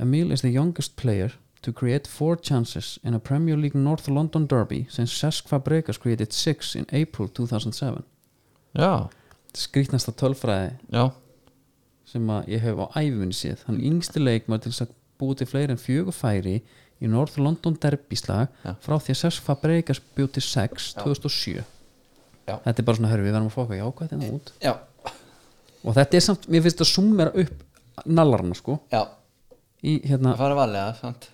[SPEAKER 1] Emil is the youngest player to create four chances in a Premier League North London derby since Cesc Fabregas created six in April 2007
[SPEAKER 3] já,
[SPEAKER 1] skrýtnasta tölfræði
[SPEAKER 3] já
[SPEAKER 1] sem að ég hef á æfunni séð hann er yngsti leikmaður til þess að búið til fleiri en fjögur færi í North London derbyslag
[SPEAKER 3] Já.
[SPEAKER 1] frá því að Cesc Fabregas bjóð til 6 2007
[SPEAKER 3] Já.
[SPEAKER 1] þetta er bara svona, hörru, við verðum að fá eitthvað jákvæð þetta út
[SPEAKER 3] já,
[SPEAKER 1] og þetta er samt, mér finnst að summera upp nallarna sko
[SPEAKER 3] já,
[SPEAKER 1] í hérna,
[SPEAKER 3] það fara valega sant.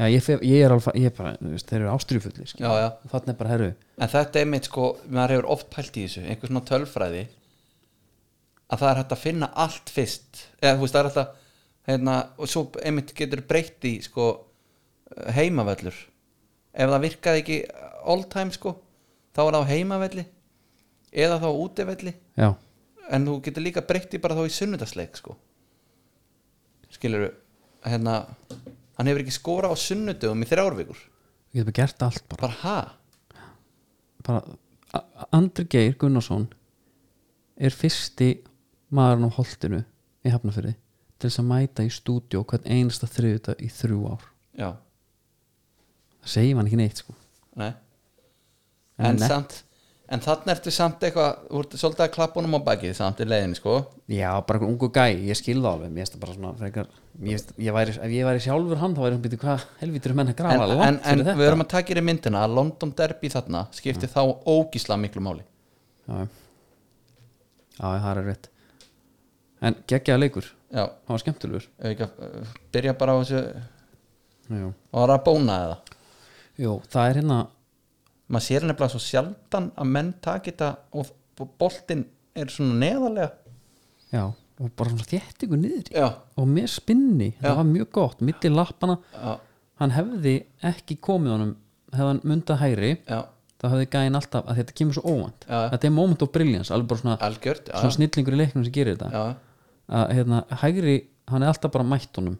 [SPEAKER 1] já, ég, fer, ég er alveg ég er bara, þú veist, þeir eru ástriðfullir
[SPEAKER 3] já, já
[SPEAKER 1] þarna er bara, herru,
[SPEAKER 3] En þetta er mitt sko, maður hefur oft pælt í þessu einhver svona tölfræði að það er hægt að finna allt fyrst eða þú veist, það er alltaf hérna, og svo einmitt getur breytt í sko, heimavöllur ef það virkaði ekki all time sko, þá er það á heimavelli eða þá á útivelli
[SPEAKER 1] já
[SPEAKER 3] en þú getur líka breytt í bara þá í sunnudagsleik sko skilur hérna hann hefur ekki skora á sunnudögum í þrjárvíkur
[SPEAKER 1] við getum gert allt bara,
[SPEAKER 3] bara ha?
[SPEAKER 1] bara A- A- Andri Geir Gunnarsson er fyrsti maðurinn á holtinu í Hafnafyrði til þess að mæta í stúdíó hvern einasta þriðuta í þrjú ár
[SPEAKER 3] Já,
[SPEAKER 1] það segir hann ekki neitt sko
[SPEAKER 3] nei
[SPEAKER 1] En
[SPEAKER 3] en,
[SPEAKER 1] nett.
[SPEAKER 3] samt, en þannig ertu samt eitthvað þú ert svolítið að klappa honum á bakið samt í leiðin sko
[SPEAKER 1] já, bara einhver ungu gæ, ég skil það alveg mér finnst það bara svona frekar mér finnst, ég væri, ef ég væri sjálfur hann þá væri hann býtið hvað helvítur er menn að
[SPEAKER 3] en,
[SPEAKER 1] grafa
[SPEAKER 3] en,
[SPEAKER 1] langt
[SPEAKER 3] en
[SPEAKER 1] fyrir Mm.
[SPEAKER 3] við erum að taka í myndina að London Derby þarna skipti þá ógísla miklu máli
[SPEAKER 1] þetta já, já, það er rétt en geggjaða leikur,
[SPEAKER 3] já,
[SPEAKER 1] það var skemmtilegur
[SPEAKER 3] ef ekki að uh, byrja bara á þessu og
[SPEAKER 1] jú,
[SPEAKER 3] var að bóna eða
[SPEAKER 1] jú það er hérna
[SPEAKER 3] maður sér nefnilega svo sjaldan að menn taki þetta og og boltinn er svona neðarlega
[SPEAKER 1] já, og bara svona þétt ykkur niður
[SPEAKER 3] já,
[SPEAKER 1] og með spinni,
[SPEAKER 3] Já.
[SPEAKER 1] það var mjög gott milli lappana,
[SPEAKER 3] já,
[SPEAKER 1] hann hefði ekki komið honum, hefði hann mundað hægri
[SPEAKER 3] já
[SPEAKER 1] þá hefði gæinn alltaf að þetta kemur svo óvænt
[SPEAKER 3] Já.
[SPEAKER 1] þetta er moment of brilliance, alveg bara svona,
[SPEAKER 3] algjört já,
[SPEAKER 1] svona snillingur í leiknum sem gerir þetta
[SPEAKER 3] já,
[SPEAKER 1] að hérna, hægri, hann er alltaf bara mætt honum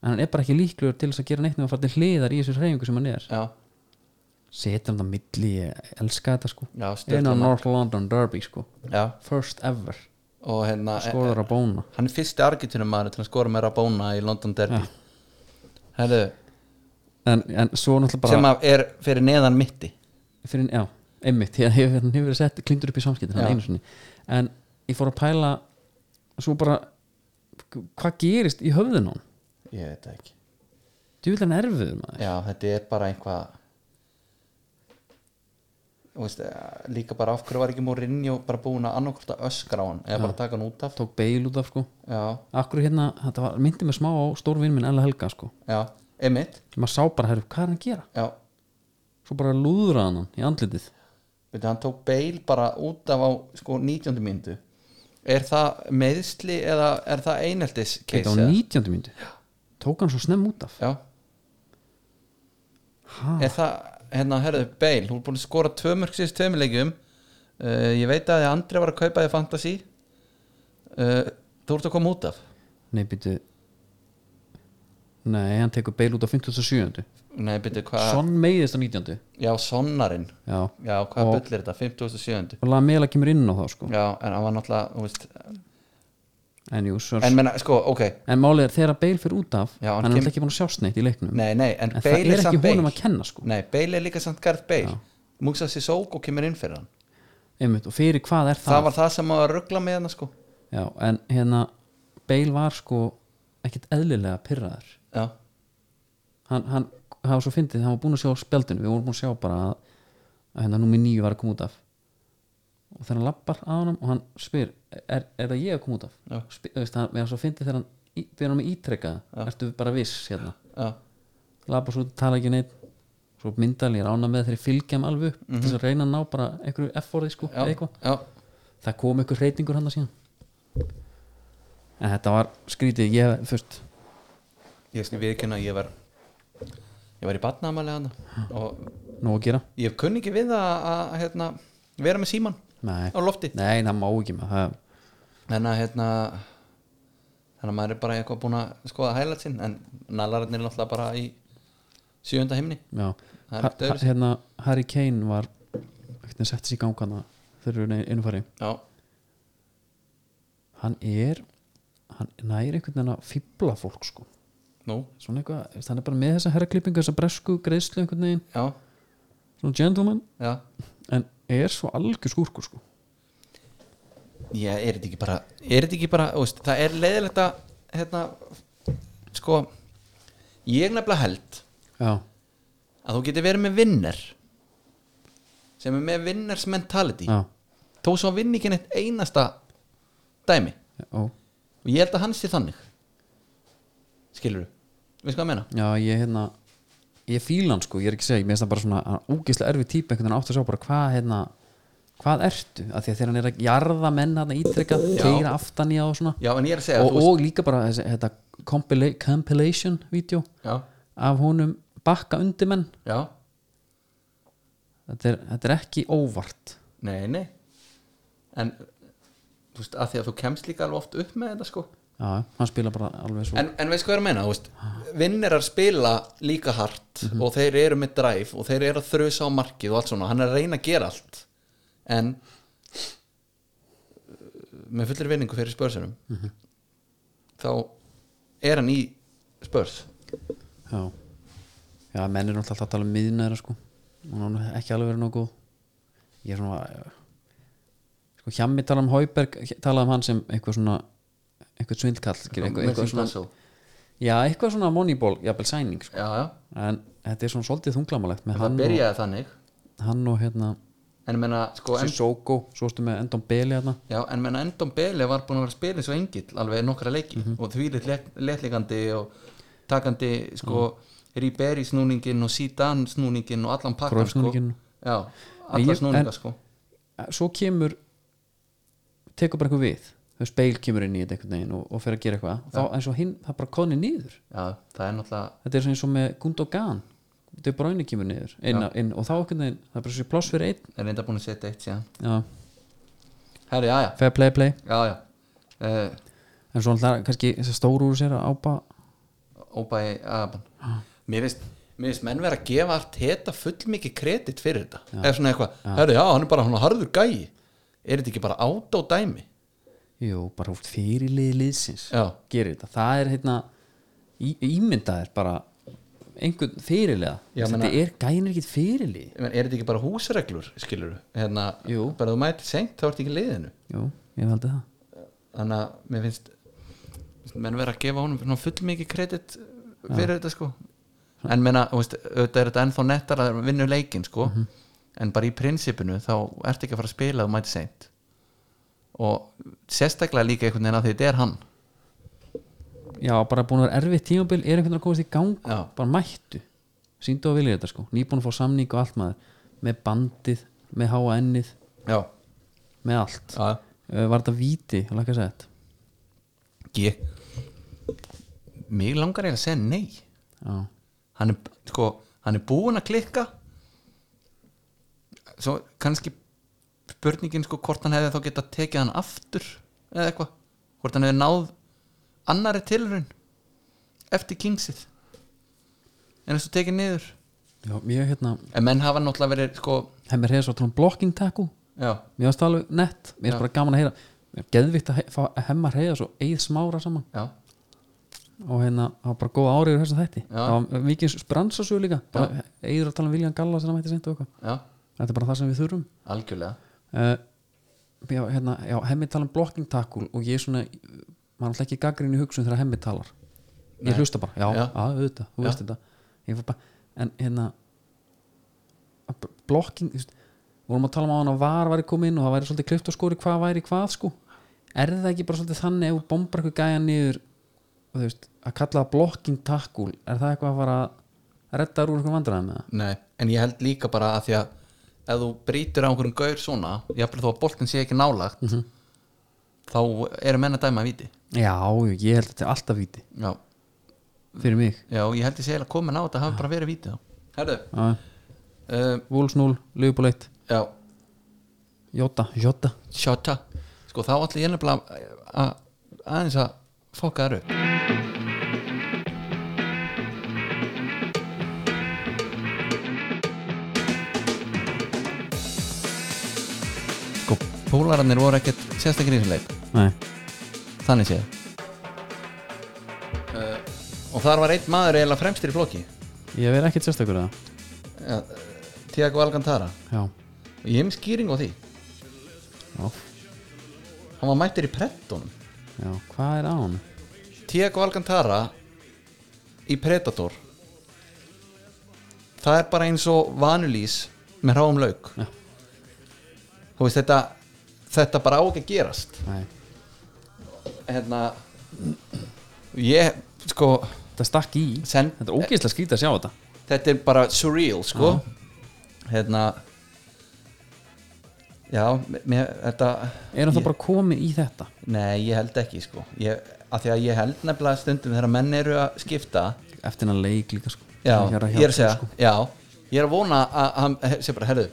[SPEAKER 1] en hann er bara ekki líklegur til þess að gera neitt nema að fara til hliðar í þessu hreyfingu sem hann er
[SPEAKER 3] já,
[SPEAKER 1] setja hann það milli, ég elska þetta sko einu
[SPEAKER 3] já,
[SPEAKER 1] á
[SPEAKER 3] stjórnum
[SPEAKER 1] North London Derby sko
[SPEAKER 3] já,
[SPEAKER 1] first ever,
[SPEAKER 3] og hérna
[SPEAKER 1] skorður að bóna
[SPEAKER 3] hann er fyrsti argitunum maður til að skora með Rabona í London Derby Ah. Herðu,
[SPEAKER 1] en, en svo náttúrulega bara
[SPEAKER 3] sem að er fyrir neðan mitti
[SPEAKER 1] fyrir, já, einmitt, ég hef hann hefur verið sett klindur upp í samskiptin, hann
[SPEAKER 3] Já.
[SPEAKER 1] einu sinni en ég fór að pæla svo bara, hvað gerist í höfðun hún,
[SPEAKER 3] ég veit það ekki
[SPEAKER 1] þú vil hann erfiður maður
[SPEAKER 3] já, þetta er bara einhvað Þú veist, eh, líka bara af hverju var ekki Mourinho bara búin að annarkvort að öskra á hann eða bara taka hann út af
[SPEAKER 1] tók beil út af sko
[SPEAKER 3] já,
[SPEAKER 1] akkur hérna, þetta var, myndi mig smá á stórvinn minn Ella Helga sko,
[SPEAKER 3] já, emitt
[SPEAKER 1] maður sá bara herru, hvað er hann að gera,
[SPEAKER 3] já,
[SPEAKER 1] svo bara lúðraði hann hann í andlitið
[SPEAKER 3] veitir, hann tók beil bara út af á sko 19. myndu er það meðsli eða er það eineltis
[SPEAKER 1] Þetta
[SPEAKER 3] case
[SPEAKER 1] var
[SPEAKER 3] eða?
[SPEAKER 1] 19. myndu Tók hann svo snemm út af
[SPEAKER 3] Já,
[SPEAKER 1] ha,
[SPEAKER 3] er það, hérna, herðu, Bale hún er búin að skora tvö mörg síðust tveimilegjum uh, ég veit að Andri var að kaupa þið fantasy uh, þú ert að koma út af
[SPEAKER 1] Nei, býtu Nei, hann tekur beil út á 57.
[SPEAKER 3] nei, byrju, hvað,
[SPEAKER 1] Son meiðist á 19.
[SPEAKER 3] já, sonnarin
[SPEAKER 1] Já,
[SPEAKER 3] já, hvað
[SPEAKER 1] Og-
[SPEAKER 3] bull er þetta, 57
[SPEAKER 1] og Lamela kemur inn á þá sko
[SPEAKER 3] já, en hann var náttúrulega, þú veist
[SPEAKER 1] En jú, svo
[SPEAKER 3] en menna, sko, ok,
[SPEAKER 1] En málið er þegar Bale fyrir út af
[SPEAKER 3] Já, hann
[SPEAKER 1] hann er
[SPEAKER 3] kem-
[SPEAKER 1] alltaf ekki búin að sjást neitt í leiknum
[SPEAKER 3] nei, nei, en,
[SPEAKER 1] En
[SPEAKER 3] Bale
[SPEAKER 1] það er ekki
[SPEAKER 3] samt Bale.
[SPEAKER 1] honum að kenna sko
[SPEAKER 3] Nei, Bale er líka samt Garð Bale Músa Sissoko kemur inn fyrir hann
[SPEAKER 1] Einmitt, Og fyrir hvað er
[SPEAKER 3] Það,
[SPEAKER 1] það?
[SPEAKER 3] var það sem að ruggla með hann sko
[SPEAKER 1] Já, en hérna Bale var sko ekkit eðlilega pyrraður
[SPEAKER 3] Já,
[SPEAKER 1] hann, hann, það var svo fyndið, hann var búin að sjá spjaldinu við vorum búin að sjá bara að, að hérna númi nýju var að koma út af og þegar hann lappar að honum og hann spyr er, er það ég að koma út af
[SPEAKER 3] Já.
[SPEAKER 1] Spyr, þú veist, hann, við hann svo fyndið þegar hann í- þegar hann með ítrekka ertu bara viss hérna
[SPEAKER 3] já,
[SPEAKER 1] lappar svo, út, tala ekki neitt svo myndal ég rána með þeirri fylgjum alveg upp til þess að reyna að ná bara einhverju F-orði sko,
[SPEAKER 3] Mhm. já,
[SPEAKER 1] eða eitthvað
[SPEAKER 3] já.
[SPEAKER 1] það kom einhver reytingur hann að síðan en þetta var skrítið ég fyrst
[SPEAKER 3] Ég skal viðkynna að ég var Ég var í batnaðamæli hann Og
[SPEAKER 1] nóg að gera
[SPEAKER 3] ég kunni ekki við að, að hérna, vera með síman
[SPEAKER 1] nei,
[SPEAKER 3] á lofti
[SPEAKER 1] nei það má ekki með það
[SPEAKER 3] En að hérna Þannig að maður er bara eitthvað búin að skoða hælat sinn En nalarinn er náttúrulega bara í Sjöunda himni
[SPEAKER 1] Já,
[SPEAKER 3] Það er
[SPEAKER 1] ha,
[SPEAKER 3] ekkert
[SPEAKER 1] ha-
[SPEAKER 3] öðruvísi.
[SPEAKER 1] hérna Harry Kane var ekkert að setja sig í gang hana þegar við einu fari
[SPEAKER 3] Já,
[SPEAKER 1] hann er, hann næri einhvern veginn að fýbla fólk sko
[SPEAKER 3] nú,
[SPEAKER 1] svona eitthvað, veist, hann er bara með þessa herraklippingu þessa bresku greiðslu einhvern veginn
[SPEAKER 3] já,
[SPEAKER 1] svona gentleman,
[SPEAKER 3] já
[SPEAKER 1] en er svo algjör skúrkur sko
[SPEAKER 3] Já, er þetta ekki bara, er þetta ekki bara þú veist, það er leiðilegt að hérna, sko ég nefnilega held
[SPEAKER 1] Já,
[SPEAKER 3] að þú getur verið með vinner sem er með vinners mentality
[SPEAKER 1] já,
[SPEAKER 3] þó svo hann vinni ekki neitt einasta dæmi
[SPEAKER 1] ó,
[SPEAKER 3] og ég held að hann sé þannig skilur þú veist hvað að meina
[SPEAKER 1] já ég hérna ég fíla hann sko, ég er ekki að segja, mér finnst það bara svona hann úgislega erfið típa einhvern veginn átt að sjá bara hvað hérna, hvað ertu að því að þegar hann er að jarða menn hann að ítrekka keira aftan í á og svona
[SPEAKER 3] já en ég er að segja
[SPEAKER 1] og,
[SPEAKER 3] þú
[SPEAKER 1] og líka bara þessi, þetta compila compilation vídeo
[SPEAKER 3] já,
[SPEAKER 1] af honum bakka undir menn
[SPEAKER 3] já,
[SPEAKER 1] þetta er, þetta er ekki óvart
[SPEAKER 3] nei, nei en þú veist að því að þú kemst líka alveg oft upp með þetta sko
[SPEAKER 1] já, hann spila bara alveg svo
[SPEAKER 3] en, en veist hvað ég er að meina þú veist, vinnerar spila líka hart
[SPEAKER 1] Mhm.
[SPEAKER 3] og þeir eru með drive og þeir eru að þrjusa á markið og allt svona hann er að reyna að gera allt en uh, með fullir vinningu fyrir spörsunum
[SPEAKER 1] Mhm.
[SPEAKER 3] þá er hann í spörs
[SPEAKER 1] já, já menn er náttúrulega alltaf að tala um miðnæra sko og hann er ekki alveg verið nógu góð. ég er svona eh, sko hjammi tala um Hauberg tala um hann sem eitthvað svona eitthvað svindkall skilur, eitthvað, eitthvað svona, já, eitthvað svona moneyball, jafnvel sæning sko.
[SPEAKER 3] já, já,
[SPEAKER 1] en þetta er svona svolítið þunglamalegt með
[SPEAKER 3] það
[SPEAKER 1] hann og,
[SPEAKER 3] byrjaði þannig
[SPEAKER 1] hann og hérna
[SPEAKER 3] en ég meina sko en,
[SPEAKER 1] Sissoko, svo ertu með Endon Beli hérna
[SPEAKER 3] já, en ég meina Endon Bele var búin að vera að spila svo engill alveg nokkra leiki
[SPEAKER 1] Mhm.
[SPEAKER 3] og því léttlikandi og takandi sko
[SPEAKER 1] Mhm.
[SPEAKER 3] Ríberi snúningin og Zidane snúningin og allan pakkan
[SPEAKER 1] Cruyff
[SPEAKER 3] sko.
[SPEAKER 1] snúninginn.
[SPEAKER 3] Já,
[SPEAKER 1] En
[SPEAKER 3] alla
[SPEAKER 1] ég-
[SPEAKER 3] snúninga
[SPEAKER 1] en-
[SPEAKER 3] sko
[SPEAKER 1] Eh, Svo kemur tekur bara eitthvað við þau speil kemur inn í þetta einhvern veginn og, og fer að gera eitthvað þá eins og hinn, það bara konni niður
[SPEAKER 3] Já, það er náttúrulega
[SPEAKER 1] þetta er svona eins og með Gundogan þetta er bara einu kemur niður inn, inn, og þá einhvern veginn, það er bara svo pláss fyrir einn
[SPEAKER 3] er reynda búin að setja eitt síðan
[SPEAKER 1] já,
[SPEAKER 3] Herri, já, já,
[SPEAKER 1] fair play play
[SPEAKER 3] já, já uh,
[SPEAKER 1] en svo alltaf kannski þessi stóru úr sér að ápa
[SPEAKER 3] Óbæði Aban Mér finnst, mér finnst menn vera að gefa allt heta fullmikið kredit fyrir þetta Eða svona eitthvað, herri, já, hann er bara hann harður gæi Er þetta ekki bara át á dæmi?
[SPEAKER 1] jú, bara út fyrirlið liðsins
[SPEAKER 3] Já,
[SPEAKER 1] gerir þetta, það er hérna í, ímyndaðir bara einhvern fyrirlega
[SPEAKER 3] Já,
[SPEAKER 1] þetta
[SPEAKER 3] meina-
[SPEAKER 1] er gæin er ekkert fyrirlið
[SPEAKER 3] Ég meina, er þetta ekki bara húsreglur, skilur Hérna,
[SPEAKER 1] Jú.
[SPEAKER 3] bara þú mætir seint, þá ertu ekki í liðinu
[SPEAKER 1] jú, ég veldi það
[SPEAKER 3] Þannig að mér finnst finnst menn vera að gefa honum fullmikið kredit fyrir þetta sko en menna, þú veist, auðvitað er þetta ennþá nettar að vinna leikinn sko en bara í prinsipinu þá ertu ekki að fara að spila þú mæti seint og sérstaklega líka einhvern veginn að því þetta er hann
[SPEAKER 1] já, bara búin að vera erfitt tímabil er einhvern veginn að komast í gang
[SPEAKER 3] Já.
[SPEAKER 1] bara mættu, síndu að vilja þetta sko nýbúin að fá samning og allt maður með bandið, með háa ennið,
[SPEAKER 3] já,
[SPEAKER 1] með allt
[SPEAKER 3] já,
[SPEAKER 1] uh, var þetta víti, like I said
[SPEAKER 3] ég mig langar eiginlega að segja nei
[SPEAKER 1] já,
[SPEAKER 3] hann er, sko, hann er búin að klikka svo kannski spurningin sko hvort hann hefði þá geta tekið hann aftur eða eitthvað, hvort hann hefði náð annari tilraun eftir kingsið en þessu tekið niður
[SPEAKER 1] já mjög hérna
[SPEAKER 3] en menn hafa náttúrulega verið sko,
[SPEAKER 1] hef mér hefði svo tala um blocking tackle
[SPEAKER 3] já,
[SPEAKER 1] mér varst alveg nett, mér
[SPEAKER 3] Já.
[SPEAKER 1] er bara gaman að heyra mér er geðvikt að he- fá hemmar heiða svo eigð smára saman
[SPEAKER 3] já,
[SPEAKER 1] og hérna, það var bara góð áriður þess að þætti
[SPEAKER 3] Já.
[SPEAKER 1] það var mikið spransasögu líka bara eigður að tala um Viljan Galla sem hann mætti seint og eitthvað
[SPEAKER 3] já,
[SPEAKER 1] þetta er bara það sem við þurfum
[SPEAKER 3] algjörlega
[SPEAKER 1] uh, já, hérna, já, hemmi tala um blocking tackle og ég er svona maður er alltaf ekki gaggrinn í hugsun þegar hemmi talar ég
[SPEAKER 3] Nei.
[SPEAKER 1] hlusta bara, já, já.
[SPEAKER 3] Já.
[SPEAKER 1] Að, auðvitað, þú
[SPEAKER 3] Já.
[SPEAKER 1] veist þetta Ég fór bara, en hérna að b- blocking þú veist, vorum að tala um á hann að var væri komið inn og það væri svolítið klift og skori hvað væri hvað sko er það ekki bara svolítið þannig ef þú bombar eitthvað gæja niður og þú veist, að kalla það blocking tackle er það eitthvað að fara að redda þér úr eitthvað vandræðum með það?
[SPEAKER 3] Nei, en ég held líka bara að því að ef þú brýtur á einhverjum gaur svona jafnvel þó að boltin sé ekki nálagt þá eru menn að dæma að viti
[SPEAKER 1] Já, jú, ég held að þetta er alltaf víti
[SPEAKER 3] já,
[SPEAKER 1] fyrir mig
[SPEAKER 3] já, ég held ég sé að komin á þetta hafi bara verið viti þá Herðu,
[SPEAKER 1] uh,
[SPEAKER 3] uh,
[SPEAKER 1] Wolves 0, Liverpool 1
[SPEAKER 3] já,
[SPEAKER 1] Jota, Jota
[SPEAKER 3] sjáta sko þá ætla ég nefnilega að- að- aðeins að fóka þar upp sko, púlararnir voru ekkert sérstakir í þessum leik
[SPEAKER 1] Nei,
[SPEAKER 3] þannig séð uh, og þar var einn maður eiginlega fremstir í flokki
[SPEAKER 1] ég verið ekkert sérstakur að
[SPEAKER 3] ja, Tiago Alcantara
[SPEAKER 1] Já,
[SPEAKER 3] og ég hef skýring á því
[SPEAKER 1] já,
[SPEAKER 3] hann var mættur í Predatornum
[SPEAKER 1] já, hvað er á hann?
[SPEAKER 3] Tiago Alcantara í Predator það er bara eins og vanulís með hráum lauk
[SPEAKER 1] Já.
[SPEAKER 3] þú veist þetta þetta bara á ekki að gerast
[SPEAKER 1] Nei,
[SPEAKER 3] hérna ég sko
[SPEAKER 1] þetta stakk í
[SPEAKER 3] Sen-
[SPEAKER 1] Þetta er ógeðslega skrítið að sjá þetta
[SPEAKER 3] þetta er bara surreal sko hérna já, mér, þetta
[SPEAKER 1] Er hann þá bara komið í þetta?
[SPEAKER 3] nei, ég held ekki sko ég, að því að ég held nefnilega stundum þegar menn eru að skipta
[SPEAKER 1] Eftir hennar leik líka sko
[SPEAKER 3] já,
[SPEAKER 1] Það
[SPEAKER 3] ég er
[SPEAKER 1] hjá-
[SPEAKER 3] að segja
[SPEAKER 1] sko.
[SPEAKER 3] já, ég er að vona að hann he- sé bara, herðu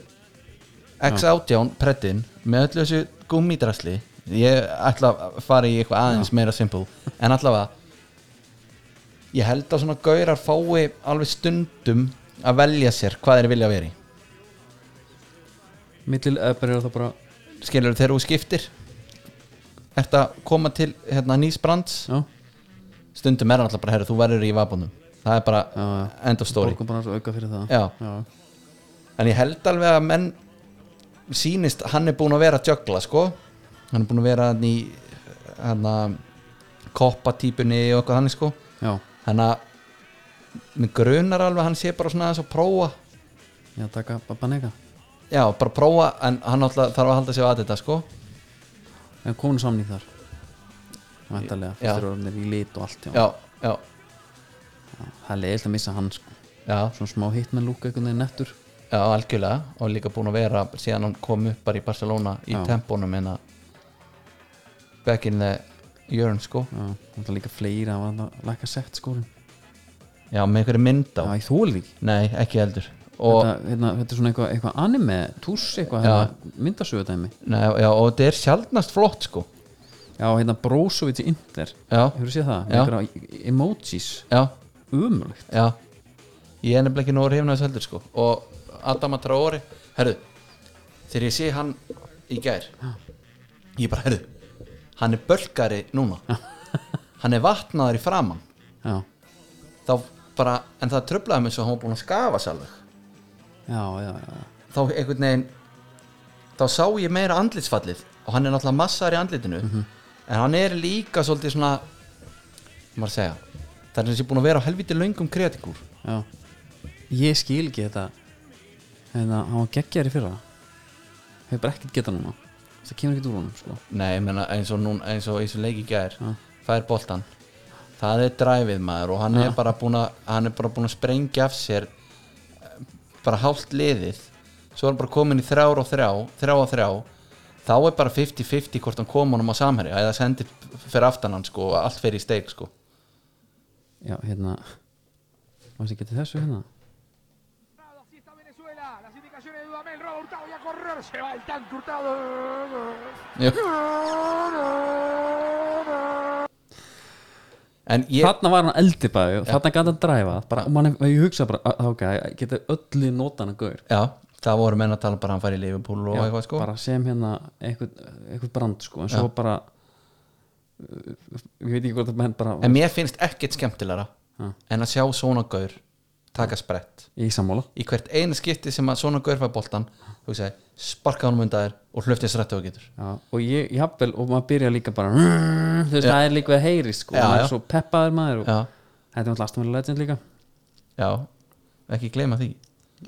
[SPEAKER 3] X-18 preddin með öllu þessu gummidrasli ég ætla að fara í eitthvað aðeins meira simple en allavega ég held að svona gaurar fái alveg stundum að velja sér hvað þeir vilja að vera í
[SPEAKER 1] Millil öppar er það bara
[SPEAKER 3] skilur þegar þú skiptir ert að koma til hérna, nýs brands
[SPEAKER 1] Já,
[SPEAKER 3] stundum er hann alltaf bara, herru, þú verður í vabunum það er bara
[SPEAKER 1] Já, já.
[SPEAKER 3] end of story
[SPEAKER 1] borgum bara svo auka fyrir það
[SPEAKER 3] Já.
[SPEAKER 1] já,
[SPEAKER 3] en ég held alveg að menn sýnist, hann er búin að vera að jögla sko, hann er búin að vera hann í hann að koppa típunni og eitthvað þannig sko
[SPEAKER 1] já,
[SPEAKER 3] hann að með grunar alveg, að hann sé bara svona aðeins að prófa
[SPEAKER 1] já taka bara neka
[SPEAKER 3] já, bara prófa, en hann alltaf þarf að halda sig á að þetta sko
[SPEAKER 1] En komin saman í þar Væntalega,
[SPEAKER 3] Já.
[SPEAKER 1] fyrstur orðinir í lit og allt já.
[SPEAKER 3] já, já,
[SPEAKER 1] Já, Það er leiðilt að missa hann sko
[SPEAKER 3] já,
[SPEAKER 1] Svona smá hitt með lúka einhvern veginn nettur
[SPEAKER 3] Já, algjörlega og líka búin að vera síðan hann kom upp bara í Barcelona í
[SPEAKER 1] Já.
[SPEAKER 3] tempónum en að back in the urn sko
[SPEAKER 1] Já, það er líka fleiri að var að lækka sett skórin
[SPEAKER 3] Já, með einhverju mynd á
[SPEAKER 1] Já, ég þólir ekki
[SPEAKER 3] Nei, ekki heldur og,
[SPEAKER 1] þetta, hérna, þetta er svona eitthvað, eitthvað anime tús eitthvað
[SPEAKER 3] Já.
[SPEAKER 1] hérna, myndasögudæmi
[SPEAKER 3] nei, já, og þetta er sjaldnast flott sko
[SPEAKER 1] já, hérna Brosovic í Inter
[SPEAKER 3] Já,
[SPEAKER 1] hefur séð það,
[SPEAKER 3] Já.
[SPEAKER 1] Með einhverja emojis
[SPEAKER 3] já,
[SPEAKER 1] umulegt
[SPEAKER 3] já Ég er nefnilega ekki nóg hrifin að þessu heldur sko og Adama Traori, herðu þegar ég sé hann í gær ég bara, herðu hann er bölkari núna hann er vatnaður í framann
[SPEAKER 1] já,
[SPEAKER 3] þá bara, en það tröflaði mig svo að hann var búin að skafa sig alveg
[SPEAKER 1] já, já, já.
[SPEAKER 3] þá einhvern veginn þá sá ég meira andlitsfallið og hann er náttúrulega massar í andlitinu en hann er líka svolítið svona hvað maður að segja það er eins og búin að vera á helviti löngum kreatingur
[SPEAKER 1] já. ég skil ekki þetta hérna, hann var geggjari fyrra hefur bara ekkert getað núna það kemur ekkert úr honum sko.
[SPEAKER 3] nei, ég meina eins og, núna, eins og eins og leiki gær
[SPEAKER 1] Já.
[SPEAKER 3] fær boltan það er dræfið maður og hann er bara búin að hann er bara búin að sprengja af sér eh, bara hálft liðið svo er hann bara komin í þrjár og þrjá þrjá og þrjá þá er bara 50-50 hvort hann kom honum á samherja eða sendir fyrir aftan hann sko og allt fyrir í steik sko
[SPEAKER 1] já, hérna varst ekki til þessu hérna
[SPEAKER 2] Así está Venezuela. Las indicaciones de Dudamel. Roba Hurtado y a correr. Se va el tanque Hurtado.
[SPEAKER 3] Já. en ég,
[SPEAKER 1] þarna var hann eldi bara, þarna gæti hann dræfa bara, og mann, ég hugsa bara, að- ok, geta öllu notan að gaur
[SPEAKER 3] já, það voru menn að tala bara að hann fær í Liverpool og
[SPEAKER 1] Já,
[SPEAKER 3] eitthvað sko
[SPEAKER 1] bara sem hérna eitthvað, eitthvað brand sko en svo bara uh, ég veit ekki hvort að menn bara
[SPEAKER 3] en mér finnst ekkert skemmtilegra
[SPEAKER 1] Já.
[SPEAKER 3] en að sjá svona gaur taka sprett
[SPEAKER 1] í sammála
[SPEAKER 3] í hvert einu skipti sem að svona gaur fær boltan þú veist að sparka honum undaðir og hlöftið srættu og getur
[SPEAKER 1] já, og ég, jafnvel, og maður byrja líka bara þú veist, það er líka við heyri sko
[SPEAKER 3] Já,
[SPEAKER 1] maður
[SPEAKER 3] já.
[SPEAKER 1] er svo peppaður maður og,
[SPEAKER 3] já,
[SPEAKER 1] þetta er alltaf aðstæðanlega legend líka
[SPEAKER 3] já, ekki gleyma því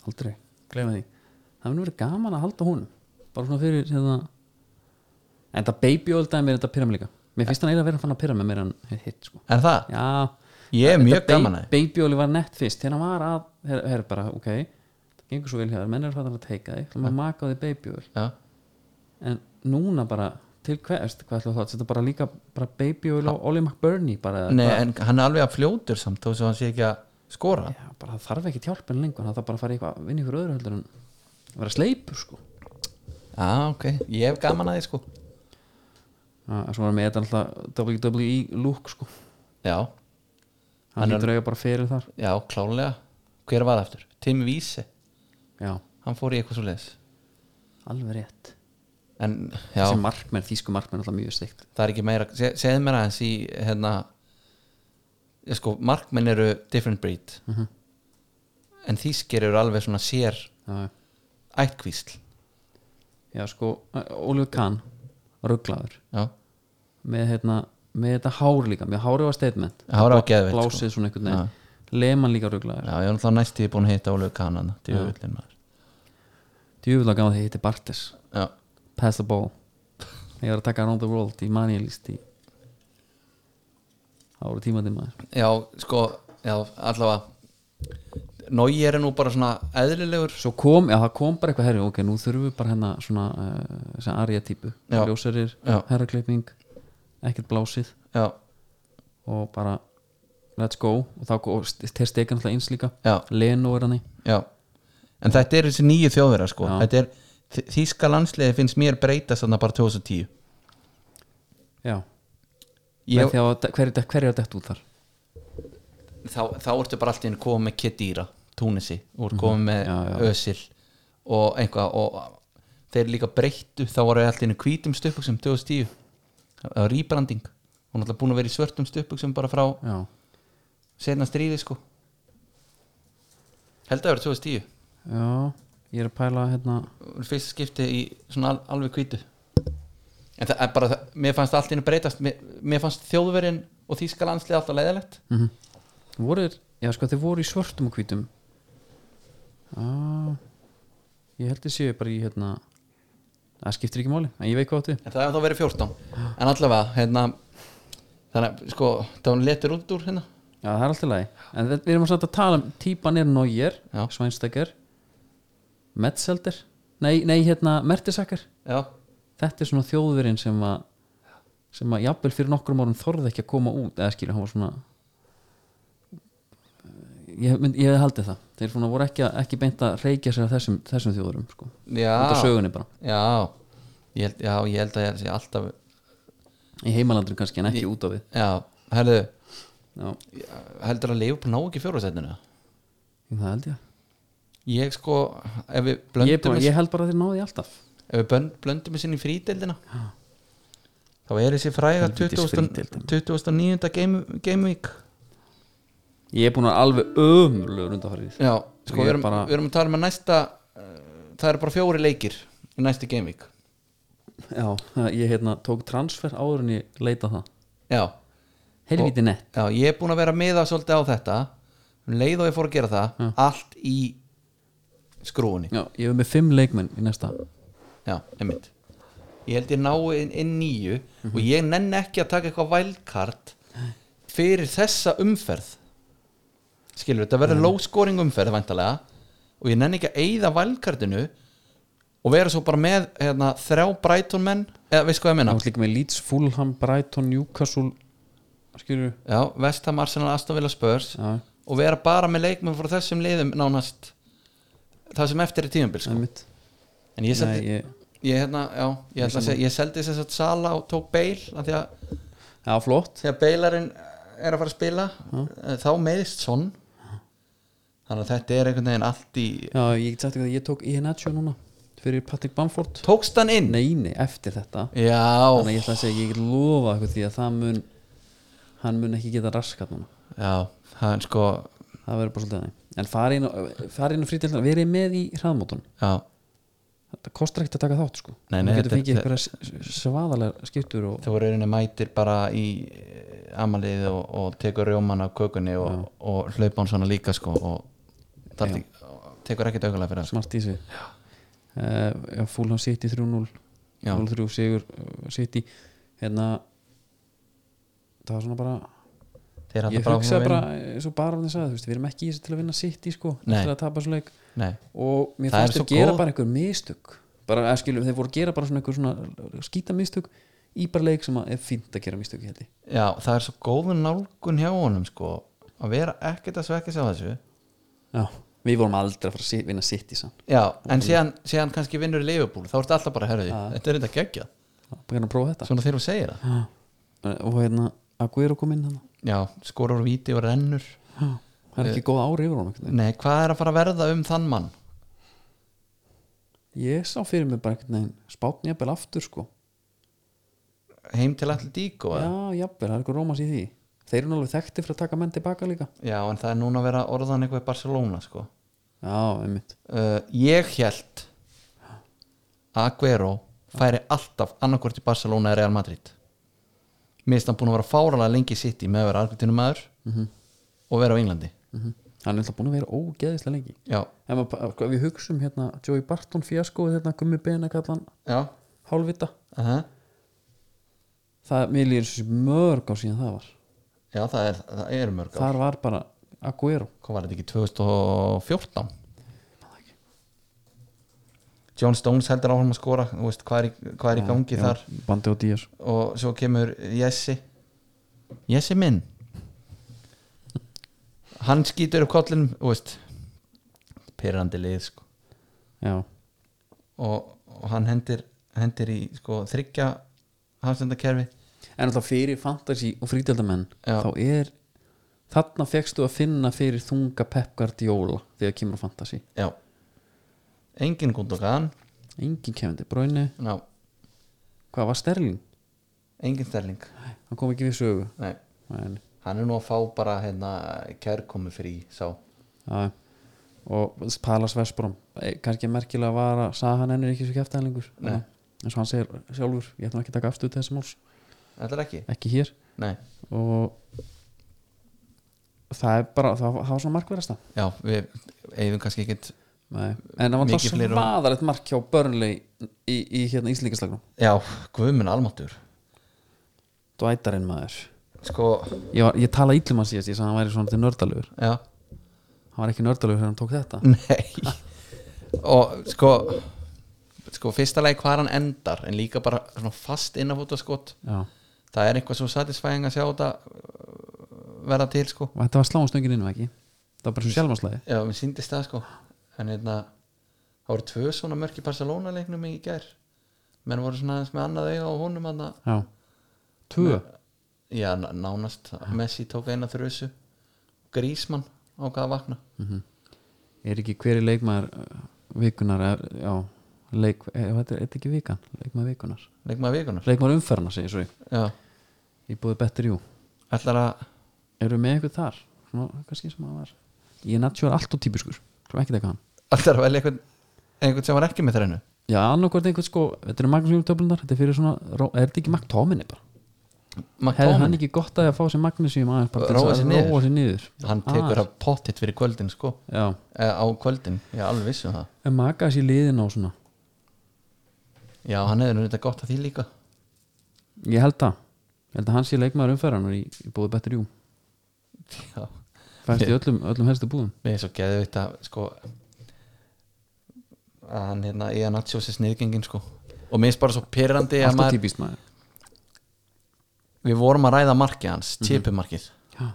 [SPEAKER 1] aldrei, gleyma því það er nú verið gaman að halda honum bara svona fyrir hérna en þetta baby old dæmi er þetta pyrra mig líka mér finnst hann eiginlega að vera að fann að pyrra með mér en hitt sko
[SPEAKER 3] en það,
[SPEAKER 1] já,
[SPEAKER 3] ég er mjög gaman að því
[SPEAKER 1] Baby Oli var nett fyrst þegar hann var að, hér, hér bara, ok það gengur svo vel hér, menn er fattar að teika þig þannig að maka á þig Baby Oli
[SPEAKER 3] já,
[SPEAKER 1] en núna bara, til hvers, hvað ætlum þú að þetta bara líka, bara Baby Oli og Oli McBurney bara, eða
[SPEAKER 3] Nei,
[SPEAKER 1] hvað?
[SPEAKER 3] en hann er alveg að fljótur samt þó sem hann sé ekki að skora
[SPEAKER 1] Já, bara það þarf ekki hjálpin lengur það þarf bara að fara í eitthvað, vinna ykkur öðru heldur en að vera sleipur sko
[SPEAKER 3] já, ok, ég hef gaman að því sko
[SPEAKER 1] Já, en svo var hann með þetta alltaf WWE look sko
[SPEAKER 3] já,
[SPEAKER 1] hann lítur auðvitað bara fyrir þar
[SPEAKER 3] já, klálega hver var það aftur? Tim Vísi,
[SPEAKER 1] já,
[SPEAKER 3] hann fór í eitthvað svo leis
[SPEAKER 1] alveg rétt
[SPEAKER 3] en, já,
[SPEAKER 1] þessi markmenn, þýsku markmenn er alltaf mjög steikt
[SPEAKER 3] það er ekki meira se- segðu mér aðeins í hérna ég sko, markmenn eru different breed
[SPEAKER 1] Mhm.
[SPEAKER 3] en þýskir eru alveg svona sér
[SPEAKER 1] já, já.
[SPEAKER 3] ættkvísl
[SPEAKER 1] já sko, Oliver Kahn rugglaður
[SPEAKER 3] já,
[SPEAKER 1] með, hérna, með þetta hár líka með hárið var statement
[SPEAKER 3] Hárið var geðveikt, sko.
[SPEAKER 1] blásið svona einhvern veginn leman líka rugglaður
[SPEAKER 3] já ég er náttúrulega næstu búin að hitta Ólega Kanan djöfullin maður
[SPEAKER 1] djúvilega gaman þegar hitti Bartes
[SPEAKER 3] já,
[SPEAKER 1] pass the ball ég var að taka around the world í manilist í ára tímandi maður
[SPEAKER 3] já sko, já, allavega Nói er nú bara svona eðlilegur
[SPEAKER 1] svo kom, já það kom bara eitthvað herri ok, nú þurfum við bara hennar svona uh, arja típu,
[SPEAKER 3] Já.
[SPEAKER 1] ljósarir
[SPEAKER 3] Já.
[SPEAKER 1] herraklipping, ekkert blásið
[SPEAKER 3] já,
[SPEAKER 1] og bara let's go og þá og ter stekan alltaf eins líka
[SPEAKER 3] Já.
[SPEAKER 1] Leno er hann í
[SPEAKER 3] já en þetta eru þessi nýju þjóðverðar sko
[SPEAKER 1] Já.
[SPEAKER 3] þetta er, þ- þýska landsliði finnst mér breytast þarna bara 2010
[SPEAKER 1] já,
[SPEAKER 3] ég,
[SPEAKER 1] Með því að- hverju hver er dett út þar
[SPEAKER 3] þá, þá ertu bara alltaf komið með Kedira, Túnisi og ertu komið með
[SPEAKER 1] Mhm. Já, já.
[SPEAKER 3] Ösil og einhvað og þeir líka breyttu, þá voru alltaf einu hvítum stöpuksum 2010 það var rýbranding, hún er alltaf búin að vera í svörtum stöpuksum bara frá
[SPEAKER 1] já
[SPEAKER 3] sena stríði sko held að það verið 2010
[SPEAKER 1] Já, ég er að pæla hérna
[SPEAKER 3] Voru fyrsta skipti í svona al, alveg hvítu en það er bara, það- mér fannst allt einu breytast mér, mér fannst þjóðverinn og þýska landslið alltaf leiðilegt
[SPEAKER 1] voru þeir, já sko þeir voru í svörtum og hvítum Já Ég held þið séu bara í hérna Það skiptir ekki máli, en ég veit hvað átti
[SPEAKER 3] en það hefði þá verið 14 en allavega, hérna þannig, að, sko, það var letur út úr hérna
[SPEAKER 1] Já, það er alltaf lagi En við við erum samt að tala um, típan er Neuer
[SPEAKER 3] Já.
[SPEAKER 1] Svænstekker Metzelder, nei, nei hérna Mertisakker,
[SPEAKER 3] já,
[SPEAKER 1] þetta er svona þjóðverinn sem að sem að jafnvel fyrir nokkrum árum þorði ekki að koma út eða skilja, hann var svona eh, ég, mynd, ég haldi það þeir svona voru ekki, að- ekki beint að reykja sér að þessum, þessum þjóðurum sko. út af
[SPEAKER 3] já,
[SPEAKER 1] sögunni bara,
[SPEAKER 3] já ég held, já, ég held að ég sé alltaf
[SPEAKER 1] í heimalandur kannski en ekki út á við
[SPEAKER 3] já, herðu,
[SPEAKER 1] já,
[SPEAKER 3] heldur að Leopold ná ekki fjóraðsætinu
[SPEAKER 1] það held ég
[SPEAKER 3] ég sko, ef við
[SPEAKER 1] ég, er
[SPEAKER 3] blöndum
[SPEAKER 1] bara,
[SPEAKER 3] þessu-
[SPEAKER 1] ég held bara að þeir náði alltaf
[SPEAKER 3] ef við bön- blöndum þessin í frídeildina þá er þessi fræga
[SPEAKER 1] Helvítis
[SPEAKER 3] 20.
[SPEAKER 1] frídeildin.
[SPEAKER 3] 2009. game game week
[SPEAKER 1] ég er búin að alveg ömurlegur undanfarið
[SPEAKER 3] já, sko,
[SPEAKER 1] Ég
[SPEAKER 3] við
[SPEAKER 1] er
[SPEAKER 3] erum,
[SPEAKER 1] bara-
[SPEAKER 3] við erum að tala um að næsta uh, það eru bara fjóri leikir í næstu game week
[SPEAKER 1] já, ég hérna tók transfer áður en ég leita það
[SPEAKER 3] já,
[SPEAKER 1] helviti nett
[SPEAKER 3] já, ég er búin að vera að miða svolítið á þetta Um leið og ég fór að gera það allt í skrúunni
[SPEAKER 1] já, ég er með fimm leikmenn í næsta
[SPEAKER 3] já, einmitt ég held ég nái inn, inn nýju og ég nenn ekki að taka eitthvað vælkart fyrir þessa umferð skilur, þetta verður low scoring umferð vantalega og ég nenn ekki að eyða vælkartinu og vera svo bara með hérna, þrjá Brighton menn eða veist hvað ég
[SPEAKER 1] Það
[SPEAKER 3] meina
[SPEAKER 1] var líka með Leeds, Fulham, Brighton, Newcastle skilur
[SPEAKER 3] já, Vestham, Arsenal, Aston Villa, Spurs
[SPEAKER 1] já,
[SPEAKER 3] og vera bara með leikmenn frá þessum liðum nánast það sem eftir er tíumbil sko.
[SPEAKER 1] einmitt
[SPEAKER 3] en ég
[SPEAKER 1] Nei,
[SPEAKER 3] seldi,
[SPEAKER 1] ég,
[SPEAKER 3] ég, hérna, já, ég, ætla að
[SPEAKER 1] sammála.
[SPEAKER 3] segja, ég seldi þess að Sala og tók Bale af því að
[SPEAKER 1] já, flott
[SPEAKER 3] þegar Beilarinn er að fara að spila eh, þá meðist Son þannig að þetta er einhvern veginn allt í
[SPEAKER 1] Já, ég get sagt ekki að ég tók Iheanacho núna fyrir Patrick Bamford
[SPEAKER 3] tókst hann inn
[SPEAKER 1] Nei, nei, eftir þetta Þannig að
[SPEAKER 3] já,
[SPEAKER 1] ég ætla að segja, ég get lofa eitthvað því að það mun hann mun ekki geta raskat núna
[SPEAKER 3] já, það er sko
[SPEAKER 1] það verður bara svolítið þannig en farið inn á, fari inn á frítildan, verið með í hraðmótun
[SPEAKER 3] já,
[SPEAKER 1] þetta kostar ekkert að taka þátt sko
[SPEAKER 3] Nei, nei,
[SPEAKER 1] þú getur
[SPEAKER 3] þetta-
[SPEAKER 1] fengið eitthvað svaðalega skiptur og
[SPEAKER 3] þú eru einnig mætir bara í eh, amalið og, og tekur rjóman af kökunni og, og hlaupa hann svona líka sko og þarf
[SPEAKER 1] Já.
[SPEAKER 3] ekki- og tekur ekkert augulega fyrir það sko.
[SPEAKER 1] smart í sig uh, já, Fulham City 3-0
[SPEAKER 3] Já.
[SPEAKER 1] 0-3 sigur uh, City hérna það var svona bara
[SPEAKER 3] þeir halda
[SPEAKER 1] ég
[SPEAKER 3] bara áfram
[SPEAKER 1] hugsaði
[SPEAKER 3] að
[SPEAKER 1] bara,
[SPEAKER 3] vinna.
[SPEAKER 1] eins og bara hann sagði, þú veist, við erum ekki í þessu til að vinna City sko,
[SPEAKER 3] Nei.
[SPEAKER 1] til að tapa svo leik
[SPEAKER 3] Nei,
[SPEAKER 1] og mér
[SPEAKER 3] Það er
[SPEAKER 1] fannst
[SPEAKER 3] svo
[SPEAKER 1] þeir gera
[SPEAKER 3] góð-
[SPEAKER 1] bara einhver mistök bara, eða skilur, þeir voru að gera bara svona einhver svona skýta mistök í bara leik sem að er fínt að gera mistök í held ég
[SPEAKER 3] já, það er svo góðun nálgun hjá honum sko að vera ekkert að svekja sig á þessu
[SPEAKER 1] já, við vorum aldrei að fara að si- vinna City sann
[SPEAKER 3] Já, en síðan, síðan kannski vinnur í Liverpool þá ertu alltaf bara að herðu Þetta er þetta geggja
[SPEAKER 1] bara hérna að prófa þetta
[SPEAKER 3] Svona þegar þú segir það
[SPEAKER 1] Já. og hérna, Aguero kom inn hann
[SPEAKER 3] Já, skorur og víti og rennur
[SPEAKER 1] það er ekki
[SPEAKER 3] Eh.
[SPEAKER 1] góð ári yfir honum
[SPEAKER 3] Nei, hvað er að fara að verða um þann mann?
[SPEAKER 1] ég sá fyrir mig bara einhvern veginn spátn jafnvel aftur sko
[SPEAKER 3] Heim til allir díko
[SPEAKER 1] já,
[SPEAKER 3] Já.
[SPEAKER 1] jafnvel, það er eitthvað rómas í því þeir eru nú alveg þekkti fyrir að taka menn tilbaka líka
[SPEAKER 3] Já, en það er núna að vera orðan eitthvað í Barcelona sko.
[SPEAKER 1] já, einmitt
[SPEAKER 3] uh, Ég held að Aguero færi alltaf annarkvort í Barcelona eða Real Madrid Mér finnst hann búin að vera fáralega lengi í City með að vera argentinum maður og vera á Englandi
[SPEAKER 1] Mhm. hann er alltaf búin að vera ógeðislega lengi
[SPEAKER 3] Já,
[SPEAKER 1] ef, maður, ef við hugsum hérna Joey Barton fjasko hérna gummi bena kallan
[SPEAKER 3] já
[SPEAKER 1] hálfvita
[SPEAKER 3] uh
[SPEAKER 1] það mér lýður þessi mörg á síðan það var
[SPEAKER 3] Já, það er, það er mörg ár.
[SPEAKER 1] þar var bara Aguero
[SPEAKER 3] hvað var þetta ekki 2014 John Stones heldur áfram að skora þú veist, hvað, er, í- hvað er í gangi
[SPEAKER 1] Já,
[SPEAKER 3] þar
[SPEAKER 1] Bandi og Díaz
[SPEAKER 3] og svo kemur Jesse Jesse minn hann skýtur upp kollinum þú veist, pyrrandi lið sko.
[SPEAKER 1] já,
[SPEAKER 3] og, og hann hendir, hendir í sko, þryggja hafstendakerfi
[SPEAKER 1] en alltaf fyrir fantasy og frítöldamenn
[SPEAKER 3] Já.
[SPEAKER 1] þá er þarna fegstu að finna fyrir þunga Pep Guardiola þegar kemur á fantasy
[SPEAKER 3] já engin Gundogan
[SPEAKER 1] engin kefandi bráinu,
[SPEAKER 3] Ná,
[SPEAKER 1] hvað var Sterling
[SPEAKER 3] engin Sterling
[SPEAKER 1] hann kom ekki við sögu
[SPEAKER 3] Nei.
[SPEAKER 1] en,
[SPEAKER 3] hann er nú að fá bara hérna, kærkomi frí sá
[SPEAKER 1] já, og Palas Vesbrom E, kannski merkilega var að sagði hann ennur ekki svo kæft lengur
[SPEAKER 3] Nei.
[SPEAKER 1] eins og hann segir sjálfur, ég ætlum ekki að taka afstöðu til þessum máls
[SPEAKER 3] Ætlar ekki?
[SPEAKER 1] ekki hér
[SPEAKER 3] Nei
[SPEAKER 1] og það er bara, það, það var svona markverðasta
[SPEAKER 3] Já, við eigum kannski ekkit
[SPEAKER 1] Nei. en það var
[SPEAKER 3] Mikið
[SPEAKER 1] þá
[SPEAKER 3] fleiri-
[SPEAKER 1] svaðalegt mark hjá Burnley í, í hérna íslíkaslagnum
[SPEAKER 3] Já, guðminn almáttur
[SPEAKER 1] dvætarinn maður
[SPEAKER 3] Sko,
[SPEAKER 1] ég, var, ég tala ítlum að síðast, ég sagði að hann væri svona til nördalegur
[SPEAKER 3] já
[SPEAKER 1] hann var ekki nördalegur þegar hann tók þetta
[SPEAKER 3] Mm. Nei Og sko Sko, fyrsta lagi hvað hann endar En líka bara svona fast innafóta skot
[SPEAKER 1] já.
[SPEAKER 3] Það er eitthvað svo satisfæðing að sjá þetta uh, Verða til sko
[SPEAKER 1] og þetta var sláumstöngin innum ekki það var bara sjálfanslæði
[SPEAKER 3] Já, mér síndist það sko En hérna Það voru tvö svona mörk í Barcelona leiknum í gær Menn voru svona aðeins með annað auga á honum Þannig
[SPEAKER 1] já, tvö
[SPEAKER 3] Já, n- nánast Messi tók eina þrjusu Grísmann ákvað að vakna
[SPEAKER 1] er ekki hverju leikmaður uh, vikunar er- já, leik, er, þetta er, er þetta ekki vikan leikmaður vikunar,
[SPEAKER 3] Leikmaður vikunar
[SPEAKER 1] leikmaður umferðna segir svo ég,
[SPEAKER 3] Já,
[SPEAKER 1] ég búið betur jú
[SPEAKER 3] ætlar að
[SPEAKER 1] eru með eitthvað þar svona, kannski sem að var ég er náttúrulega allt og típiskur, sem ekki teka hann
[SPEAKER 3] ætlar að velja einhvern, einhvern sem var ekki með þrennu
[SPEAKER 1] já, annarkvært einhvern sko, þetta eru Magnús Jómtöflunar þetta er fyrir svona, ró- er þetta ekki Magn Tóminni bara hefði hann
[SPEAKER 3] McTominay,
[SPEAKER 1] ekki gott að fá sér Magnúsjum aðeins bara til
[SPEAKER 3] Róa
[SPEAKER 1] þess
[SPEAKER 3] sig
[SPEAKER 1] að
[SPEAKER 3] niður.
[SPEAKER 1] róa sér niður
[SPEAKER 3] hann tekur
[SPEAKER 1] Aðeins.
[SPEAKER 3] að pottitt fyrir kvöldin sko
[SPEAKER 1] já,
[SPEAKER 3] e, á kvöldin, ég er alveg vissu um það
[SPEAKER 1] en maka sér liðin á svona
[SPEAKER 3] Já, hann hefur þetta gott að því líka
[SPEAKER 1] ég held það, ég held að hann sé leikmaður umferðan og ég, ég búið betur jú
[SPEAKER 3] Já,
[SPEAKER 1] fæst í öllum, öllum helstu búðum
[SPEAKER 3] við erum svo geðið þetta sko að hann hérna Ian Nachos er sniðgengin sko og mér finnst bara svo pyrrandi að
[SPEAKER 1] alltaf
[SPEAKER 3] maður,
[SPEAKER 1] típist maður
[SPEAKER 3] við vorum að ræða markið hans,
[SPEAKER 1] Mhm.
[SPEAKER 3] tipumarkið
[SPEAKER 1] já,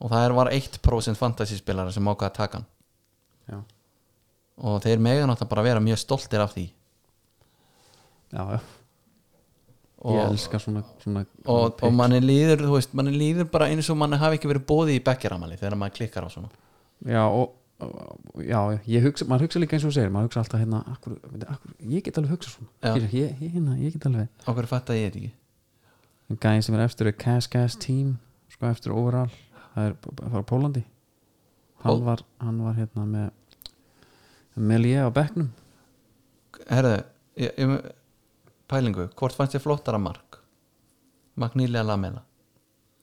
[SPEAKER 3] og það er var 1% fantasyspilara sem ákvað að taka hann
[SPEAKER 1] já,
[SPEAKER 3] og þeir mega náttúrulega bara vera mjög stoltir af því
[SPEAKER 1] já, já. ég
[SPEAKER 3] og,
[SPEAKER 1] elska svona, svona
[SPEAKER 3] og, og manni líður þú veist, manni líður bara eins og manni hafi ekki verið bóði í bekkjaramali þegar maður klikkar á svona
[SPEAKER 1] já, og, og já, já, ég hugsa maður hugsa líka eins og þú segir, maður hugsa alltaf hérna akkur, akkur, ég get alveg hugsa
[SPEAKER 3] Já.
[SPEAKER 1] svona Fyrir, ég, ég, hérna, ég get alveg
[SPEAKER 3] á hverju fatt að ég þetta ekki
[SPEAKER 1] en gæðin sem er eftir er Cash Gas Team sko eftir overall það er b- b- frá Pólandi hann
[SPEAKER 3] Pól-
[SPEAKER 1] var, hann var hérna með Melie á bekknum
[SPEAKER 3] herðu, ég, ég, pælingu hvort fannst ég flottara mark Magnília Lamela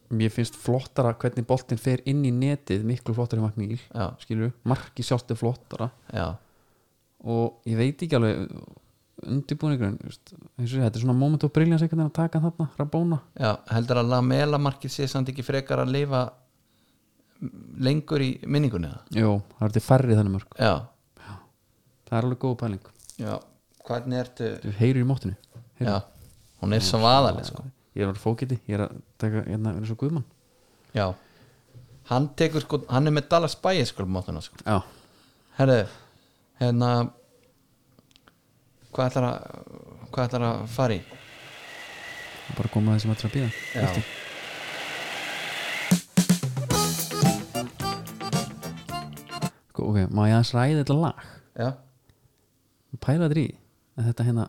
[SPEAKER 1] mér finnst flottara hvernig boltinn fer inn í netið miklu flottara í Magníl
[SPEAKER 3] já,
[SPEAKER 1] skilur, marki sjálft er flottara
[SPEAKER 3] já,
[SPEAKER 1] og ég veit ekki alveg undirbúningurinn þú veist, eins og ég, þetta er svona moment of brilliance einhvern veginn að taka hann þarna, Rabona
[SPEAKER 3] já heldur að Lamela markið sé samt ekki frekar að lifa lengur í minningunni eða?
[SPEAKER 1] Jó, það er til færri þannig mörg
[SPEAKER 3] já,
[SPEAKER 1] það er alveg góð pæling,
[SPEAKER 3] já, hvernig ertu
[SPEAKER 1] þú heyrir í móttinu heyrir.
[SPEAKER 3] já, hún er svaðaleg sko
[SPEAKER 1] ég er alveg fókiti, ég er að taka hérna, er svo guðmann
[SPEAKER 3] já, hann tekur sko hann er með Dallas Bæja sko mótuna sko
[SPEAKER 1] Já,
[SPEAKER 3] herðu, hérna hvað ætlar að hvað ætlar að fara í
[SPEAKER 1] bara koma að þessum að trapíða
[SPEAKER 3] Já.
[SPEAKER 1] sko, ok, má ég aðeins ræði þetta lag
[SPEAKER 3] já,
[SPEAKER 1] pæla þér í að þetta hérna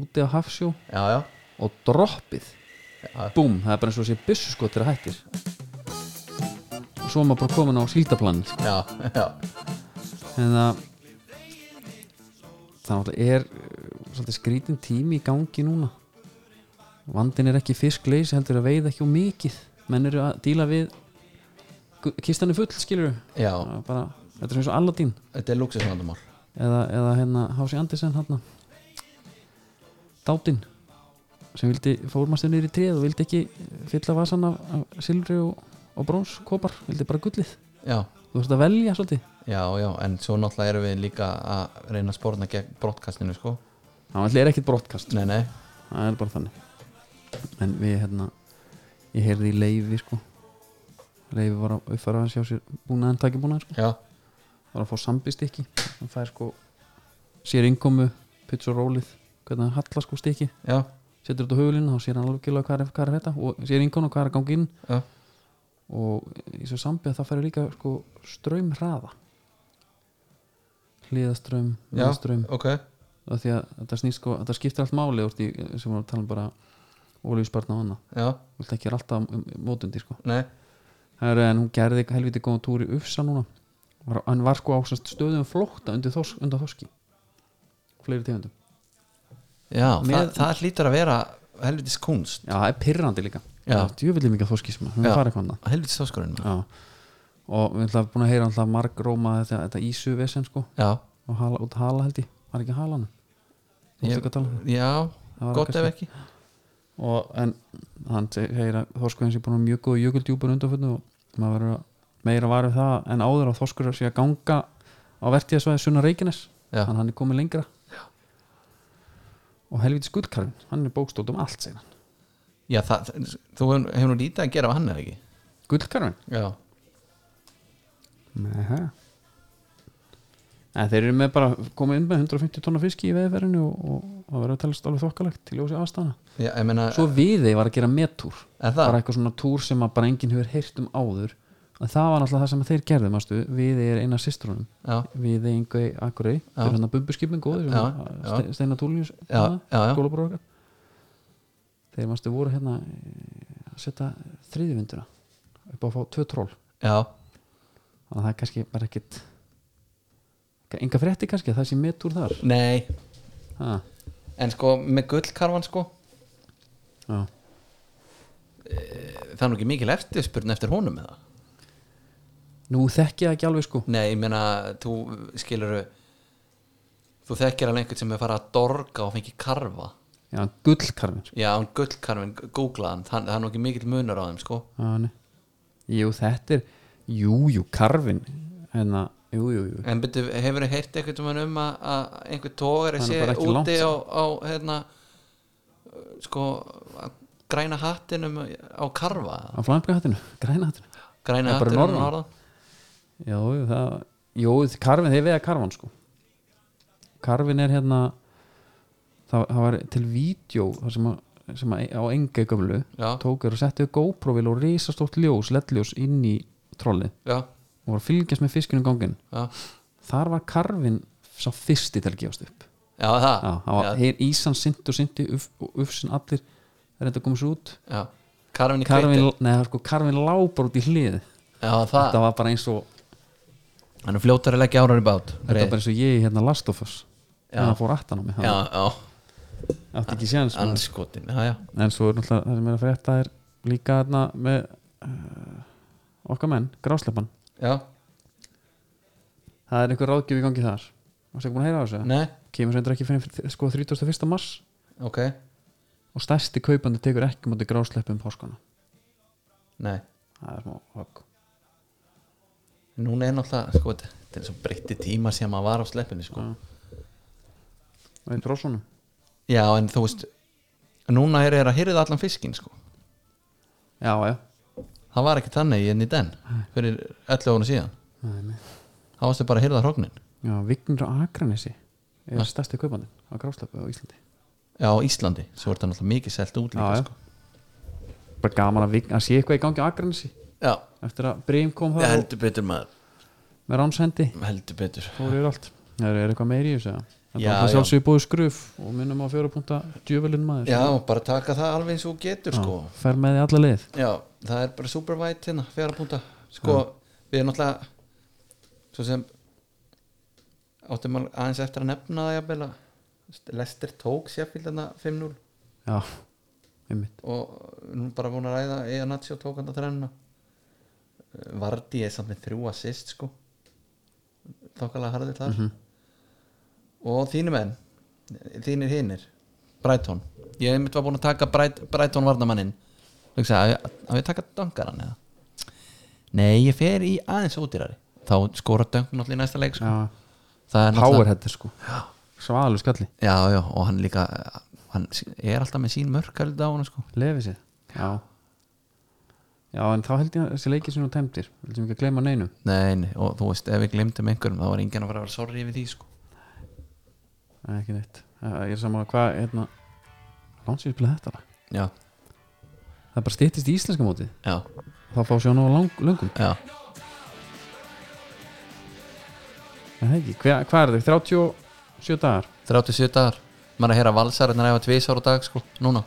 [SPEAKER 1] úti á hafsjó
[SPEAKER 3] já, já,
[SPEAKER 1] og droppið
[SPEAKER 3] já.
[SPEAKER 1] búm, það er bara eins og sé byssu sko til að hættir og svo er maður bara komin á síldaplan sko.
[SPEAKER 3] já, já,
[SPEAKER 1] en það það náttúrulega er uh, svolítið skrítin tími í gangi núna vandin er ekki fiskleysi heldur að veið ekki og mikið menn eru að díla við gu- kistan er full skilur
[SPEAKER 3] já.
[SPEAKER 1] bara, þetta er eins og Aladdin
[SPEAKER 3] þetta er luxusvandumál
[SPEAKER 1] eða, eða hérna Hási Andersen hérna Dátinn sem vildi fórmastu niður í tréð og vildi ekki fylla vasan af, af silfri og, og brons, kopar, vildi bara gullið
[SPEAKER 3] já,
[SPEAKER 1] þú þarfst að velja svolítið
[SPEAKER 3] já, já, en svo náttúrulega erum við líka að reyna að spórna gegn brottkastinu sko,
[SPEAKER 1] hann ætli er ekkit brottkast,
[SPEAKER 3] nei, nei
[SPEAKER 1] það er bara þannig en við hérna ég heyrði í Leifi sko Leifi var að uppfæra hans hjá sér búnaðan takkibúnaðan sko,
[SPEAKER 3] já,
[SPEAKER 1] var að fá sambist ekki hann fær sko sér innkomu, pizza rólið hvernig hann hallar sko stikki
[SPEAKER 3] já,
[SPEAKER 1] setur þetta á höfulinn þá sér hann alveg hvað er, hvað er þetta og sér ingon og hvað er að ganga inn
[SPEAKER 3] já,
[SPEAKER 1] og í þessu sambið það færi líka sko, ströym hraða hliðaströym,
[SPEAKER 3] já,
[SPEAKER 1] hliðaströym
[SPEAKER 3] ok
[SPEAKER 1] og því að þetta, snýst, sko, þetta skiptir allt máli úr því sem við varum að tala um bara ólífsbarn og annað
[SPEAKER 3] já,
[SPEAKER 1] þú vilt ekki er alltaf um- um mótundi sko.
[SPEAKER 3] nei,
[SPEAKER 1] það er en hún gerði helviti góðan túr í Ufsa núna var, hann var sko á sem sagt stöðum flókta undir, þors, undir þorski fleiri tegundum
[SPEAKER 3] já, það,
[SPEAKER 1] Með-
[SPEAKER 3] það hlýtur að vera helvitis kunst,
[SPEAKER 1] já, það er pirrandi líka
[SPEAKER 3] Já.
[SPEAKER 1] djúvillig mikið af þorski sem hún
[SPEAKER 3] Já.
[SPEAKER 1] farið hvað annað
[SPEAKER 3] helvitis þóskurinn maður.
[SPEAKER 1] Já. og við ætlum búin að heyra alltaf marg róma þetta, þetta ísu vesen sko
[SPEAKER 3] já,
[SPEAKER 1] og hala, út hala held ég, var ekki halan
[SPEAKER 3] Ég-
[SPEAKER 1] og
[SPEAKER 3] já,
[SPEAKER 1] um Það var
[SPEAKER 3] gott ef
[SPEAKER 1] kannski-
[SPEAKER 3] ekki
[SPEAKER 1] en hann seg- segir að þorskurinn sé búin að mjög góð jökuldjúpar undanföndu og maður verður að- meira varfið það en áður að þorskurinn sé að ganga á vertíðasvæði sunna Reykjanes
[SPEAKER 3] Já.
[SPEAKER 1] þannig að hann er komið lengra Já. og helviti skuldkarfin hann er bókstótt um allt segir hann
[SPEAKER 3] já, það, þú hefur hefur nú lítið að gera af hann eða ekki
[SPEAKER 1] gullkarfin?
[SPEAKER 3] já,
[SPEAKER 1] Nei En þeir eru með bara komið inn með 150 tonna fiski í veðferðinu og, og það verður að telast alveg þokkalegt til ljósi aðstæðana.
[SPEAKER 3] já, ég meina
[SPEAKER 1] Svo viðið var að gera metúr
[SPEAKER 3] er það,
[SPEAKER 1] bara eitthvað svona túr sem að bara enginn hefur heyrt um áður og það var alltaf það sem þeir gerðu mástu. viðið er eina sýstrunum
[SPEAKER 3] já,
[SPEAKER 1] viðið engu í Akurey
[SPEAKER 3] Já.
[SPEAKER 1] þeir eru hann að bumbuskipin góði
[SPEAKER 3] Já, já.
[SPEAKER 1] Ste Steina Túljus
[SPEAKER 3] Já, já, já.
[SPEAKER 1] skólabróður okkar. þeir mástu voru hérna eh, að setja þriðjuvinduna upp á að fá tvö troll
[SPEAKER 3] já,
[SPEAKER 1] þannig að það er kannski bara ekkit enga frétti kannski að það sé mitt úr þar
[SPEAKER 3] nei
[SPEAKER 1] ha,
[SPEAKER 3] en sko, með gullkarfan sko
[SPEAKER 1] já.
[SPEAKER 3] það er nú ekki mikil eftirspurn eftir honum eða
[SPEAKER 1] nú þekki ég það ekki alveg sko
[SPEAKER 3] Nei, ég meina, þú skilur þú þekkir alveg einhvern sem er fara að dorga og fengi karfa
[SPEAKER 1] já, gullkarfin sko.
[SPEAKER 3] Já, hann gullkarfin, googlaðan hann, það er nú ekki mikill munur á þeim, sko
[SPEAKER 1] já, nei. jú, þetta er jú, jú, karfin hérna, jú, jú, jú.
[SPEAKER 3] En byrju, hefur þið heyrt einhvern veginn um að, að einhver tógari
[SPEAKER 1] Hann
[SPEAKER 3] sé
[SPEAKER 1] er bara ekki langt
[SPEAKER 3] úti á,
[SPEAKER 1] sá-
[SPEAKER 3] á hérna uh, sko að græna hattinum á karfa
[SPEAKER 1] á flambrihattinu, græna hattinu
[SPEAKER 3] græna
[SPEAKER 1] Já, bara
[SPEAKER 3] hattinum
[SPEAKER 1] norðan.
[SPEAKER 3] norðan
[SPEAKER 1] já, jú, það, jú, karfin, þeir veða karfan sko karfin er hérna það, það var til vídeo það sem, að, sem að, á enga gömlu
[SPEAKER 3] Já.
[SPEAKER 1] tókur og settið GoPro-vil og risastótt ljós, lettljós inn í trollið
[SPEAKER 3] já,
[SPEAKER 1] og var að fylgjast með fiskinu gangin
[SPEAKER 3] já,
[SPEAKER 1] þar var karfin sá fyrsti til að gefast upp
[SPEAKER 3] já það
[SPEAKER 1] já, það var,
[SPEAKER 3] já,
[SPEAKER 1] heyr, ísan sint og sinti uf, og ufsin allir er þetta að koma sér út
[SPEAKER 3] já. karfin í
[SPEAKER 1] karfin,
[SPEAKER 3] kveiti
[SPEAKER 1] neða, sko, karfin lábar út í hlið
[SPEAKER 3] já það,
[SPEAKER 1] þetta var bara eins og
[SPEAKER 3] hann er fljótar að leggja árar í bát
[SPEAKER 1] þetta var
[SPEAKER 3] Reyð.
[SPEAKER 1] bara eins og ég í hérna Last of Us
[SPEAKER 3] Já.
[SPEAKER 1] en það fór aftan á mig
[SPEAKER 3] já,
[SPEAKER 1] það
[SPEAKER 3] já,
[SPEAKER 1] átti ekki séns maður.
[SPEAKER 3] anskotin já, já,
[SPEAKER 1] en svo er náttúrulega það sem er að frétta er líka þarna með uh, okkar menn, grásleppan
[SPEAKER 3] já,
[SPEAKER 1] það er einhver ráðgjöf í gangi þar varstu ekki búin að heyra á þessu?
[SPEAKER 3] nei
[SPEAKER 1] kemur sem þetta ekki fyrir, fyrir sko 31. mars
[SPEAKER 3] ok,
[SPEAKER 1] og stærsti kaupandi tekur ekki mútið grásleppu um páskana
[SPEAKER 3] nei,
[SPEAKER 1] það er smá högg
[SPEAKER 3] núna er náttúrulega sko, þetta þetta er eins og breytti tíma sem maður var á sleppinu sko.
[SPEAKER 1] og einn brósunum
[SPEAKER 3] já, en þú veist núna er þeir að hyrða allan fiskin sko
[SPEAKER 1] já, já
[SPEAKER 3] það var ekki þannig enn í den fyrir 11 ára síðan
[SPEAKER 1] Nei, nei.
[SPEAKER 3] þá varstu bara að hyrða hrognin
[SPEAKER 1] já, Vignir á Akranesi er stærsti kaupandinn á grásleppu á Íslandi
[SPEAKER 3] já, á Íslandi, svo er það náttúrulega mikið selt út líka
[SPEAKER 1] Já, já.
[SPEAKER 3] Sko.
[SPEAKER 1] bara gaman að, Vign- að sé eitthvað í gangi á Akranesi
[SPEAKER 3] já.
[SPEAKER 1] eftir að Brim kom
[SPEAKER 3] já,
[SPEAKER 1] það og,
[SPEAKER 3] heldur betur maður
[SPEAKER 1] með ránshendi
[SPEAKER 3] heldur betur
[SPEAKER 1] fór yfir allt er, er eitthvað meiri í þessu eða? Þetta
[SPEAKER 3] Já,
[SPEAKER 1] var það
[SPEAKER 3] já.
[SPEAKER 1] sjálfsögur búið skruf og minnum á fjóra púnta djövelin maður
[SPEAKER 3] já, bara taka það alveg eins og þú getur sko.
[SPEAKER 1] fer með því alla leið
[SPEAKER 3] já, það er bara supervætt hérna fjara púnta sko, við erum náttúrulega svo sem áttum að- aðeins eftir að nefna það jafnvel að Lester tók sérfíldana 5-0
[SPEAKER 1] já, einmitt
[SPEAKER 3] og nú er bara búin að ræða Ea Natsjó tók hann að þrennuna Vardí er samt með þrjú assist sko þokkalega harðið þar og þínir menn þínir hinnir, Brighton ég einmitt var búin að taka Bright, Brighton varnamanninn hugsa, að, að ég taka dankaran eða nei, ég fer í aðeins útýrari þá skora dönkun allir í næsta leik sko.
[SPEAKER 1] já,
[SPEAKER 3] það er náttúrulega-
[SPEAKER 1] powerhead sko svalur skalli,
[SPEAKER 3] já, já, og hann líka eh, hann er alltaf með sín mörk heldur á hann sko
[SPEAKER 1] lefið sér já já, en þá held ég að þessi leikið sem nú tæmdir við sem ekki að gleyma neinum
[SPEAKER 3] Nei, nei, og þú veist, ef við glemtum einhverjum þá var enginn að fara að vera sorry yfir því sko.
[SPEAKER 1] Nei, ekki neitt, Eh, ég er saman að hvað hérna, lansið spilaði þetta lag.
[SPEAKER 3] Já,
[SPEAKER 1] það bara stýttist í íslenska mótið
[SPEAKER 3] já,
[SPEAKER 1] þá fá sjá nú á lang- löngum
[SPEAKER 3] já
[SPEAKER 1] Nei, það ekki, hvað hva er þetta? 37 dagar?
[SPEAKER 3] 37 dagar, maður er að heyra valsarinn að ræfa tvisar á dag, sko, núna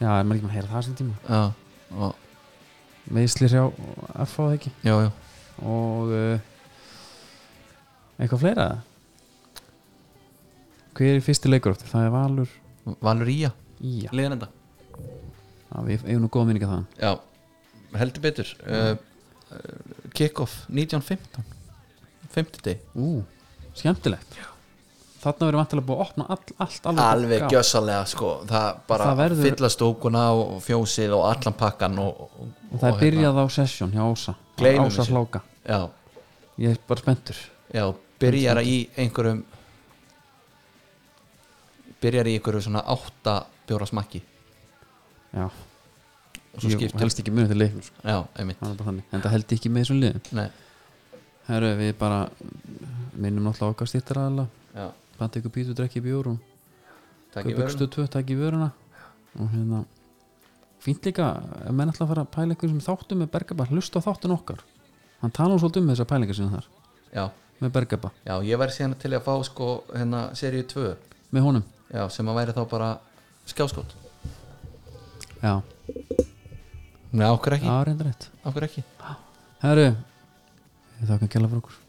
[SPEAKER 1] Já, er maður ekki maður að heyra það sem tíma
[SPEAKER 3] Já, og,
[SPEAKER 1] Meðslir hjá FH það ekki
[SPEAKER 3] já, já
[SPEAKER 1] Og uh, Eitthvað fleira Hver er fyrsti leikur áttu? Það er Valur
[SPEAKER 3] Valur Ía,
[SPEAKER 1] Ía
[SPEAKER 3] liðan þetta
[SPEAKER 1] Já, við eigum nú góða minninga þaðan
[SPEAKER 3] Já, heldur betur uh, uh, Kickoff 1915 50 day
[SPEAKER 1] Ú, skemmtilegt Já. Þarna verður vantilega búið að opna all, allt alveg
[SPEAKER 3] Alveg
[SPEAKER 1] gá-
[SPEAKER 3] gjössalega, sko Það bara
[SPEAKER 1] Það verður-
[SPEAKER 3] fylla stúkuna og og fjósið og allan pakkan og, og, hérna.
[SPEAKER 1] Og það er byrjað á sesjón hjá Ása
[SPEAKER 3] Gleymum
[SPEAKER 1] Ása
[SPEAKER 3] þessu.
[SPEAKER 1] hláka
[SPEAKER 3] Já,
[SPEAKER 1] Ég er bara spenntur
[SPEAKER 3] Já, byrjar í einhverjum byrjar í einhverju svona átta bjóra smakki
[SPEAKER 1] Já,
[SPEAKER 3] og svo
[SPEAKER 1] ég
[SPEAKER 3] skiptur
[SPEAKER 1] helst ekki munið til leiknum sko.
[SPEAKER 3] Já, einmitt
[SPEAKER 1] Það er bara þannig. En það held ég ekki með þessum liðum
[SPEAKER 3] Nei,
[SPEAKER 1] Herru, við bara minnum náttúrulega okkar stýttir aðla
[SPEAKER 3] já,
[SPEAKER 1] Panta ykkur pítu, drekki bjór og
[SPEAKER 3] takk í
[SPEAKER 1] Kaupukstu tvö, takk í vöruna og hérna fínt líka, ef menn ætla að fara að pæla ykkur sem þáttum með Bergaba, hlusta á þáttun okkar hann tala nú svolítið um þessar pælingar sinna þar
[SPEAKER 3] Já,
[SPEAKER 1] með Bergaba,
[SPEAKER 3] já, ég væri síðan til að fá sko hérna seríu 2
[SPEAKER 1] með honum
[SPEAKER 3] Já, sem að væri þá bara skjáskot
[SPEAKER 1] já,
[SPEAKER 3] Nei, okkur ekki,
[SPEAKER 1] það er reynda rétt
[SPEAKER 3] okkur ekki
[SPEAKER 1] Herru, við þakkum kjalla fyrir okkur